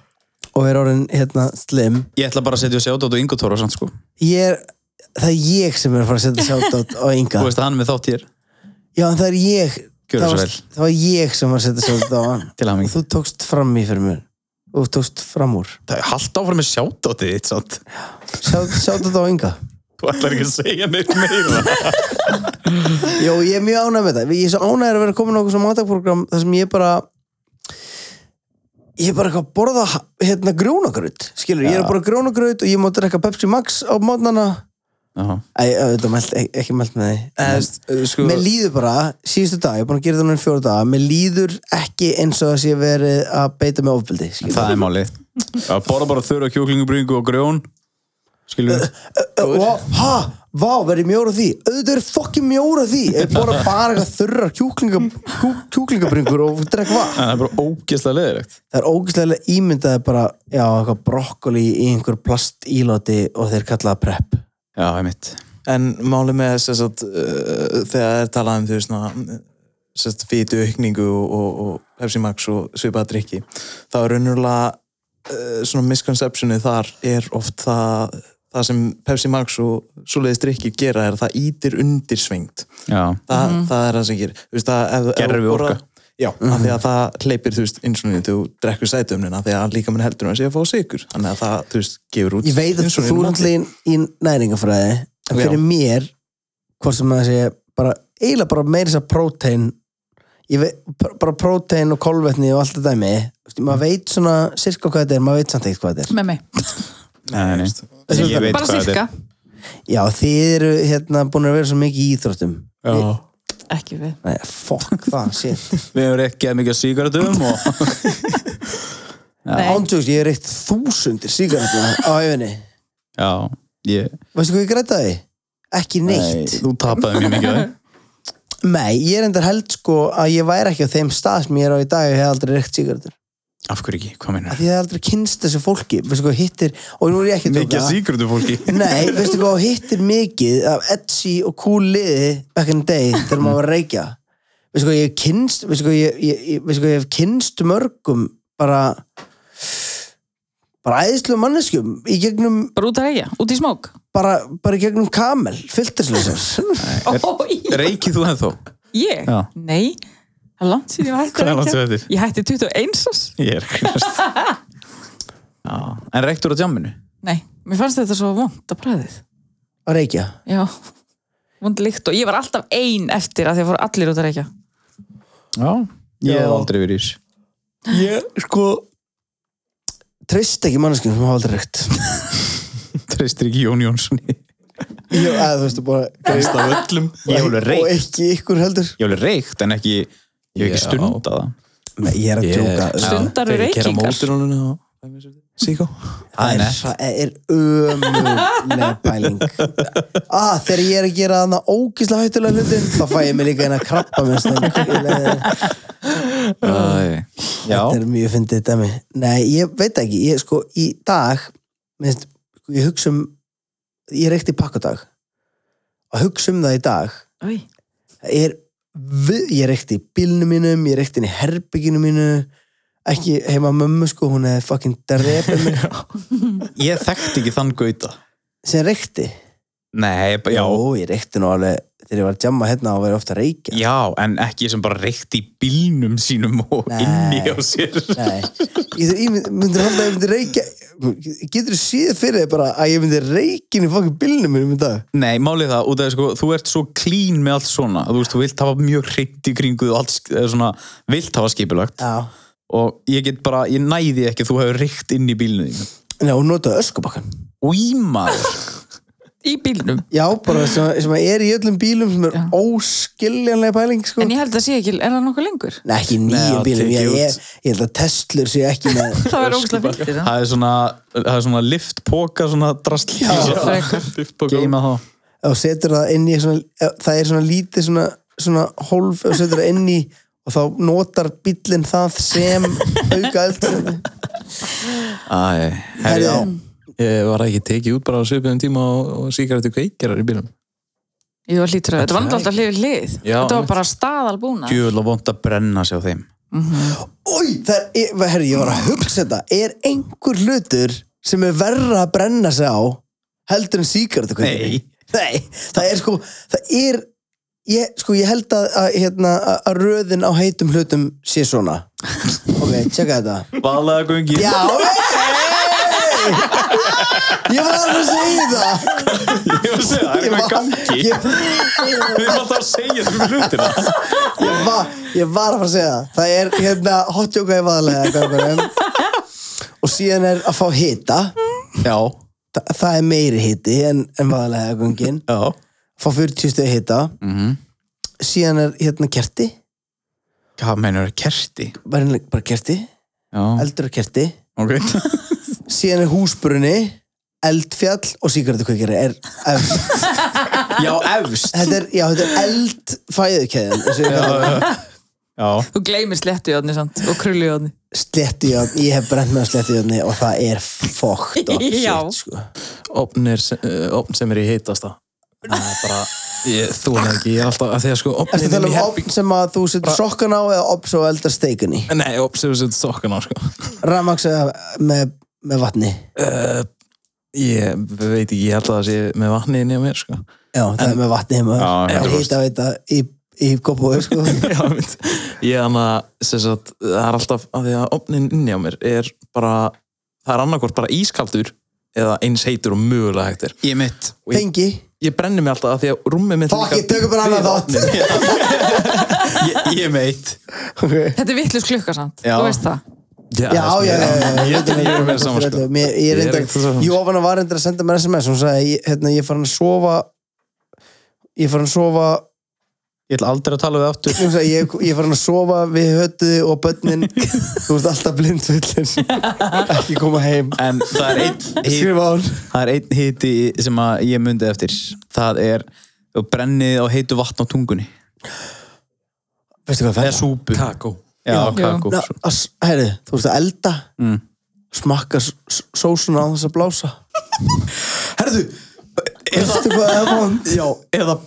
og er orðin hérna slim Ég ætla bara að setja sjátt á þetta Ingo Tóra samt, sko. ég er, það er ég sem er að fara að setja sjátt á Inga Þú veist að hann er með þátt hér. já, en það er ég Gjörðu það svo var, vel. það var ég sem var að setja sjátt á hann Til og hamingi. þú tókst fram í fyrir mér og þú tókst fram úr Það er haldt áfram með sjátt á þitt, samt. sjá þetta á ynga Þú ætlar ekki að segja neitt meira. Jó, ég er mjög ánægð með þetta ég er svo ánægður að vera komin á okkur svona matagprogram þar sem ég bara ég er bara eitthvað að borða hérna grjónagraut, skilur, ég er að borða grjónagraut og ég má drekka Pepsi Max á mótnana Já. Æ, auðvitað mælt, ek- ekki mælt með því Eða, þú veist, sko Mér líður bara, síðustu dag, ég er búin að gera þetta núna í fjóra daga, mér líður ekki eins og þess ég verið að beita með ofbeldi, skilur. Það er málið. Já, borða bara þurra kjúklingubringu og grjón. Skilju. og, ha, vá, verið mjóra því auðvitað er fokkin mjóra því ég borða bara eitthvað þurrar kjúklinga, kjú, kjúklingabringur og drekk vatn Það er bara ógeðslega leðilegt. það er ógæslega ímyndaði bara já, eitthvað brokkoli í einhver plastíloti og þeir kallaða prep Já, ég mitt. En máli með þess að uh, þegar það er talað um þú veist svona, sérst, fítu aukningu og, og, og Pepsi Max og svipaða drikki þá er raunverulega uh, svona misconceptionið þar er oft það, það sem Pepsi Max og svoleiðis drikki gera er að það ítir undir svengt Já. Þa, Mhm. það er það sem gerir Þú veist, það, ef, ef Gervi þú borðar- orka. Já, af því Mhm. að það hleypir, þú veist, insulínu þú drekkur sætumnina, af því að líka minn heldur að sé að fá sigur, þannig að það, þú veist, gefur út ég veit að insulín þú í er matinn. náttúrulega í næringafræði en fyrir Já. mér hvort sem það sé bara eiginlega bara meira þess að prótein ég veit, bara- bara prótein og kolvetni og allt þetta dæmi, Þú veist, maður veit svona sirka hvað þetta er, maður veit samt ekkert hvað þetta er með mig, Nei, nei. Ég veit bara hvað þetta sirka er. Já, þið eru hérna búin að vera svo mikið í íþróttum Já. ekki við Nei, fokk það, shit Við hefur ekki að mikið sígardum og Nei. Ándjóks, ég hef reykt þúsundir sígaretna á æfinni já, ég, Veistu hvað ég grætaði? Ekki nei, neitt þú tapaði mjög mikið á því. Nei, ég er endar held sko að ég væri ekki á þeim stað sem ég er á í dag og ég hef aldrei reykt sígarettur Af hverju ekki, hvað Af meinar? því ég hef aldrei kynst þessu fólki Veistu hvað hittir, og nú er ég ekki að Mikið djóka. af sígardum fólki. Nei, veistu hvað hittir mikið af edgy og cool liði back in the day þegar maður var að reykja veistu hvað ég hef kynst veistu hvað ég, ég, ég- veistu hvað ég hef kynst mörgum bara bara æðislu manneskjum í gegnum, bara út að reyja, út í smók bara, bara í gegnum kamel, filterslösar Ói, Reykið þú ennþá? ég, Já. nei það er langt síðan ég var hætti Hvað er langt síðan þetta er? ég hætti 21 árs Ég er knast. Já, en reyktur á djamminu? nei, mér fannst þetta svo vond að bræðið að reykja já, vond líkt og ég var alltaf ein eftir að því að fóru allir út að reyja Já. Ég hef aldrei verið í þessu. ég, sko treyst ekki manneskjum sem hafa aldrei reykt Treystir ekki Jón Jónssoni. ég, að, þú veistu, bara Treyst af öllum. Ég hef alveg og reykt. ekki ykkur heldur Ég hef alveg reykt en ekki, ég hef ekki Já. stundað það. Nei, Ég er að Ég- tjóka Já. Stundar Þegar ég keyra reykingar mótir honum þá fæ mér svolítið síkó. Það er, það er ömuleg pæling ah, Þegar ég er að gera þarna ógísla hættulega hlutin þá fæ ég mig líka eina krabba með stöng Þetta Æ. er mjög fyndið dæmi Nei, ég veit það ekki, ég sko í dag minnst, sko, ég hugsa um ég reykti pakkadag að hugsa um það í dag Æ, það er við, ég reykti í bílnu mínum, ég reykti inn í herbygginu mínu ekki heima á mömmu sko, hún hefði fucking drepið mig Ég þekkti ekki þann gauta sem reykti Nei, bara- já, Jó, ég reykti nú alveg þegar ég var að jamma hérna og verið ofta að reykja já, en ekki sem bara reykt í bílnum sínum og Nei. inni á sér Nei, ég, ég mynd- myndir halda að ég myndi reykja getur þú síðið fyrir þér bara að ég myndi reykja í fucking bílnum mínum í dag Nei, málið það, út af því, sko, þú ert svo clean með allt svona, þú veist, þú vilt hafa mjög hreint í kringu og allt sk- eða svona, vilt hafa skipulagt Já, og ég get bara, ég næði ekki að þú hefur reykt inn í bílnum þínu. Nei, hún notaði öskubakkan Ímaður Í bílnum Já, bara sem, sem er í öllum bílum sem er Já. óskiljanlega pæling sko. En ég held að sé ekki, er það nokkuð lengur? Nei, ekki í nýjum Nei, bílum tekið ég, út. ég, ég held að Teslur séu ekki með Það var ógustlega fylgtir Það er svona, það er svona liftpoka svona drast frekar. Geima þá og setur það inn í svona, ef- það er svona lítið svona, svona hólf og setur það inn í og þá notar bíllinn það sem auka eldsneyti. Æ. Herri, já. Ég var ekki tekið út bara á svipiðum tíma og, og síkaretu kveikjarar í bílum. Jú, hlýtur að þetta var náttúrulega alltaf hlið við hlið Já, Þetta var einmitt. bara staðalbúna Djöfull og vond að brenna sig á þeim Új, það er, e, herri, ég var að hugsa þetta er einhver hlutur sem er verra að brenna sig á heldur en síkartu Nei. Nei, það er sko það er, ég, sko, ég held að, að, hérna, að- að röðin á heitum hlutum sé svona ok, tjekka þetta Valaða gungi Já, hey! Ég var alveg að segja það Ég var að segja, það er Ég með var- gangi Við ég, erum alltaf að segja sem við hlutina ég, var, ég var að fara að segja það Það er hérna hotjóka í vaðalega Og síðan er að fá hita Já, Þa, Það er meiri hiti en, en vaðalega gungin já Fá 40 stegi hita Mhm. Síðan er hérna kerti Hvað meinur það, kerti? Bara, bara kerti, Já, eldur og kerti ok Síðan er húsbrunni Eldfjall og síkartukveikari er efst Já, efst Þetta er, já, þetta er eldfæðukeðan eins og ég kallar það. Já, Þú gleymir slettu í odni samt og krullu í odni slettiðjöfn, ég hef brent með slettiðjöfni og það er fokkt og Já. shit sko. Opn, er, sem- eh, opn sem er í heitasta. Það er bara, ég, þú er ekki, ég er alltaf að því að sko Erstu að opnin tala er í um herbygging. opn sem að þú setur sokkan á eða opn svo eldar steikan í? Nei, opn sem við setjum sokkan á sko. Ramax eða með, með vatni? Ég veit ekki, ég held að það sé með vatni inn í mér sko. Já, það er með vatni heima. Já, Það er 100%. hýta veita í, í koppu sko. Já, mitt. Ég hann að, sem sagt, það er alltaf að því að opnin inn í á mér er bara, það er annarkvort bara ískaldur eða eins heitur og mögulega hægtir. ég mitt Tengi Ég brenni mig alltaf að því að rúmið mitt Fuck, ég tökum bara annað þátt. Ég, ég meitt okay. Þetta er vittlust klukka samt, Já. þú veist það Já, Já, já, já, já, já. sko, Ég er ekki með saman sko. Mér- Ég Ég er reyndar, ekkert svo- Jófana var reyndar að senda mér sms hún sagði, ég- hérna, ég er farin að sofa ég er farin að sofa Ég ætla aldrei að tala við aftur Ég, hugsa, ég, ég var hann að sofa við höttu og börnin þú ert alltaf blindfullin ekki koma heim En það er einn hit, skrifa hún það er einn hiti sem að ég myndi eftir Það er þú brennið á heitu vatn á tungunni veistu hvað Eða það súpu Kakó. Já, Já. kakó er? Herri, þú ert að elda Sko, Mm. smakka s- s- sósuna á þess að blása Herðu, veistu hvað það er vond? já, eða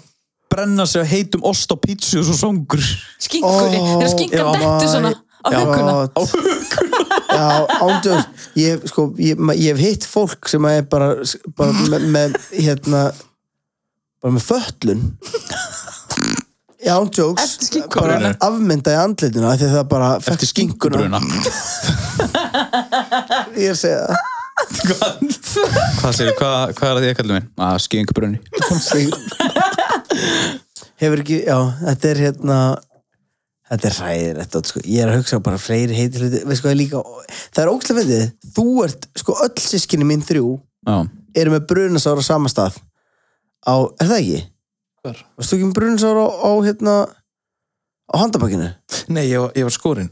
brenna sig að heitum ost á pítsu og svo songur Skinkunni, Ó, þegar skinkan já, dettur svona á Já, huguna á huguna já, ándjóðs ég, sko, ég, ma- ég hef hitt fólk sem er bara, bara með, með hérna bara með föllun já, ándjóðs Eftir skinkunni bara afmynda í andlituna af því að það bara fekk eftir skinkubruna ég er að segja það Hvað segir, hvað, hvað er það ég kallið mér? Ah, skinkubrunni hefur ekki, já, þetta er hérna þetta er hræðir þetta, sko. ég er að hugsa bara fleiri heitir hluti Veist sko, það er líka, það er ókslega fyndið þú ert, sko, öll sískinni mín þrjú Já, eru með brunasára á sama stað á, er það ekki? Hvar? Varst þú ekki með brunasára á, á hérna á handabakinu? Nei, ég var, ég var skorinn.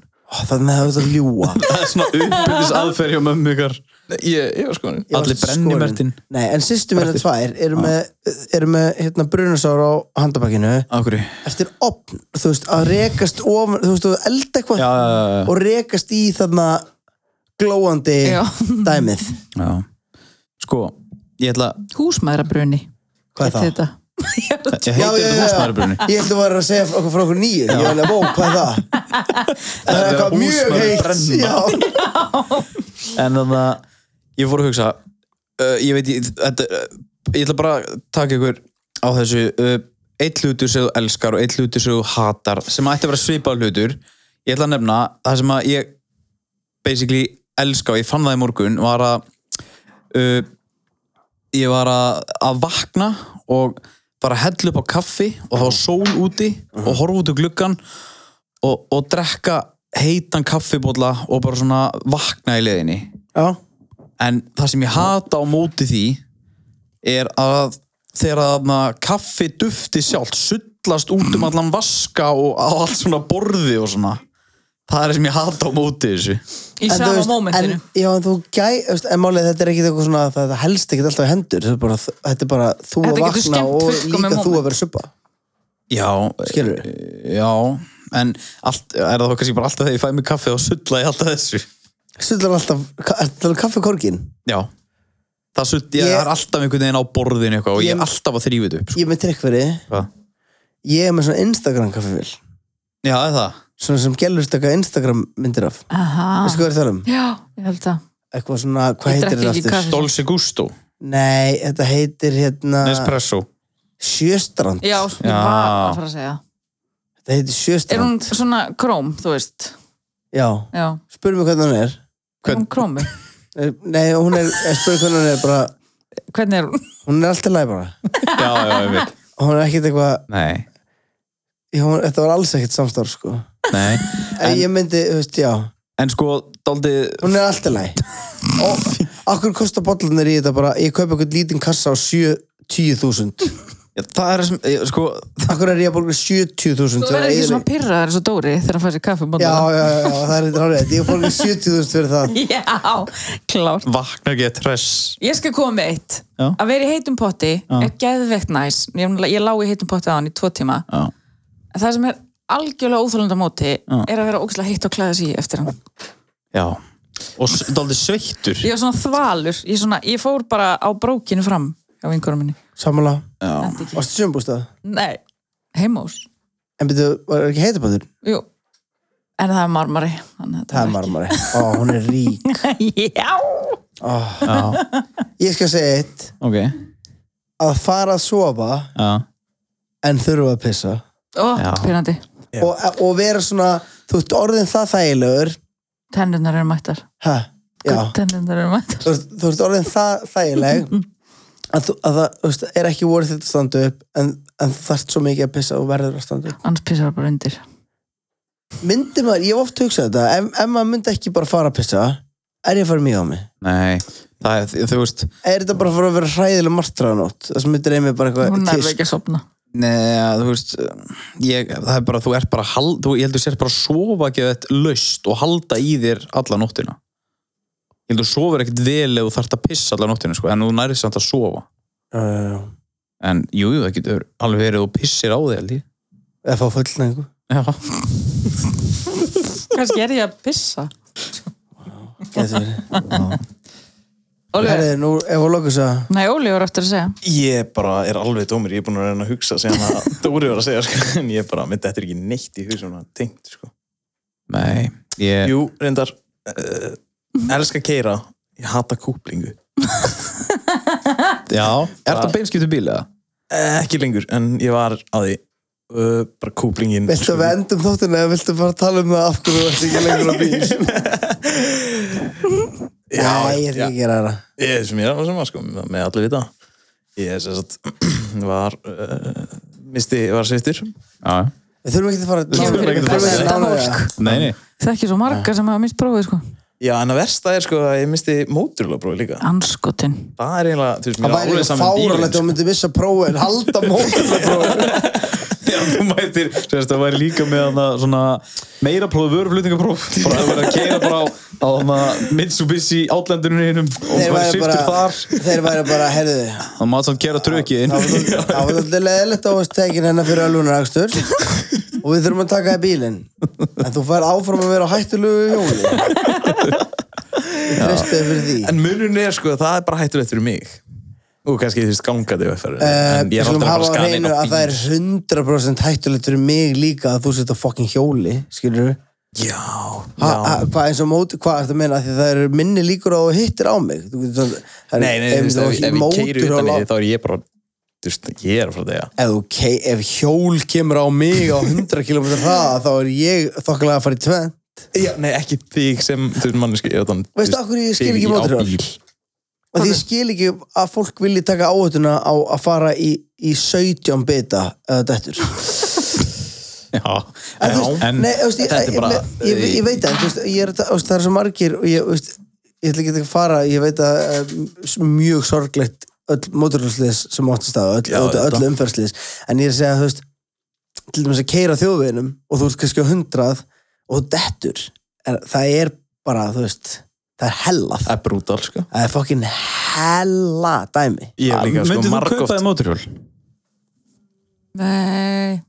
þannig að það er ljúa það er svona uppbyrðis aðferð hjá mömmu ykkar Ég, ég var sko Ég var Allir skorin. brennimertin. Nei, en sýstu minna tvær eru með, eru með hérna, brunasár á handabakinu Akkur Já, eftir opn, þú veist, að rekast ofan, þú veist, að elda eitthvað já, já, já. og rekast í þarna glóandi Já. dæmið já Sko, ég ætla Húsmaðrabruni Hvað er það? Þetta. Ég heiti þetta húsmaðurbrunni Ég held að vera að segja okkur frá okkur nýju Ég held að vó, hvað er það? Það er er eitthvað mjög húsmaður heitt brenna. Já, En þannig að ég fór að hugsa uh, Ég veit, ég, þetta, uh, ég ætla bara að taka ykkur á þessu uh, Eitt hlutur sem þú elskar og eitt hlutur sem þú hatar sem ætti að vera svipað hlutur Ég ætla að nefna það sem að ég basically elska og ég fann það í morgun var að uh, ég var að, að vakna og bara hella upp á kaffi og það var sól úti og horfa út úr gluggan og, og drekka heitan kaffibólla og bara svona vakna í leiðinni já, en það sem ég hata á móti því er að þegar að kaffi dufti sjálft sullast út um allan vaska og á allt svona borði og svona það er það sem ég hata á móti þessu Í En þú sama veist, mómentinu en, Já, en þú gæ, þú veist, en málið þetta er ekki eitthvað svona það, það helst ekki alltaf í hendur þetta er bara, þetta er bara þú Þetta að getur vakna skemmt og fullkomið líka þú moment. að vera suppa Já, Skilurðu? eh, Já, en allt, er það þá kannski bara alltaf þegar ég fæ mig kaffi og sulla ég alltaf þessu Sullar alltaf, ka- ertu að um kaffi korgin? Já Það sull, ég, Ég- er alltaf einhvern veginn á borðinu eitthvað og ég, Ég- er alltaf að þrýfa þetta upp sko. Ég er með trikk fyrir þig. Hvað? Ég er með svona Instagram kaffifil Já, er það Svona sem gælur stakka Instagram myndir af Aha. Þessi hvað er það um? Já, ég held það Eitthvað svona, hvað Ég heitir drekk þetta ekki aftur? kaffi. Dolce Gusto, Nei, þetta heitir hérna Nespresso Sjöstrand Já, ég Já. var að fara að segja Þetta heitir Er hún Sjöstrand svona króm, þú veist Já, Já, spurðu mig hvernig hún er er hún krómi? Er- Nei, hún er, er spurðu hvernig hún er bara Hvernig er hún? Hún er alltaf læg bara Já, já, ég veit Hún er ekkit eitthvað Nei, já, hún, Þetta var alls ekkit samstarf sko En, nei En, ég myndi, þú veist, já en sko, daldið Hún er alltaf læg Og akkur kostar bollarnir í þetta bara Ég kaupa eitthvað lítinn kassa á 7-10.000 Það er sem, eh, sko Akkur er ég að borga 70.000 Þú fyrir að verður ekki eyðileggja- svona pyrraðar eins og Dóri þegar hann fær sér kaffi um Já, morguninn. já, já, já, það er eitthvað árið Ég borga 70.000 fyrir það Já, klárt vaknar ekki að tress Ég skal koma með eitt Já. Að vera í heitum potti er geðveikt næs Ég, ég lá í heitum potti á hann í tvo tíma Já. En Það sem er algjörlega óþólanda móti er að vera ógæslega heitt og klæða sér í eftir hann Já Og daldið sveittur Ég var svona þvalur Ég, svona, ég fór bara á brókinu fram á vingurum minni Sammála Þetta ekki. Varstu sjömbústað? Nei, heimós En byrju, var ekki heitabæður? Jú En það er marmari þannig að þetta Það er var marmari. Ó, hún er rík. ekki- Já Já, Ég skal segja eitt. ok Að fara að sofa Já, en þurfa að pissa. Ó, Já. pyrrandi Og, og vera svona, þú ert orðin það þægilegur. Tennurnar eru mættar Hæ? Já. Tennurnar eru mættar Þú ert, þú ert orðin það þægileg að, þú, að það þú veist, er ekki voru þetta standu upp en, en þú þarft svo mikið að pissa og verður að standa upp. Annars pissar bara undir Myndir maður, ég hef oft hugsað þetta, ef, ef maður myndi ekki bara fara að pissa, er ég að fara mjög á mig? nei Það er, þú veist Er þetta bara að fara að vera hræðilega martraðanótt? Það sem myndir einmi bara Hún eitthvað er tísk. ekki að sopna Nei, ja, þú veist ég, það er bara, þú ert bara hal, þú, ég held þú sér bara að sofa ekki þetta laust og halda í þér alla nóttina ég held þú sofur ekkert vel ef þú þarft að pissa alla nóttina sko, en þú nærið samt að sofa Já, já, já. en jú, jú, það getur alveg verið og pissir á þig held ég Eða fá fullnæðingu. Já. Kannski er ég að pissa Gæti verið. Óli, Herriði, nú ef við lokum svo Nei, Óli var eftir að segja Ég bara er alveg dómur, ég er búin að reyna að hugsa sem að Dóri var að segja, sko, en ég bara, mitt þetta er ekki neitt í hugsun að tengt, sko. nei, ég, Jú, reyndar, uh, elska keira, ég hata kúplingu. já er þetta beinskiptu bíl eða? Eh, ekki lengur, en ég var að því, uh, bara kúplingin. sko. Viltu að við endum þóttina eða viltu bara tala um það af hverju þú ert ekki lengur á bíl Já, Nei, ég er ekki að gera það Ég, sem ég er að sem var, sko, með allir vita. Ég, sem sagt, var, uh, misti, var sveittur. Já. Við þurfum ekki að fara Kemur fyrir Við mig þurfum bara ekki að þetta nána fólk. það nei, nei, Það er ekki svo marga sem hafa mist prófið sko Já, en að versta er, sko, að ég misti móturlabrói líka. Anskotin Það er eiginlega, þú veist, mér Það er væri alveg eitthvað saman fáralegt að þú myndir missa prófi en halda mótum Já, þú mætir, sérst, það væri líka með hana, svona, meira prófið vöruflutningapróf bara það verið að keira bara á, á hana, Mitsubishi átlendunum hinum og Þeir bara væri sýftur bara, þar þeir væri bara, herðu, það maður samt kera trökið inn það var svolítið- það var svolítið leðilegt að ást tekin hennar hérna fyrir alvunarakstur og við þurfum að taka í bílinn en þú fær áfram að vera á hættulegu hjóli Ég treysti þér fyrir því En munun er sko, það er bara hættulegt fyrir mig og kannski þú veist gangandi vegferð Eh, en ég Við er skulum alltaf bara hafa á skaninn hreinu á að það er 100% hættulegt fyrir mig líka að þú setja fokkin hjóli, skilur við bíl Já, já Hvað eins og móti, hvað ertu að meina Af því það eru minni líkur á að hittir á mig Þú getur svona það eru- Nei, nei, þú þú veist, ef átt ef ég keiri mótur á utan í lá- því þá er ég bara þú veist, ég er frá þetta, ef, þú kei, ef hjól kemur á mig á 100 km hraða þá er ég þokkalega að fara í tvenn já Nei, ekki þig sem, þú veist, manneski utan, þú Veistu af hverju ég skil ekki þig á mótur á bíl. og því ég skil ekki að fólk vilji taka áhættuna á að fara í, í 17 beta eða dættur en, þú veist, en nei, þú veist, ég, þetta er bara- ég, ég, ég, ég veit það en þú veist, ég er, þú veist, það er svo margir og ég, þú veist, ég ætla ekki að fara ég veit að eh, mjög sorglegt öll móturhjólslis sem áttist að öll, öll, öll umferðslis en ég er að segja þú veist til dæmis að keira þjóðveginum og þú ert kannski á 100 og þú dettur er, það er bara þú veist það er hellað Það er brútal, sko það er fokkin hella dæmi Ég er líka, sko, myndir Ah, þú margóft kaupa þið móturhjól? Nei,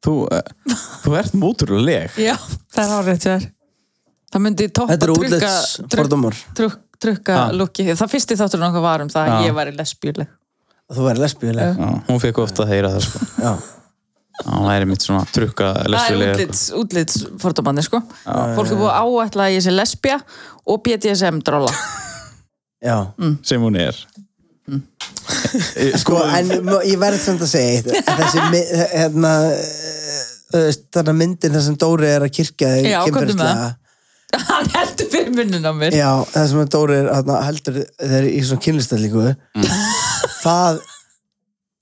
Þú, eh, þú ert móturhjóleg já, það er árið þér Það myndi toppa Þetta eru trukka útlits fordómar trukka, trukka Ha. lukkið Það fyrsti þáttur nokkað var um það Ha. að ég væri lesbíuleg að þú væri lesbíuleg hún fekk ofta að heyra það sko. Já. hann er mitt svona trukka Það er lesbileg útlits, útlits fordómandi sko Fólk er búið að áætla að ég sé lesbía og BDSM dróla Já. Mm. sem hún er Sko, en mö- ég verð samt að segja eitt að þessi mi- hérna, eh, þú veist, þannig að myndin þar sem Dóri er að kirkja þig Já, komdu með kynferðislega. Hann heldur fyrir munnin á mér Já, það sem að Dóri er hérna, heldur þeir í svona kynlistallíku Mm. það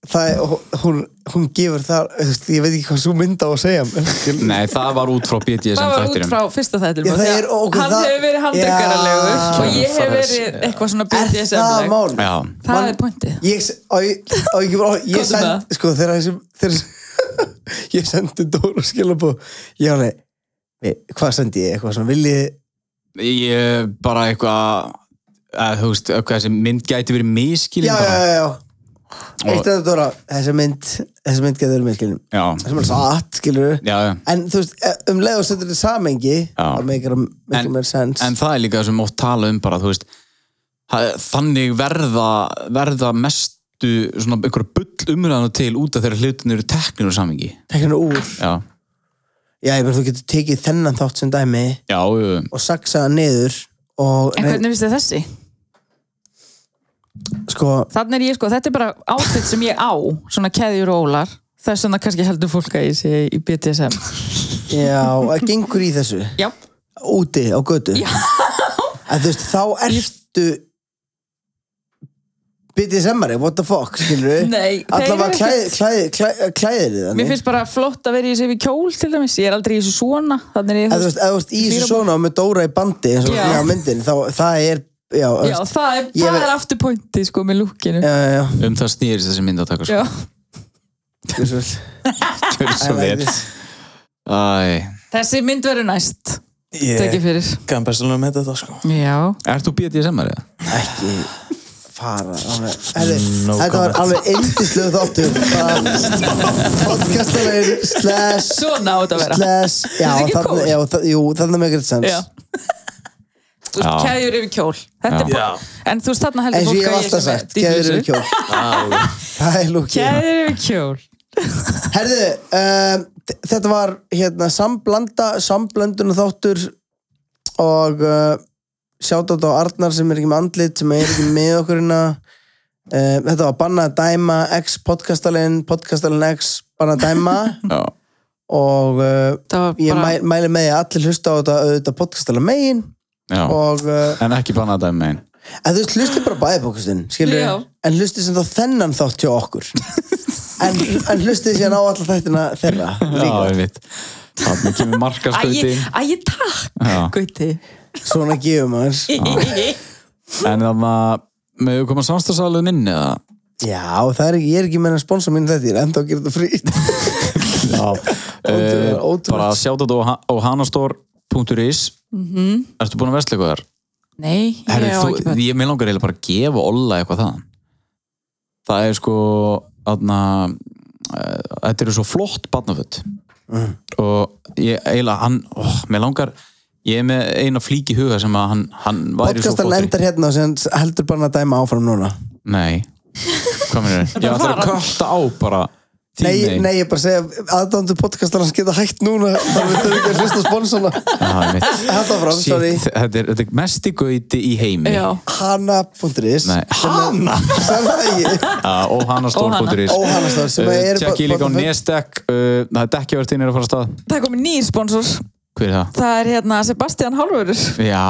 það er, hún, hún gefur þar þú veist, ég veit ekki hvað svo mynda á að segja mér. nei, það var út frá BDSM Það var út þættinum. frá fyrsta þættinum Já, af því það að er- og Hann það- hefur verið handtökaralegur Já. og ég Það er- hefur verið eitthvað svona er það BDSM -leg. mál? Já. Það er pointið ég, s- á, ég, á, ég, á, ég Komdu með sendi sko þegar þessum þegar, ég sendi Dóra skilabó ég var alveg við- hvað sendi ég, eitthvað svona viljið ég bara eitthvað að þú veist, hvað þessi mynd gæti verið miskilin já, já, já, já Og- eitt að Dóra, þessi mynd þessi mynd getur verið með skilum já, þessi mynd satt, skilur já, já. en þú veist, e- um leið og setur þetta samengi Já. það meikar miklu En- meir sens en það er líka sem oft tala um bara, þú veist það- þannig verða, verða mestu svona einhverja bull umræðan til út af þeirra hlutinu eru teknir og samingi tekna úr, já, já, ég verður þú getur tekið þennan þátt sem dæmi já, já, og saksaða niður og En hvernig finnst þið þessi? sko, Þannig er ég sko, þetta er bara áfett sem ég á svona keðjur og ólar þess vegna kannski heldur fólk að ég sé í BDSM já, það gengur í þessu Já, úti á götu Já. en þú veist, þá ertu bitið semmari, what the fuck, skilur við Nei, þeir allavega eru klæð, ekkert- klæð, klæð, klæðir þið mér þannig finnst bara flott að vera í þessu við kjól til dæmis, ég er aldrei í þessu svona þannig er ég, að þú veist, að þú veist í þessu Hlýra- svona og með Dóra í bandi eins og Já. já. myndin, þá það er já, þú já, veist, það er, ég það verð- er aftur pointi sko með lukkinu já, já, já, um það snýrist þessi mynd að taka Já. sko, gjörðu svo vel. gjör I svo like vel this. Æ. Þessi mynd verður næst tekið Ég fyrir kann bestilega með þetta, sko Já, Ert þú BDSM-ari? ekki fara alveg, herri, No þetta var comment. alveg yndislegu þáttur podcastalegin slash svona á þetta að vera slash, já, Þetta er ekki þarna cool. já, þa- jú, þarna með ekkert sens Já Þú veist, Já. keðjur yfir kjól Þetta er bara, en þú veist, þarna heldur eins og fólk ég hef að alltaf sé með sagt, dýrlausu. keður eru kjól það er lúkið Keðjur yfir kjól herðu, um, þ- þetta var hérna, samblanda, samblöndun og þáttur og uh, sjátátt á Arnar sem er ekki með andlit sem er ekki með okkur hérna um, þetta var Banna að Dæma X podcastalinn, podcastalinn X Banna að Dæma Já. og uh, Það var ég mæ, bara, mæli með því að allir hlusta á þetta, þetta podcastalinn megin Já. og uh, En ekki bannað dæmi megin. En þú veist, hlusti bara bæði bókastinn, skilur Já. En hlusti sem þá þennan þátt hjá okkur En, en hlusti síðan á alla þættina þeirra Já, líka. ég veit. Þannig kemur markaskauti. æg, æg, takk Já. Gauti Svona gefum maður En þannig að, með við koma samstagsalun inn eða? Já, það er ekki, ég er ekki meina að sponsa mín þetta Ég er enda að gera þetta frí Eh, bara sjáta þetta á hanastór.is Ertu búin að versla eitthvað þar? Nei, ég Mhm. Herri, á ekki þú, börn. ég mér langar eiginlega bara að gefa Olla eitthvað þaðan það er sko aðna, þetta eru svo flott barnaföt og ég eiginlega hann, ó, mér langar ég er með eina flík í huga sem að hann, hann væri svo Podcastar flottur í. lendar hérna og sem heldur bara að dæma áfram núna nei, hvað mér er ég ætlar að kötta á bara þín Nei, nei, nei, ég bara segja aðdándu podcastarnas geta hægt núna þar við þau ekki að hlusta á sponsorna Ah, mitt. Þetta fram, Shit, sorry þetta er, þetta er mesti gauti í heimi Já, Hanna.is Nei. Hanna? Sem það ekki Ah, og hann að stórbúturis Ó, Hanna stór, sem eru uh, bara- tjekki líka á bara- Nestek uh, það er dekkjavertin er að fara að stað það er komið nýr sponsor hver er það? Það er hérna Sebastian Hálfurur Já,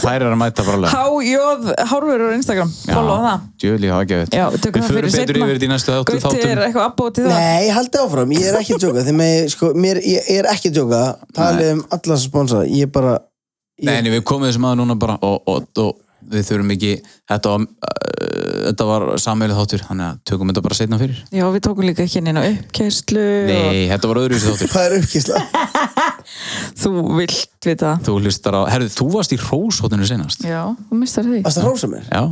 þær eru að mæta bara alveg Hájóð Hálfurur á Instagram Follow það Djöli, það er ekki Já, við tökum það Við fyrir förum betur seinna. yfir þetta í næstu þáttu Gauti er þáttum eitthvað abbótið það Nei, haldið áfram, ég er ekki að djóka Þegar mig, sko, mér, ég er ekki að djóka Talið um alla sponsora, ég bara ég- Nei, nei, við komum þessum aða núna bara og, og, og við þurfum ekki Þetta var, uh, þetta var sammeilið þáttur Þannig að tökum þetta bara setna fyrir Já, við tókum líka ekki neina uppkæslu og Nei, þetta var öðruvísi þáttur Hvað er uppkísla? þú vilt við það Þú hlustar á, herðu, þú varst í róshotinu senast Já, þú mistar því Varst það hrósa mér? Já,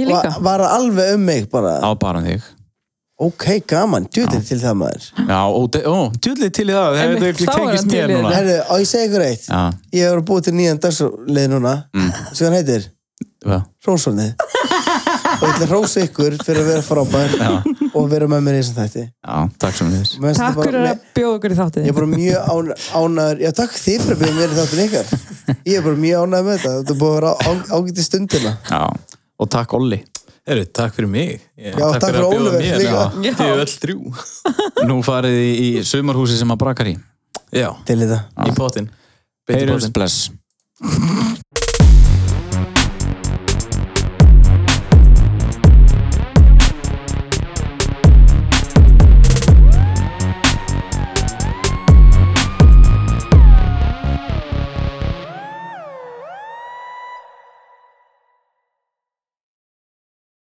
Ég líka Va- Var það alveg um mig bara á bara þig Ok, gaman, djútið til það maður Já, og de- ó, djöli til í það Það Einmitt, er ekki þá er tengist hann til mér í núna Herðu, á ég segi ykkur eitt Já, Ég hefur búið til nýjan dagsleið núna mm. Svo hann heitir hvað? Rósónið Og ég ætla að rósa ykkur fyrir að vera frábær Og vera með mér í þessum þætti já, takk sem við Mér finnst þetta Takk bara- fyrir að bjóða okkur í þáttið Ég er bara mjög án- ánægður Já, takk þið fyrir að bjóða mér í þáttin ykkar Ég er bara mjög ánægður með þetta Þetta er búið að vera á- hérna. ágæti stundina Já, og takk Olli Heru, takk fyrir mig Ég- Já, takk fyrir að bjóða Oliver mér. líka. Já, Þið er öll þrjú Nú farið í, í sumarhúsi sem að brakar í Já, Til þetta í potinn Beint í Heyrjumst potinn. bless